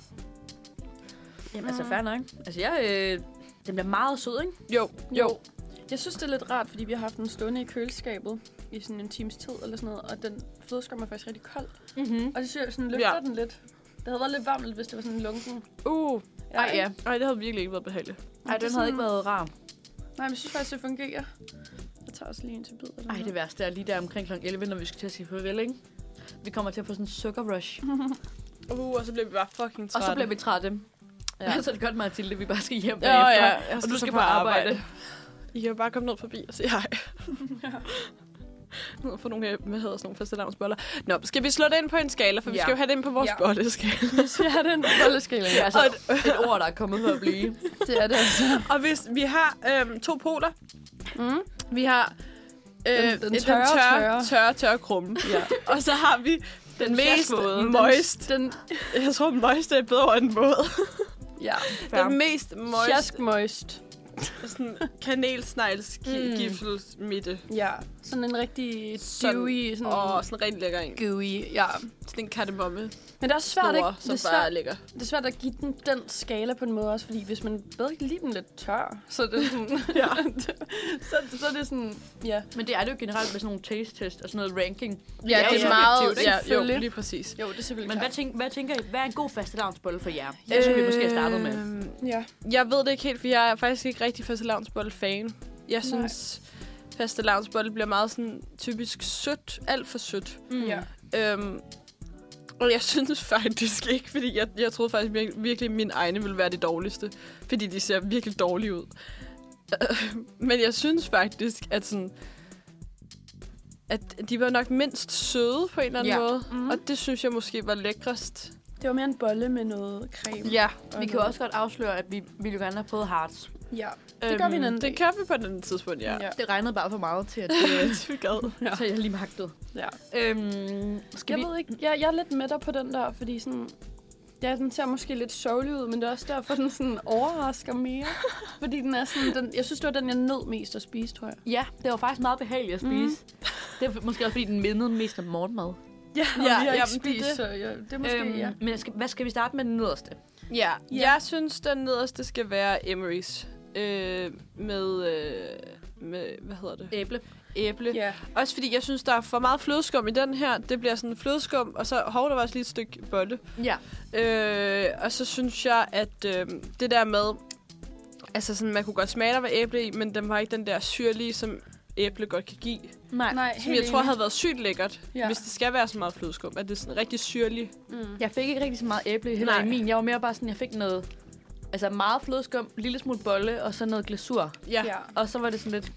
S2: Jamen, altså, fair nok. Altså, jeg... Øh, den bliver meget sød, ikke?
S1: Jo, jo.
S3: Jeg synes, det er lidt rart, fordi vi har haft den stående i køleskabet i sådan en times tid eller sådan noget, og den flødeskum er faktisk rigtig kold.
S2: Mm-hmm.
S3: Og det synes jeg sådan løfter
S1: Ja.
S3: ja. den lidt. Det havde været lidt varmt, hvis det var sådan en lunken.
S1: Uh,
S2: Ej, ja.
S1: nej, det havde virkelig ikke været behageligt.
S2: Ej,
S3: det er
S2: den havde
S3: sådan-
S2: ikke været rar.
S3: Nej, men jeg synes faktisk, det fungerer. Jeg tager også lige en til bid.
S2: Ej, det værste er lige der omkring kl. 11, når vi skal til at sige farvel, ikke? Vi kommer til at få sådan en sukker rush.
S1: Uh, og så blev vi bare fucking
S2: Og
S1: trætte.
S2: Mm. så bliver vi trætte. Ja.
S1: Ja.
S2: så er det godt, Mathilde, vi bare skal hjem
S1: Ja, ja,
S2: bagefter.
S1: jeg
S2: Og du
S1: så
S2: skal
S1: på
S2: på arbejde.
S1: I kan jo bare komme ned forbi og sige hej. Ned og få nogle, øh, hvad hedder sådan nogle fastelavnsboller. Nå, skal vi slå det ind på en skala, for vi
S2: Ja.
S1: skal jo have det ind på vores
S3: Ja.
S1: bolleskala.
S3: Så jeg har den bolleskala.
S2: Det er altså
S1: Og
S2: et ord, der er kommet for at blive.
S3: Det er det altså.
S1: Og hvis vi har øhm, to poler.
S3: Mm.
S1: Vi har øh,
S3: Den- den tørre,
S1: tørre,
S3: tørre.
S1: tørre, tørre krumme.
S3: Ja.
S1: og så har vi den, den mest
S2: jazzvåde.
S1: moist.
S3: Den,
S1: Jeg tror, moist er et bedre ord end våd.
S3: ja.
S2: Fair.
S1: Den mest moist
S3: Sjask moist.
S1: sådan, kanelsneglsgiffel mm. midte.
S3: Ja. Sådan en rigtig
S1: Sådan.
S3: dewy, sådan,
S1: Og sådan rigtig lækker en.
S3: gooey. Ja.
S1: Sådan en kardemomme
S3: Men det er også svært,
S1: snore,
S3: ikke?
S1: som
S3: Det er
S1: bare
S3: svært,
S1: ligger.
S3: det er svært at give den den skala på en måde også, fordi hvis man bedre kan lide den lidt tør, så er det sådan...
S1: Ja.
S3: så, så er det sådan... Ja.
S2: Men det er det jo generelt med sådan nogle taste test og sådan noget ranking.
S1: Ja,
S2: det er
S1: det er
S2: jo
S1: meget...
S3: subjektivt, ikke?
S1: Ja, jo,
S3: Selvfølgelig.
S1: lige præcis.
S3: Jo, det er selvfølgelig
S2: Men hvad,
S3: klart.
S2: tænk, hvad tænker I? Hvad er en god fastelavnsbolle for jer? Jeg synes, vi måske har startet med.
S1: Øhm,
S3: Ja.
S1: Jeg ved det ikke helt, for jeg er faktisk ikke rigtig fastelavnsbolle-fan. Jeg
S3: Nej.
S1: synes, fastelavnsbolle bliver meget sådan typisk sødt. Alt for sødt.
S2: Mm.
S3: Ja.
S1: Øhm, og jeg synes faktisk ikke, fordi jeg, jeg troede faktisk vir- virkelig, at mine egne ville være det dårligste. Fordi de ser virkelig dårlige ud. Øh, Men jeg synes faktisk, at sådan at de var nok mindst søde på en eller anden
S2: Ja.
S1: ja. måde.
S3: Mhm.
S1: Mm. Og det synes jeg måske var lækrest.
S3: Det var mere en bolle med noget creme.
S1: Ja,
S2: Vi kan jo også godt afsløre, at vi ville jo gerne have prøvet hearts.
S3: Ja. Det gør vi en anden
S1: Øhm, Det
S3: dag.
S1: kan vi på den anden tidspunkt, ja. ja.
S2: Det regnede bare for meget til, at det,
S1: Vi gad.
S3: Ja.
S2: så jeg lige magtede.
S3: ja.
S2: Øhm, skal
S3: Jeg
S2: vi...
S3: ved ikke, jeg, jeg er lidt med dig på den der, fordi sådan... Ja, den ser måske lidt sørgelig ud, men det er også derfor, den sådan overrasker mere. Fordi den er sådan... Den, jeg synes, det var den, jeg nød mest at spise, tror jeg.
S2: Ja, det var faktisk meget behageligt at spise. Mm. Det er måske også, fordi den mindede mest om morgenmad.
S3: Ja,
S1: og vi har ikke spist,
S3: så ja, det er måske, øhm, ja.
S2: Men jeg skal, hvad skal vi starte med den nederste?
S1: Ja, jeg synes, den nederste skal være Emery's. Øh, med, øh, med, hvad hedder det?
S2: Æble.
S1: Æble.
S3: ja.
S1: Også fordi jeg synes, der er for meget flødeskum i den her. Det bliver sådan flødeskum, og så hov, der var også lige et stykke bolle.
S2: Ja.
S1: Øh, og så synes jeg, at øh, det der med... Altså sådan, man kunne godt smage, der var æble i, men den var ikke den der syrlige, som æble godt kan give.
S2: Nej. Nej.
S3: Nej,
S1: Som jeg tror havde været sygt lækkert,
S3: Ja.
S1: ja. hvis det skal være så meget flødeskum. At det er sådan rigtig syrlig.
S3: Mm.
S2: Jeg fik ikke rigtig så meget æble heller
S1: Nej.
S2: i min. Jeg var mere bare sådan, jeg fik noget... Altså meget flødeskum, lille smule bolle og så noget glasur.
S1: Ja.
S3: ja.
S2: Og så var det sådan lidt...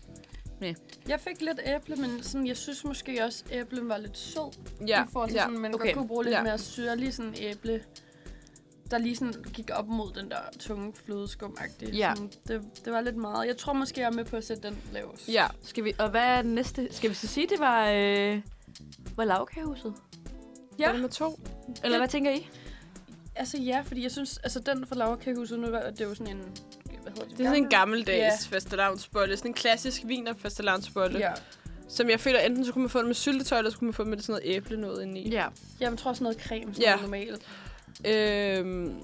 S3: Jeg fik lidt æble, men sådan, jeg synes måske også, æblen var lidt sød.
S1: ja.
S3: I forhold til,
S1: ja.
S3: sådan, man
S2: Okay.
S3: okay. godt kunne bruge lidt
S1: Ja.
S3: ja. mere syrlig sådan æble, der lige sådan gik op mod den der tunge flødeskum
S2: Ja.
S3: sådan, det, det var lidt meget. Jeg tror måske, jeg er med på at sætte den lavest.
S1: ja.
S2: Skal vi... Og hvad er den næste? Skal vi så sige, det var... Øh, var lavkagehuset?
S3: Ja.
S1: Var det med to?
S2: Eller hvad tænker I?
S3: Altså ja, fordi jeg synes, altså den fra Laura Kagehuset, nu var det er jo sådan en, hvad hedder det?
S1: Det er sådan en gammeldags
S3: gammeldags
S1: yeah. fastelavnsbolle. Sådan en klassisk viner fastelavnsbolle.
S3: Ja.
S1: Som jeg føler, enten så kunne man få den med syltetøj, eller så kunne man få den med sådan noget æble noget indeni.
S2: Ja.
S3: Jamen, jeg tror sådan noget creme, som
S1: Ja.
S3: ja. er normalt.
S1: Øhm,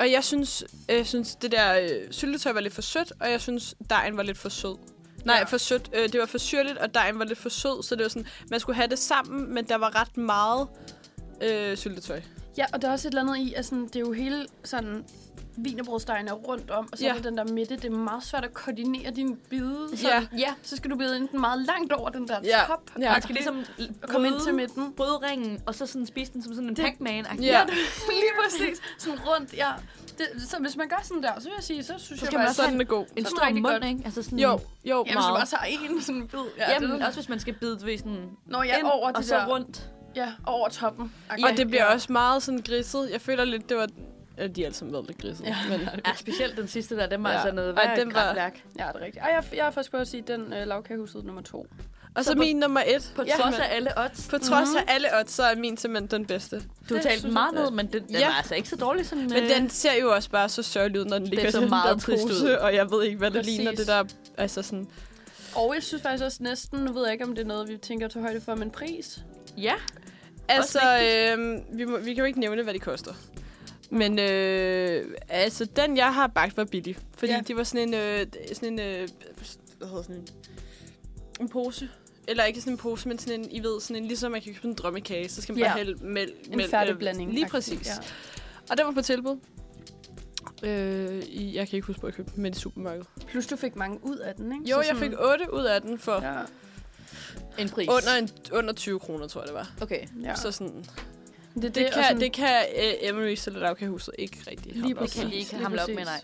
S1: og jeg synes, jeg synes det der øh, syltetøj var lidt for sødt, og jeg synes, dejen var lidt for sød. Nej,
S3: Ja.
S1: for sødt. Øh, det var for syrligt, og dejen var lidt for sød, så det var sådan, man skulle have det sammen, men der var ret meget øh, syltetøj.
S3: Ja, og der er også et eller andet i, at sådan, det er jo hele sådan
S4: vinerbrødstegn er rundt om, og så ja.
S1: Ja.
S4: er der den der midte. Det er meget svært at koordinere din bide. Så,
S1: Ja.
S2: Ja,
S4: så skal du bide enten meget langt over den der
S1: Ja.
S4: top,
S1: Ja.
S2: man skal ligesom
S4: og komme ind
S2: bryde-
S4: til midten.
S2: bryde ringen, og så sådan spise den som sådan en
S4: Det-
S2: Pac-Man.
S1: Ja.
S4: Lige præcis. Sådan rundt, ja. Det, så hvis man gør sådan der, så vil jeg sige, så synes
S1: Så
S4: jeg
S1: skal man
S4: faktisk...
S1: sådan er god.
S2: En
S4: Sådan
S2: stor
S4: rigtig
S2: mund,
S4: godt.
S2: ikke? Altså sådan,
S1: Jo, jo.
S4: Ja, hvis du
S2: meget.
S4: bare tager en sådan bid. Ja,
S2: jamen,
S4: det,
S2: også hvis man skal bide ved sådan
S4: Når jeg
S2: ind,
S4: er over
S2: og
S4: det
S2: så
S4: der,
S2: rundt.
S4: Ja, over toppen.
S1: Og det bliver også meget sådan griset. Jeg føler lidt, det var... Ja, de er alle sammen været lidt griset. Ja. Men,
S2: Ja, specielt den sidste der, den var
S1: Ja.
S2: altså noget
S1: Ej,
S2: værd.
S1: den var-
S2: kraftværk.
S4: Ja, det er rigtigt. Ej, jeg, jeg er faktisk på at sige den øh, lavkagehuset nummer to.
S1: og så,
S2: Så på-
S1: min nummer et.
S2: På
S1: Ja,
S2: trods
S1: men-
S2: af alle odds.
S1: På trods af alle odds, så er min simpelthen den bedste.
S2: Du
S4: Det
S2: talte
S4: synes
S2: meget
S4: jeg-
S2: ned, men den, den
S1: Ja.
S2: var altså ikke så dårlig som...
S1: Men
S2: øh,
S1: den ser jo også bare så sørgelig ud, når den ligger
S2: så
S1: i den
S2: meget
S1: der
S2: trist ud.
S1: pose, og jeg ved ikke, hvad det
S4: Præcis.
S1: ligner, det der... Altså sådan...
S4: Og jeg synes faktisk også næsten, nu ved jeg ikke, om det er noget, vi tænker at tage højde for, men pris.
S2: Ja,
S1: Altså, øh, vi, må, vi kan jo ikke nævne, hvad det koster. Men øh, altså, den jeg har bagt var billig. Fordi
S4: Ja.
S1: ja. det var sådan en, øh, sådan en, øh, hvad hedder sådan en, en pose. Eller ikke sådan en pose, men sådan en, I ved, sådan en, ligesom man kan købe sådan en drømmekage, så skal man
S4: Ja.
S1: ja. bare hælde mælk. øh,
S4: En færdig blanding.
S1: Lige præcis. Ja.
S4: Ja.
S1: Og den var på tilbud. Øh, i, jeg kan ikke huske, hvor jeg købte den, men i supermarkedet.
S4: Plus du fik mange ud af den, ikke?
S1: Jo,
S4: Så
S1: jeg
S4: sådan-
S1: fik 8 ud af den for ja.
S4: Ja,
S2: en pris.
S1: under, en, under 20 kroner, tror jeg, det var.
S2: Okay.
S4: ja.
S1: Ja. Så sådan,
S4: det, det,
S1: Det,
S4: og
S1: kan,
S4: sådan,
S1: det kan uh, Emily Soledavka huset ikke rigtig
S4: Lige
S1: hamle op
S2: Det kan
S1: med.
S4: præcis.
S2: lige ikke
S4: Lige
S2: hamle op med,
S4: præcis.
S2: nej.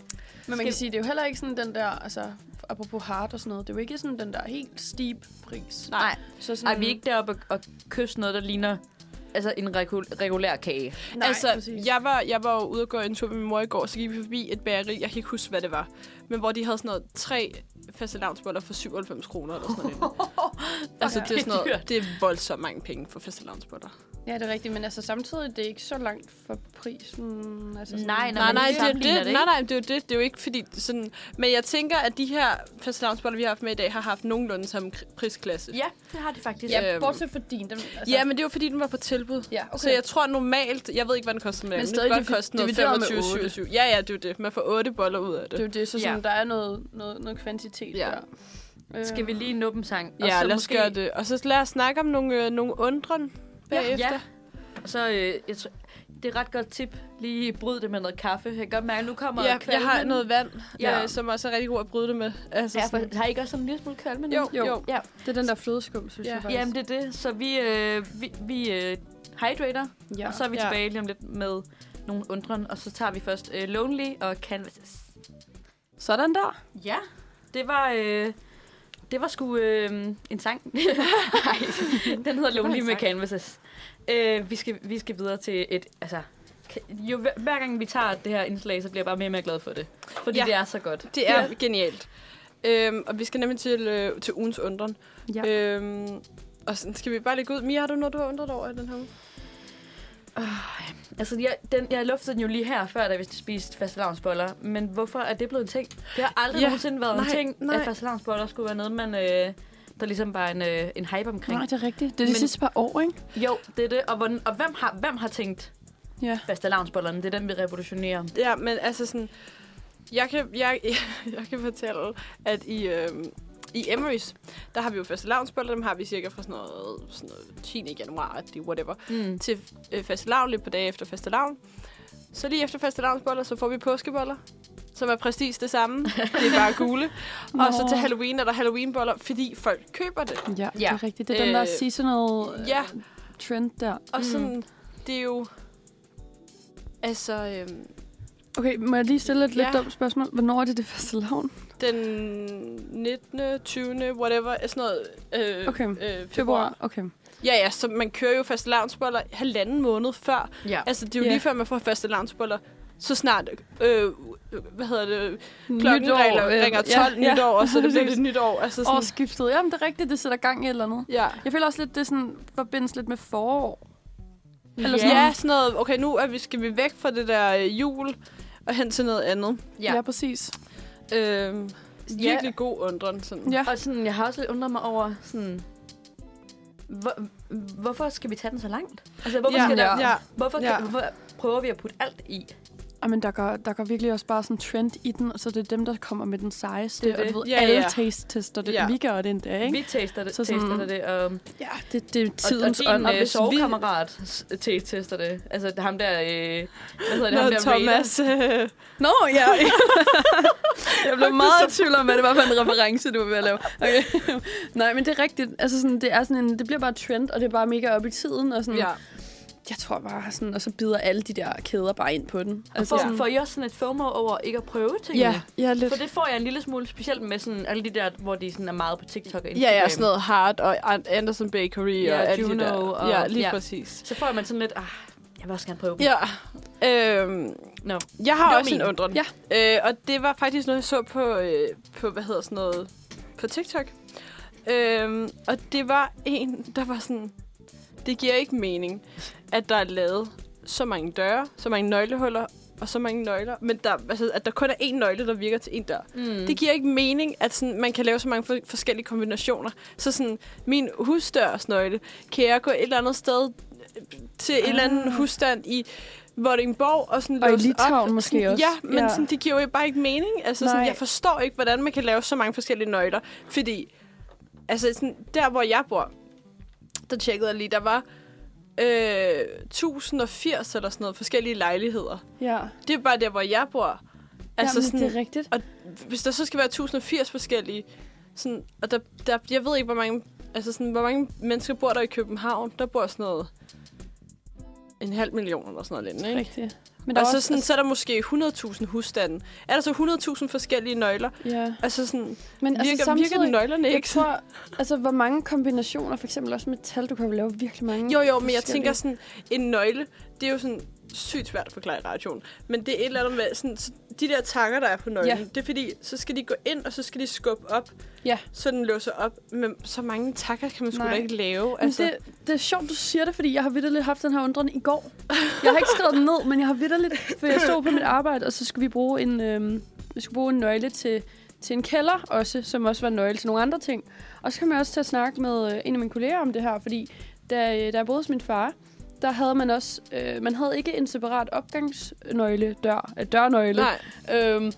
S4: Men man kan sige, det er jo heller ikke sådan den der, altså apropos hard og sådan noget, det er jo ikke sådan den der helt steep pris.
S2: Nej,
S4: Så sådan,
S2: nej vi er ikke deroppe og, og kysse noget, der ligner altså en regul- regulær kage.
S4: Nej,
S1: altså,
S4: præcis.
S1: jeg var, jeg var jo ude og gå en tur med min mor i går, så gik vi forbi et bageri, jeg kan ikke huske, hvad det var, men hvor de havde sådan noget tre faste lavnsboller for 97 kroner eller sådan noget. altså, det er sådan noget,
S2: dyrt.
S1: det er voldsomt mange penge for faste lavnsboller.
S4: Ja, det er rigtigt, men altså samtidig, det er ikke så langt fra prisen. Altså sådan,
S2: Nej,
S1: Nej,
S2: men
S1: nej,
S2: vi
S1: det, er
S2: sammenligner
S1: det,
S2: det,
S1: nej,
S2: ikke?
S1: nej, det er jo det. Det er jo ikke fordi sådan... Men jeg tænker, at de her faste lavnsboller, vi har haft med i dag, har haft nogenlunde samme kri- prisklasse.
S2: Ja, det har de faktisk.
S4: Ja,
S1: Øhm,
S4: bortset fra din. Den, altså,
S1: Ja, men det var fordi, den var på tilbud.
S4: Ja, okay.
S1: Så jeg tror normalt, jeg ved ikke, hvad den koster med
S4: Men
S1: den.
S4: stadig
S1: den
S4: divi-
S1: koste noget
S4: divideret med
S1: 25,
S4: otte.
S1: 27. Ja, ja, det er jo det. Man får 8 boller ud af det.
S4: Det er jo det, så sådan,
S2: Ja.
S4: der er noget, noget, noget kvantitet
S1: Ja.
S4: der. Øh,
S3: Øhm,
S2: Skal vi lige nå dem sang? Og
S1: ja,
S2: så
S1: lad os
S2: måske-
S1: gøre det. Og så lad os snakke om nogle, øh, nogle undren bagefter.
S2: Ja, og så øh, jeg tror, det er et ret godt tip. Lige bryd det med noget kaffe. Jeg kan godt mærke, at nu kommer
S1: ja jeg
S2: kvalmen.
S1: har noget vand,
S2: Ja.
S1: ja. øh, som også er rigtig god at bryde det med. Altså,
S2: Ja,
S1: sådan-
S2: for, har I ikke også sådan en lille smule kvalme nu?
S1: Jo, jo. jo.
S2: Ja,
S4: Det er den der flødeskum, synes
S1: Ja.
S4: jeg faktisk.
S2: jamen det er det. Så vi, øh, vi, vi øh, hydrater,
S4: ja.
S2: ja. og så er vi
S1: Ja.
S2: tilbage lige om lidt med nogle undren. Og så tager vi først øh, Lonely og Canvases.
S1: Sådan der.
S2: Ja, det var... Øh, det var sgu øh, en sang. Nej, den hedder Lonely med Canvases. Øh, vi, skal, vi skal videre til et... Altså, ka- jo, hver- hver gang vi tager det her indslag, så bliver jeg bare mere og mere glad for det. Fordi
S1: Ja.
S2: ja. det er så godt.
S1: Det er ja. genialt. Øhm, og vi skal nemlig til, øh, til ugens undren.
S4: Ja.
S1: Øhm, og sådan skal vi bare lægge ud. Mia, har du noget, du har undret dig over i den her uge?
S2: Altså, jeg, den, jeg luftede den jo lige her før, da vi spiste fastelavnsboller. Men hvorfor er det blevet en ting? Det har aldrig
S1: Ja,
S2: ja, nogensinde været
S1: nej,
S2: en ting,
S1: nej.
S2: at fastelavnsboller skulle være noget, man... Øh, der ligesom var en, øh, en hype omkring.
S3: Nej, det er rigtigt. Det er de
S2: Men-
S3: sidste par år, ikke?
S2: Jo, det er det. Og, hvordan, og hvem, har, hvem har tænkt
S3: Ja.
S2: fastelavnsbollerne? Det er den, vi revolutionerer.
S1: Ja, men altså sådan... Jeg kan, jeg, jeg kan fortælle, at i, øh, i Emery's, der har vi jo faste lavnsboller. Dem har vi cirka fra sådan noget, sådan noget 10. januar, det er whatever,
S2: Mm.
S1: til øh, faste lavn, lidt på dage efter faste lavn. Så lige efter faste lavnsboller, så får vi påskeboller, som er præcis det samme. Det er bare gule. Og så til Halloween er der Halloweenboller, fordi folk køber det.
S3: Ja, det
S2: Ja.
S3: er rigtigt. Det er den der
S1: Øh,
S3: seasonal øh,
S1: Ja,
S3: trend der.
S1: og sådan, det er jo... Altså, øhm,
S3: Okay, må jeg lige stille et lidt
S1: Ja.
S3: dumt spørgsmål? Hvornår er det det første lavn?
S1: den 19., 20., whatever, sådan noget. Øh,
S3: Okay.
S1: Øh,
S3: Februar? Okay.
S1: Ja, ja, så man kører jo faste lavnsboller halvanden måned før.
S2: Ja.
S1: Altså, det er jo
S3: Ja.
S1: lige før, man får faste lavnsboller. Så snart, øh, hvad hedder det, klokken
S3: Nytår,
S1: ringer,
S3: øh,
S1: ringer 12 ja, nytår, og så er det blevet nytår. Altså sådan,
S3: Årsskiftet. Jamen, det er rigtigt. Det sætter gang i et eller andet.
S1: ja.
S3: Jeg føler også lidt, det sådan, forbindes lidt med forår.
S2: Eller
S3: sådan
S1: ja, sådan noget. Okay, nu er vi, skal vi væk fra det der øh, jul og hen til noget andet.
S2: Ja.
S3: ja præcis.
S1: Øh, virkelig god undren. Sådan.
S3: Ja.
S2: Og sådan, jeg har også lidt undret mig over, sådan, hvor, hvorfor skal vi tage den så langt? Altså, hvorfor,
S1: ja,
S2: skal der,
S1: ja.
S2: hvorfor,
S1: Ja.
S2: kan, hvorfor prøver vi at putte alt i?
S3: Jamen, Ah, der går, der går virkelig også bare sådan trend i den, og så er det dem, der kommer med den sejeste,
S2: Det er
S3: det, det. og
S2: det.
S3: du ved,
S1: Ja,
S3: ja, alle
S1: ja.
S3: ja. taste-tester det.
S1: Ja.
S3: Ja. Vi gør det endda, ikke?
S2: Vi tester det,
S3: Så
S2: tester
S3: sådan-
S2: det, og,
S3: Ja, det, det er
S2: og,
S3: tidens
S2: og din
S3: ånd.
S2: øh,
S1: hvis vi-
S2: sovekammerat s- te- tester det. Altså ham der, øh, hvad hedder det, ham
S1: Nå,
S2: der
S1: Thomas. Øh,
S3: Nå, ja. jeg blev meget i tvivl om, hvad det var for en reference, du var ved at lave. Okay. Nej, men det er rigtigt. Altså, sådan, det, er sådan en, det bliver bare et trend, og det er bare mega op i tiden. Og sådan,
S1: ja.
S3: Jeg tror bare, sådan, og så bider alle de der kæder bare ind på den.
S2: Vader. Får, får I også sådan et FOMO over ikke at prøve tingene?
S3: ja, ja, lidt.
S2: For det får jeg en lille smule, specielt med sådan alle de der, hvor de sådan er meget på TikTok og Instagram.
S1: ja, ja, sådan noget Hart og An- Anderson Bakery
S2: Ja,
S1: og alt det
S2: Juno
S1: der.
S2: og-
S1: ja, lige
S2: ja.
S1: præcis.
S2: Så får man sådan lidt, ah, jeg vil også gerne prøve dem.
S1: Ja. Øhm,
S2: Nå.
S1: Jeg har
S2: Det var
S1: også en
S2: min.
S1: undren.
S3: Ja.
S1: Øh, og det var faktisk noget, jeg så på, øh, på hvad hedder sådan noget, på TikTok. Øhm, og det var en, der var sådan, det giver ikke mening, at der er lavet så mange døre, så mange nøglehuller og så mange nøgler, men der, altså, at der kun er én nøgle, der virker til én dør.
S2: Mm.
S1: Det giver ikke mening, at sådan, man kan lave så mange for- forskellige kombinationer. Så sådan, min husdørsnøgle, kan jeg gå et eller andet sted øh, til et eller andet husstand i Vordingborg og sådan
S3: Ah. Og i
S1: låse
S3: Litauen
S1: op.
S3: måske
S1: sådan,
S3: også.
S1: Ja, men ja.
S3: Ja.
S1: Sådan, det giver jo bare ikke mening. Altså, sådan,
S3: Nej.
S1: jeg forstår ikke, hvordan man kan lave så mange forskellige nøgler. Fordi, altså sådan, der hvor jeg bor, der tjekkede jeg lige, der var øh, 1080 eller sådan noget forskellige lejligheder.
S3: Ja.
S1: Det er bare der, hvor jeg bor.
S3: Altså, Jamen,
S1: sådan,
S3: det er rigtigt.
S1: og hvis der så skal være 1080 forskellige, sådan, og der, der, jeg ved ikke, hvor mange, altså sådan, hvor mange mennesker bor der i København, der bor sådan noget en halv million eller sådan noget lignende, ikke?
S3: Rigtigt. Men
S1: Og så, sådan,
S3: altså,
S1: så er der måske 100.000 husstande. Er der så 100.000 forskellige nøgler?
S3: ja.
S1: Altså sådan,
S3: Men
S1: virker,
S3: altså,
S1: altså,
S3: samtidig,
S1: virker nøglerne
S3: jeg
S1: ikke? sådan-
S3: tror, altså, hvor mange kombinationer, for eksempel også med tal, du kan jo lave virkelig mange
S1: Jo, jo, men jeg tænker
S3: forskellige.
S1: sådan, en nøgle, det er jo sådan sygt svært at forklare i radioen. Men det er et eller andet med, sådan, så de der tanker, der er på nøglen, ja.
S3: Ja.
S1: det er fordi, så skal de gå ind, og så skal de skubbe op,
S3: Ja.
S1: så den låser op. Men så mange takker kan man sgu
S3: Nej.
S1: da ikke lave.
S3: Men altså. det, det er sjovt, du siger det, fordi jeg har vidderligt haft den her undren i går. Jeg har ikke skrevet den ned, men jeg har vidderligt, for jeg stod på mit arbejde, og så skulle vi bruge en, øhm, vi skulle bruge en nøgle til, til en kælder også, som også var en nøgle til nogle andre ting. Og så kom jeg også til at snakke med øh, en af mine kolleger om det her, fordi da, øh, da jeg boede hos min far, der havde man også, øh, man havde ikke en separat opgangsnøgle, dør, øh, dørnøgle.
S1: Nej,
S3: Øhm,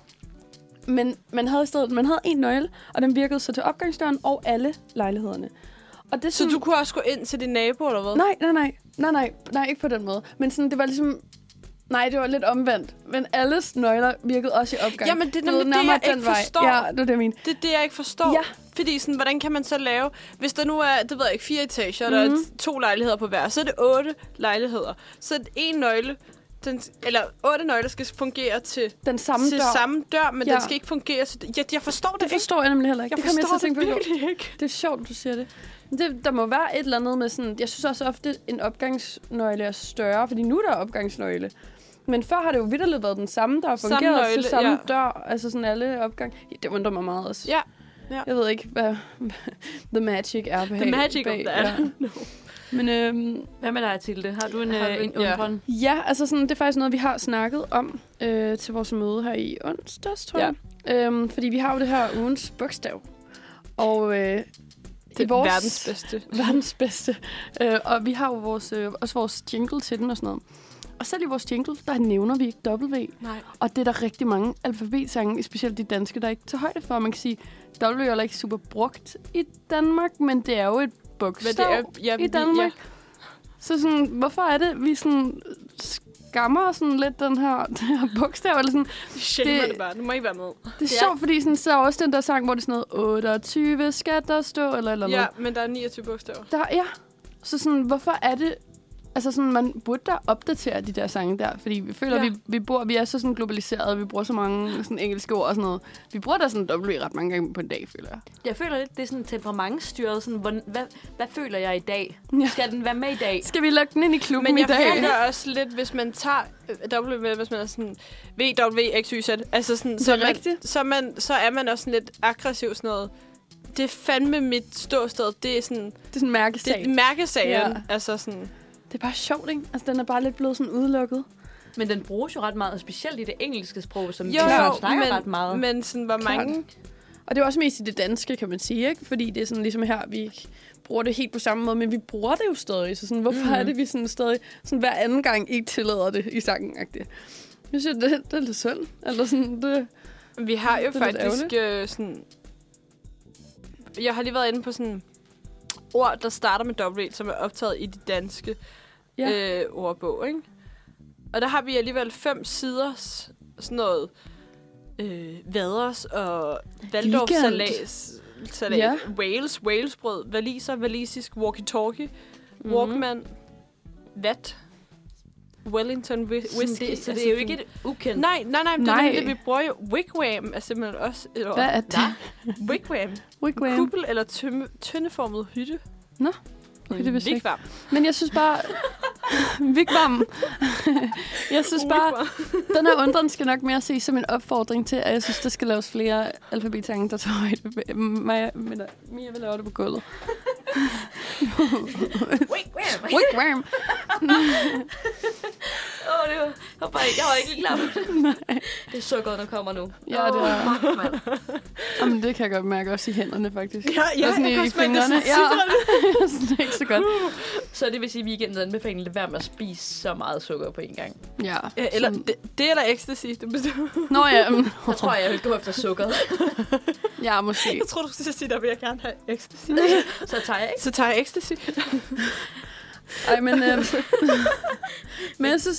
S3: men man havde i stedet, man havde en nøgle, og den virkede så til opgangsdøren og alle lejlighederne. Og det er
S1: så
S3: sådan-
S1: du kunne også gå ind til din nabo, eller hvad?
S3: Nej, nej, nej. Nej, nej, nej, ikke på den måde. Men sådan, det var ligesom... Nej, det var lidt omvendt. Men alles nøgler virkede også i opgang.
S1: Jamen, det er
S3: Du ved,
S1: nemlig det,
S3: nærmere
S1: jeg
S3: den
S1: ikke forstår.
S3: Ja, det er det, jeg mener.
S1: Det er det, jeg ikke forstår.
S3: Ja.
S1: Fordi sådan, hvordan kan man så lave... Hvis der nu er, det ved jeg ikke, fire etager, mm-hmm.
S3: Mhm.
S1: der er to lejligheder på hver, så er det otte lejligheder. Så er det en nøgle, den, eller otte nøgler skal fungere til
S3: Den samme
S1: til
S3: dør.
S1: samme dør, men ja.
S3: Ja.
S1: den skal ikke fungere. Så jeg, jeg forstår det,
S3: Det
S1: ikke.
S3: forstår jeg nemlig heller ikke.
S1: Jeg
S3: det kom jeg til
S1: forstår
S3: at tænke
S1: det
S3: på. i går.
S1: virkelig ikke.
S3: Det er sjovt, du siger det. det. Der må være et eller andet med sådan... Jeg synes også ofte, en opgangsnøgle er større, fordi nu er der opgangsnøgle. Men før har det jo vidderligt været den samme, der har
S1: Samme
S3: fungeret
S1: nøgle,
S3: til samme
S1: ja.
S3: dør. Altså sådan alle opgang. Ja, Det undrer mig meget også.
S1: Ja.
S3: Jeg ved ikke, hvad the magic er bag.
S1: The magic of
S3: bag,
S1: that.
S3: Ja. Men øhm,
S2: Hvad med dig, Tilde? Har du en,
S1: Har
S2: øh,
S1: du-
S2: en
S1: ja.
S2: undren?
S3: ja, altså sådan, det er faktisk noget, vi har snakket om øh, til vores møde her i onsdags, tror
S1: Ja.
S3: jeg. Øhm, fordi vi har jo det her ugens bogstav. Og øh,
S1: Det er vores... verdens bedste.
S3: verdens bedste. Øh, og vi har jo vores, øh, også vores jingle til den og sådan noget. Og selv i vores jingle, der nævner vi ikke W.
S1: Nej.
S3: Og det er der rigtig mange alfabetsange, specielt de danske, der ikke tager højde for. Man kan sige, W er heller ikke super brugt i Danmark, men det er jo et bogstav.
S1: Men det er, ja,
S3: i Danmark. Så sådan, hvorfor er det, vi sådan skammer sådan lidt den her, den her bogstav? Eller sådan.
S1: Ja, shamer det...
S3: Det-
S1: det bare. Nu må I være med.
S3: Det er
S2: Ja.
S3: ja. sjovt, fordi sådan, så er også den der sang, hvor det er sådan noget, 28 skal der stå, eller eller
S1: Ja,
S3: noget.
S1: men der er 29 bogstaver.
S3: Der, ja. Så sådan, hvorfor er det, altså sådan, man burde da opdatere de der sange der, fordi vi føler,
S1: Ja.
S3: ja. vi, vi, bor, vi er så sådan globaliserede, vi bruger så mange sådan engelske ord og sådan noget. Vi bruger da sådan W ret mange gange på en dag, føler jeg.
S2: Jeg føler lidt, det er sådan temperamentstyret. Sådan, hvordan, hvad, hvad føler jeg i dag?
S3: Ja.
S2: Skal den være med i dag?
S3: Skal vi lukke den ind i klubben
S1: Men
S3: i
S1: jeg
S3: dag?
S1: føler også lidt, hvis man tager øh, W med, hvis man er sådan V, W, X, Y, Z. Altså sådan, så,
S3: Det er
S1: man,
S3: rigtigt.
S1: så, er man, så er man også sådan lidt aggressiv sådan noget. Det er fandme mit ståsted. Det er sådan,
S3: Det er sådan en
S1: det
S3: mærkesag.
S1: er mærkesagen. Ja.
S3: Ja.
S1: Altså sådan,
S2: Mm.
S3: Det er bare sjovt, ikke? Altså, den er bare lidt blevet sådan udelukket.
S2: Men den bruges jo ret meget, og specielt i det engelske sprog, som jo, vi
S3: Klart,
S2: jo, snakker
S1: men,
S2: ret meget. Men,
S1: men sådan, hvor
S3: Klart.
S1: mange...
S3: Og det er også mest i det danske, kan man sige, ikke? Fordi det er sådan ligesom her, vi ikke bruger det helt på samme måde, men vi bruger det jo stadig. Så sådan, hvorfor mm. er det, vi sådan stadig sådan hver anden gang ikke tillader det i sangen? agtigt? Jeg synes, det, det er lidt synd. Eller sådan, det...
S1: Vi har jo
S3: Det er lidt
S1: faktisk øh, sådan... Jeg har lige været inde på sådan ord, der starter med dobbelt, som er optaget i det danske ja. øh, ordbog, ikke? Og der har vi alligevel fem sider, s- sådan noget øh, vaders og Valdorf salas, salat, ja.
S3: Ja.
S1: Wales, Walesbrød, valiser, valisisk, walkie-talkie, mm-hmm.
S2: Mhm.
S1: walkman, vat, Wellington whi-
S2: Sådan,
S1: whisky.
S2: det, så det
S1: altså
S2: er jo
S1: sådan-
S2: ikke et ukendt.
S1: Nej, nej, nej, men det er
S3: Nej.
S1: nemlig det, vi bruger jo. Wigwam er simpelthen også et ord.
S3: Hvad er det?
S1: Wigwam.
S3: Wigwam.
S1: Kuppel eller tømme, tyndeformet hytte.
S3: Okay, det vidste jeg ikke.
S1: Wigwam.
S3: Men jeg synes bare... Wigwam. jeg synes bare,
S1: Wigwam.
S3: den her undren skal nok mere ses som en opfordring til, at jeg synes, der skal laves flere alfabetsange, der tager højde. Maja, men der- Mia vil lave det på gulvet.
S2: Wigwam.
S3: Wigwam.
S2: Åh, det var, jeg var, bare, jeg var ikke lige klar på det. Det er så godt, der kommer nu.
S3: Ja, det
S2: Åh,
S3: er...
S2: fuck, mand.
S3: Jamen, det kan jeg godt mærke også i hænderne, faktisk.
S1: Ja, ja,
S3: Og sådan
S1: jeg
S3: i
S1: kan også mærke, det
S3: fingrene.
S1: sådan sitrer lidt.
S3: det er ikke så godt.
S2: Så det vil sige, at weekenden anbefaler lade være med at spise så meget sukker på en gang.
S3: Ja.
S1: Uh. Ja, eller
S3: sådan-
S1: det, det eller ecstasy, det bestemmer.
S3: Nå ja, mm,
S2: Jeg tror, jeg vil gå efter sukker.
S3: ja, måske.
S1: Jeg tror, du skulle til at sige, der vil jeg gerne have ecstasy.
S2: Så tager jeg ikke.
S1: Så tager jeg ecstasy.
S3: Ej, men... Øh, men jeg synes,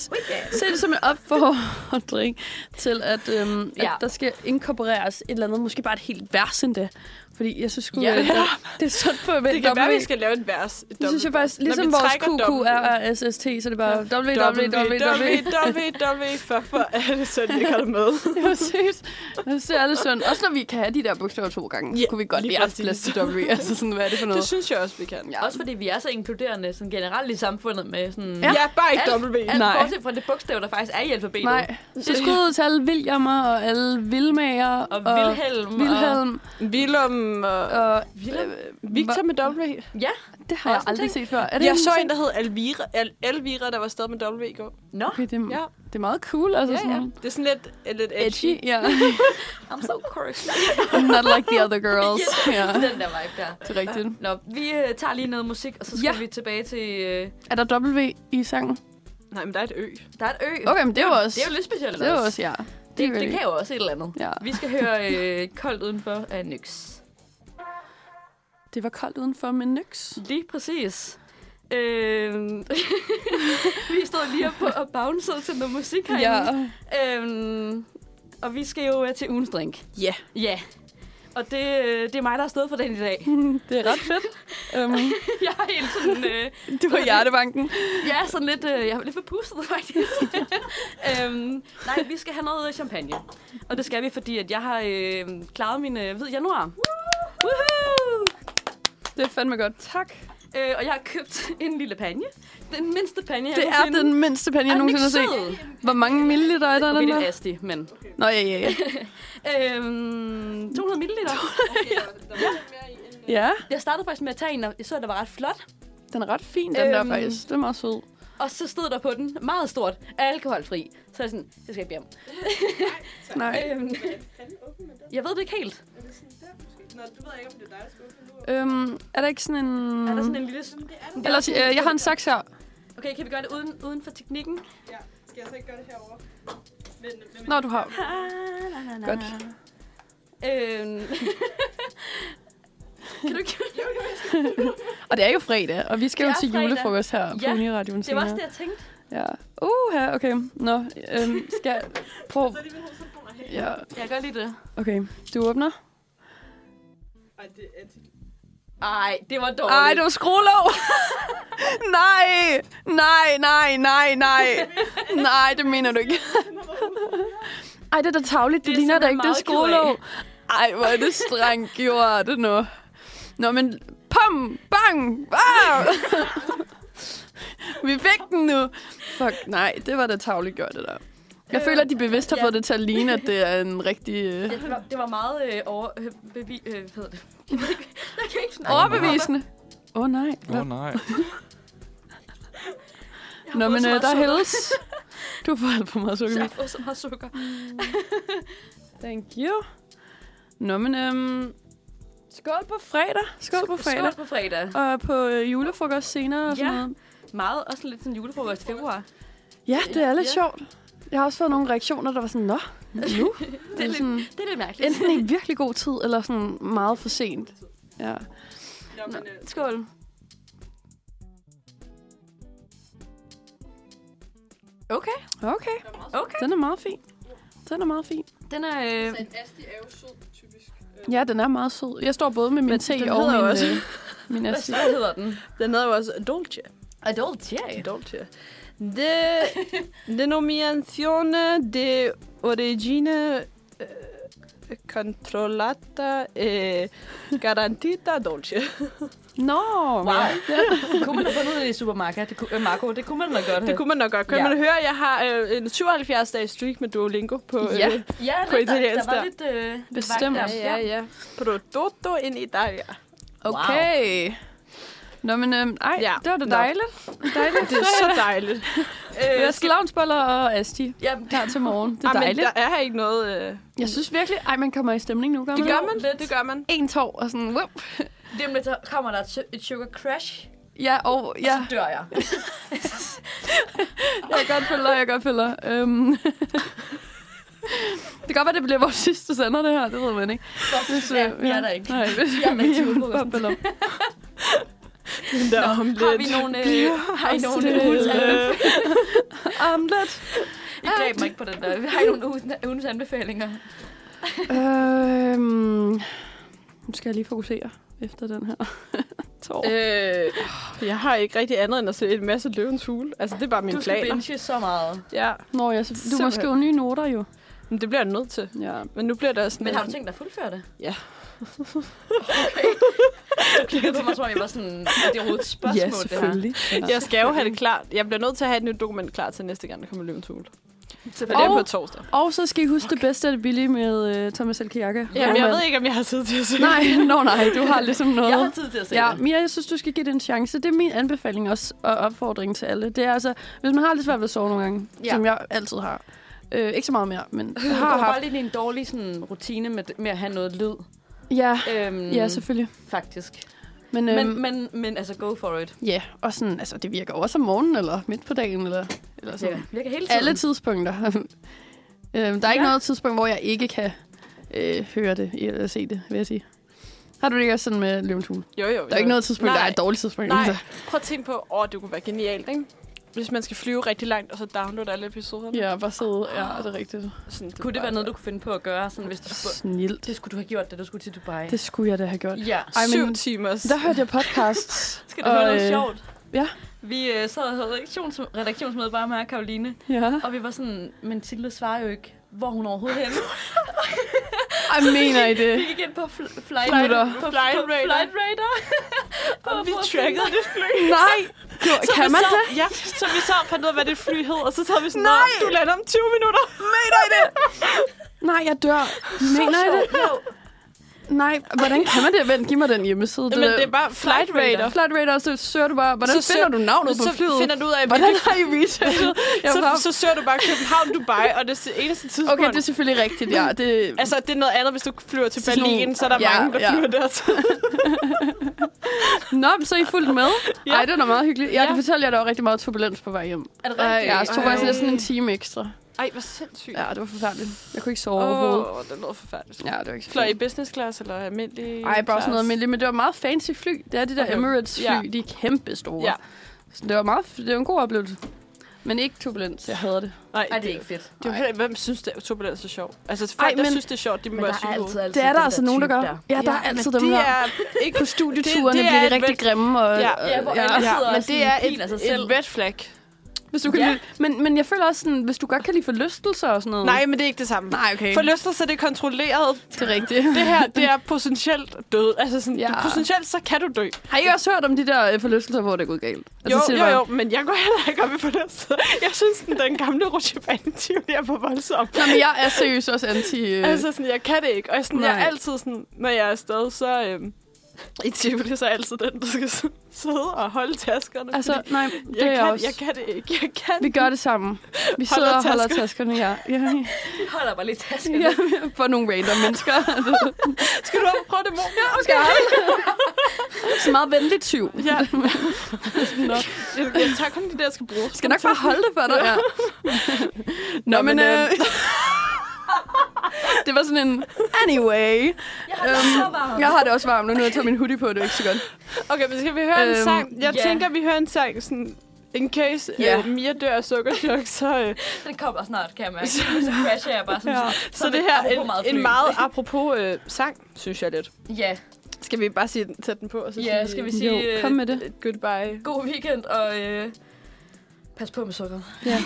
S3: se det som en opfordring til, at, øhm, ja.
S2: Ja.
S3: at der skal inkorporeres et eller andet, måske bare et helt vers endda. Fordi jeg synes sgu,
S2: Ja.
S3: ja. det, det er sådan på at
S1: Det kan være, vi skal lave et vers. et
S3: Det synes jeg
S1: dobbelt-
S3: faktisk,
S1: Når vi
S3: ligesom vores
S1: trækker
S3: QQRSST, så er det bare www.
S1: www. Fuck, hvor er det sådan, jeg holder med.
S3: Præcis. Det er alle sådan. Også når vi kan have de der bogstaver to gange,
S1: Ja,
S3: kunne vi godt
S1: lige
S3: lige have haft plads
S1: præcis.
S3: til W. Altså sådan, hvad er det for
S1: Det
S3: noget?
S1: synes jeg også, vi kan.
S3: Ja.
S2: Også fordi vi er så inkluderende sådan generelt i samfundet med sådan...
S1: Ja, bare ikke
S2: Alt-
S1: W.
S2: Alt
S3: Nej.
S2: bortset fra det bogstav, der faktisk er i alfabetet.
S3: Nej. Så skud ud til alle Williamer og alle Vilmager
S2: Og Vilhelm.
S3: Vilhelm
S1: Willum og...
S3: og... øh,
S2: Vilhelm?
S1: Victor med W.
S2: Ja.
S3: Det har jeg
S2: Også en
S3: aldrig set før. Er
S1: Jeg så en,
S3: ting?
S1: der hed Alvira, Al- Elvira, der var stadig med W i går.
S2: Nå,
S3: Okay, det,
S1: Ja.
S3: ja. det er meget cool. Altså,
S1: Ja, ja.
S3: sådan,
S1: Det er sådan lidt, eh, lidt edgy.
S3: Edgy, ja.
S2: I'm so correct.
S3: Not like the other girls. Ja,
S2: Den der vibe der.
S3: det er rigtigt.
S2: Nå, vi øh, tager lige noget musik, og så skal
S3: Ja.
S2: ja. vi tilbage til... Øh,
S3: Er der W i sangen?
S1: Nej, men der er et ø.
S2: der er et ø.
S3: Okay, men det er jo også...
S2: Det er jo lidt specielt
S3: det er jo også, ja.
S2: Det,
S3: er
S2: det kan jo også et eller andet.
S3: Ja.
S2: Vi skal høre øh, Koldt Udenfor af Nyx.
S3: Det var koldt udenfor med nyks.
S2: Lige præcis. Øh, vi står lige oppe på og bouncer til noget musik herinde. Øhm, og vi skal jo øh, til ugens drink.
S1: Ja.
S2: Ja. Og det, øh, det er mig, der har stået for den i dag.
S3: det er ret fedt.
S2: Øhm,
S3: um,
S2: jeg er helt sådan... Øh,
S3: det var hjertebanken.
S2: jeg er sådan lidt... Øh, jeg er lidt forpustet, faktisk. øhm, nej, vi skal have noget øh, champagne. Og det skal vi, fordi at jeg har øh, klaret min øh, hvid januar. Woohoo!
S3: Det er fandme godt. Tak.
S2: Øh, og jeg har købt en lille panje. Den mindste panje, jeg
S3: Det er den mindste pande, jeg nogensinde har set. Hvor mange milliliter er der i
S2: Okay,
S3: den
S2: det
S3: der?
S2: er asti, men...
S3: Nå, ja, ja, ja.
S2: Øhm, 200 milliliter.
S3: Ja,
S2: Jeg startede faktisk med at tage en, og jeg så, at der var ret flot.
S3: den er ret fin, den der
S2: Øhm.
S3: faktisk. Det er meget sød.
S2: Og så stod der på den meget stort, alkoholfri. Så jeg sådan, det skal jeg bede om.
S3: Nej.
S2: Øhm, jeg ved det ikke helt.
S1: Nå, du ved ikke, om det er dig, der skal åbne nu.
S3: Øhm, er der ikke sådan en...
S2: Øh. Er der sådan en lille...
S3: Ellers, øh, jeg har en saks her.
S2: Okay, kan vi gøre det uden, uden for teknikken?
S1: Ja, skal jeg så ikke gøre det herovre? Men, men,
S3: Nå, du har. Godt.
S2: Øhm. kan du ikke...
S3: Og det er jo fredag, og vi skal
S2: Det
S3: jo
S2: er
S3: til
S2: fredag.
S3: julefrokost her på
S2: Ja,
S3: Uniradioen
S2: Det var
S3: senere.
S2: også det, jeg tænkte.
S3: Ja. Uha, okay. Nå, øhm, skal jeg prøve...
S1: er det min hovedtelefoner her.
S3: Ja,
S2: Jeg kan godt lide det.
S3: okay. Du åbner.
S1: Ej, det er antik.
S2: Ej, det var dårligt.
S3: Ej, det var skruelov! nej! Nej, nej, nej, nej. Nej, det mener du ikke. Ej, det er da tavligt. Det,
S2: Det
S3: det
S2: er
S3: ligner da
S2: simpelthen
S3: ikke, det er skruelov.
S2: meget ked af.
S3: Ej, hvor er det strengt gjort det nu. Nå, men pom, bang, bang. Vi fik den nu. Fuck, nej, det var da tavligt gjort, det der. Jeg føler, at de bevidst har
S2: ja.
S3: fået det til at ligne, at det er en rigtig øh,
S2: Det var, det var meget øh, over... Øh, bevi, øh, hvad hedder det? Jeg kan ikke snakke.
S3: overbevisende. Åh, oh, nej.
S5: Åh oh, nej.
S2: Jeg har
S3: Nå,
S2: fået
S3: men
S2: så
S3: øh,
S2: meget
S3: der er
S2: sukker.
S3: hældes. Du har fået alt for meget sukker.
S2: Jeg
S3: i.
S2: har fået så meget sukker.
S3: Thank you. Nå, men øhm, skål på fredag. Skål på fredag.
S2: Skål på fredag.
S3: Og på øh, julefrokost senere og sådan
S2: Ja.
S3: noget.
S2: Mm. Meget, også lidt sådan julefrokost i februar.
S3: Ja, det er lidt
S2: Ja.
S3: sjovt. Jeg har også fået nogle reaktioner, der var sådan, nå, nu?
S2: Det er lidt,
S3: sådan,
S2: det er lidt mærkeligt.
S3: enten i virkelig god tid, eller sådan meget for sent. Ja.
S2: Nå, skål. Okay,
S3: Okay,
S2: okay.
S3: den er meget fin. Den er meget fin.
S2: Den er... Øh,
S4: Så en asti er jo sød, typisk.
S3: Ja, den er meget sød. Jeg står både med min
S1: Men
S3: te
S1: den
S3: og
S1: hedder
S3: min,
S1: jo også-
S3: øh, min assi.
S2: hvad hedder den?
S1: Den hedder jo også Dolce.
S2: Adult Cherry.
S1: Dolce. De denominazione de origine eh, controllata e garantita dolce.
S3: Nå,
S2: Wow. kunne man have fundet ud af i Supermarket? Det kunne, øh, Marco, det kunne man da godt
S1: Det kunne man nok godt. Kan
S2: Ja.
S1: ja. man høre, jeg har øh, en 77-dages streak med Duolingo på... øh,
S2: Ja, ja
S1: på
S2: lidt, der,
S1: italiensk
S2: der
S1: der.
S2: var lidt... Øh,
S3: Bestemt.
S2: vagt der.
S1: ja, ja. Prodotto in Italia.
S3: okay. Nå, men øhm, ej,
S1: Ja,
S3: det var da
S1: nå.
S3: dejligt. Dejligt.
S1: Det er så dejligt.
S3: Øh, jeg skal lavnsboller og asti
S2: Ja,
S3: klar til morgen. Det er
S1: Ej, Ah, men
S3: dejligt.
S1: der er ikke noget... Øh,
S3: Jeg synes virkelig, ej, man kommer i stemning nu, gør
S1: det
S3: man
S1: gør
S3: ikke?
S1: man.
S2: lidt.
S1: Det gør man.
S3: En tår og sådan, whoop.
S2: lige om lidt, så kommer der et su- et sugar crash,
S3: Ja, og
S2: ja.
S3: ja,
S2: så dør jeg.
S3: jeg er godt følger, jeg er godt følger. Øhm. det kan godt være, det bliver vores sidste sender, det her. Det ved man ikke.
S2: Hvorfor ja, vi er der ikke.
S3: Nej,
S2: Vi er med til julefrokosten.
S3: Bubble up.
S1: Der
S2: Nå,
S1: om lidt.
S2: har vi nogle... Øh, har I nogle
S3: stille.
S2: ugens anbefalinger?
S3: Omelet.
S2: I greb mig ikke på den der. Har I nogle ugens- ugens anbefalinger?
S3: Øhm. Nu skal jeg lige fokusere efter den her tår.
S1: Øh, jeg har ikke rigtig andet end at se en masse løvens hule. Altså, det er bare mine
S2: Du skal
S1: planer.
S2: binge så meget.
S1: Ja,
S3: Nå, jeg, du må
S1: simpelthen.
S3: skrive nye noter jo.
S1: men det bliver jeg nødt til.
S3: Ja.
S1: Men nu bliver der sådan...
S2: Men har du tænkt dig at fuldføre det?
S1: Ja.
S2: okay. Du kiggede på mig, som om jeg var sådan, at det er overhovedet et spørgsmål, det her.
S1: Jeg skal jo have det klart. Jeg bliver nødt til at have et nyt dokument klar til næste gang, der kommer løvens hule. Og det
S2: Selvfølgelig.
S1: er
S3: Og-
S1: på torsdag.
S3: Og så skal I huske det bedste af det billige med uh, Thomas Elkjakke.
S1: Jamen, jeg ved ikke, om jeg har tid til at se
S3: Nej, nå nej, du har ligesom noget.
S2: Jeg har tid til at se
S3: Ja,
S2: det.
S3: Mia, jeg synes, du skal give det en chance. Det er min anbefaling også, og opfordring til alle. Det er altså, hvis man har lidt svært ved at sove nogle gange,
S2: Ja.
S3: ja. som jeg altid har. Øh, ikke så meget mere, men
S2: Du
S3: jeg har
S2: har bare
S3: haft.
S2: lidt i en dårlig sådan, rutine med, med at have noget lyd.
S3: Ja,
S2: Øhm,
S3: ja, selvfølgelig.
S2: Faktisk.
S3: Men, øhm,
S2: Men, men, men altså, go for it.
S3: ja, og sådan, altså, det virker også om morgenen, eller midt på dagen, eller, eller sådan.
S2: Altså, virker hele tiden.
S3: Alle tidspunkter. øhm, der er ikke
S2: Ja.
S3: noget tidspunkt, hvor jeg ikke kan øh, høre det, eller se det, vil jeg sige. Har du det ikke også sådan med løvens hule?
S1: Jo, jo.
S3: Der er ikke noget tidspunkt, Nej. der er
S1: Nej.
S3: et dårligt tidspunkt.
S1: Nej,
S3: altså.
S1: prøv at tænke på, åh, det kunne være genialt, ikke? Hvis man skal flyve rigtig langt, og så downloade alle episoderne.
S3: Ja, bare sidde. Ja, det er rigtigt.
S1: Sådan,
S2: Kunne det være noget, du kunne finde på at gøre, sådan, hvis du
S1: Altså,
S2: skulle...
S3: Snilt.
S2: Det skulle du have gjort, da du skulle til Dubai.
S3: Det skulle jeg da have gjort.
S2: Ja.
S3: Ej,
S1: Ej,
S3: men-
S1: men... Syv timers.
S3: Der hørte jeg podcasts.
S2: Skal du høre noget
S3: øh,
S2: sjovt?
S3: ja.
S2: Vi øh, sad og havde redaktions, redaktionsmøde bare med Karoline,
S3: Ja.
S2: og vi var sådan, men Tilde svarer jo ikke, hvor hun overhovedet er henne.
S3: Ej, mener I
S2: Vi
S3: det?
S2: gik ind på fl- flight,
S3: Flytter.
S2: på,
S1: Flight
S2: på, på
S1: radar.
S2: flight radar.
S1: Og vi
S2: på- på-
S1: trackede det fly.
S3: Nej! Jo, kan
S1: vi
S3: man
S1: så,
S3: det?
S1: Ja, så vi så fandt ud af, hvad det fly hed, og så sad vi sådan,
S3: Nej!
S1: "Nå, du lander om 20 minutter. Mener I det?
S3: Nej, jeg dør. Mener I det?
S2: Jo.
S3: Nej, hvordan kan man det? Vent, giv mig den hjemmeside.
S1: Jamen, det er bare flight radar.
S3: Flight radar, så søger du bare,
S1: Så
S3: hvordan
S1: søger-
S3: finder du navnet
S1: så
S3: på flyet?
S1: finder du ud af,
S3: Hvordan har I researchet? Jeg
S1: så,
S3: var bare...
S1: så søger du bare København, Dubai, og det er det eneste tidspunkt.
S3: Okay, det er selvfølgelig rigtigt, ja. Det...
S1: Altså, det er noget andet, hvis du flyver til
S3: Så sådan
S1: Berlin,
S3: nogle-
S1: så er der
S3: Ja,
S1: mange, der
S3: ja.
S1: flyver der.
S3: Nå, men så er I fuldt med?
S1: Ja.
S3: Ej, det var da meget hyggeligt. Jeg
S1: Ja.
S3: kan fortælle jer, at der var rigtig meget turbulens på vej hjem.
S2: Er det
S3: Ej,
S2: rigtigt?
S3: ja, så tog
S1: ej.
S3: faktisk næsten en time ekstra.
S1: Ej, hvor sindssygt.
S3: Ja, det var forfærdeligt. Jeg kunne ikke sove
S1: Åh,
S3: overhovedet.
S1: oh, det lyder forfærdeligt.
S3: Ja, det var ikke så
S1: Fløj
S3: fedt.
S1: i business class eller almindelig
S3: Ej, bare sådan noget
S1: class?
S3: almindeligt. Men det var meget fancy fly. Det er de der
S1: Okay.
S3: Emirates fly.
S1: Ja.
S3: De er kæmpe store.
S1: Ja.
S3: Så det var, meget, det var en god oplevelse. Men ikke turbulens. Jeg hader det.
S1: Nej,
S2: Ej, det er ikke fedt.
S1: Det er jo heller ikke, hvem synes, det er turbulens er sjovt. Altså, folk,
S3: Ej,
S1: der
S3: men-
S1: synes, det er sjovt, de må være psykopater.
S2: altid
S3: Det er der altså nogen, der gør. Ja, der er altid dem
S1: de
S3: her.
S1: er ikke
S3: På studieturene
S1: det er
S3: bliver de
S1: et
S3: rigtig
S1: red-
S3: grimme. Og,
S1: Ja,
S3: og-
S2: Ja, hvor alle
S1: Ja,
S2: sidder
S1: men
S2: og
S1: det
S2: sådan
S1: er et,
S2: piner sig
S1: et
S2: selv.
S1: red flag.
S3: Hvis du kan
S2: Ja.
S3: lide. Men, men jeg føler også sådan, hvis du godt kan lide forlystelser og sådan noget.
S1: Nej, men det er ikke det samme.
S3: Nej, okay.
S1: Forlystelser, det er kontrolleret.
S3: Det er rigtigt.
S1: Det her, det er potentielt død. Altså sådan,
S3: Ja.
S1: ja. potentielt, så kan du dø.
S3: Har I også hørt om de der øh, forlystelser, hvor det er gået galt? Altså,
S1: Jo,
S3: siger det
S1: jo,
S3: bare-
S1: jo, men jeg går heller ikke op i forlystelser. Jeg synes, den, den gamle rutsjebanetivl er for voldsom.
S3: Nå, men jeg er seriøst også anti... Øh, altså,
S1: Altså sådan, jeg kan det ikke. Og sådan, jeg
S3: Nej.
S1: er altid sådan, når jeg er afsted, så øhm, i Tivoli, så er jeg altid den, der skal s- sidde og holde taskerne.
S3: altså
S1: fordi
S3: nej, det
S1: jeg,
S3: er
S1: kan,
S3: jeg også.
S1: jeg kan det ikke. Jeg kan
S3: Vi gør det sammen. Vi sidder og holder taskerne, ja. ja.
S2: De holder bare lidt tasken.
S3: Ja, for nogle random mennesker.
S1: Skal du op og prøve det, mor? Ja,
S3: Skal Så meget venlig tyv.
S1: Ja,
S3: Nå.
S1: jeg, jeg tager kun de der, jeg skal bruge.
S3: Skal nok bare holde det for dig. Ja. Nå, men...
S1: men,
S3: Øh, det var sådan en... Anyway.
S2: Jeg
S3: Øhm, jeg har det også varmt, nu når jeg tager min hoodie på, det er ikke så godt.
S1: Okay, men skal vi høre øhm,
S3: Øhm,
S1: en sang? Jeg
S2: ja.
S1: tænker, vi hører en sang sådan... In case
S3: Ja.
S1: øh, Mia dør af sukkerchok, så, øh,
S2: Den kommer snart, kan jeg mærke. Så crasher jeg bare som
S1: ja.
S2: sådan.
S1: så
S2: er
S1: det
S2: det
S1: her
S2: apropos
S1: en,
S2: meget
S1: en
S2: fly.
S1: meget apropos øh, sang, synes jeg lidt.
S2: Ja,
S1: Skal vi bare sige, den- sætte den på? Og så
S2: ja, skal vi sige
S3: Jo,
S2: øh,
S3: kom med det.
S1: Goodbye.
S2: god weekend og øh, pas på med sukkeret.
S3: Ja.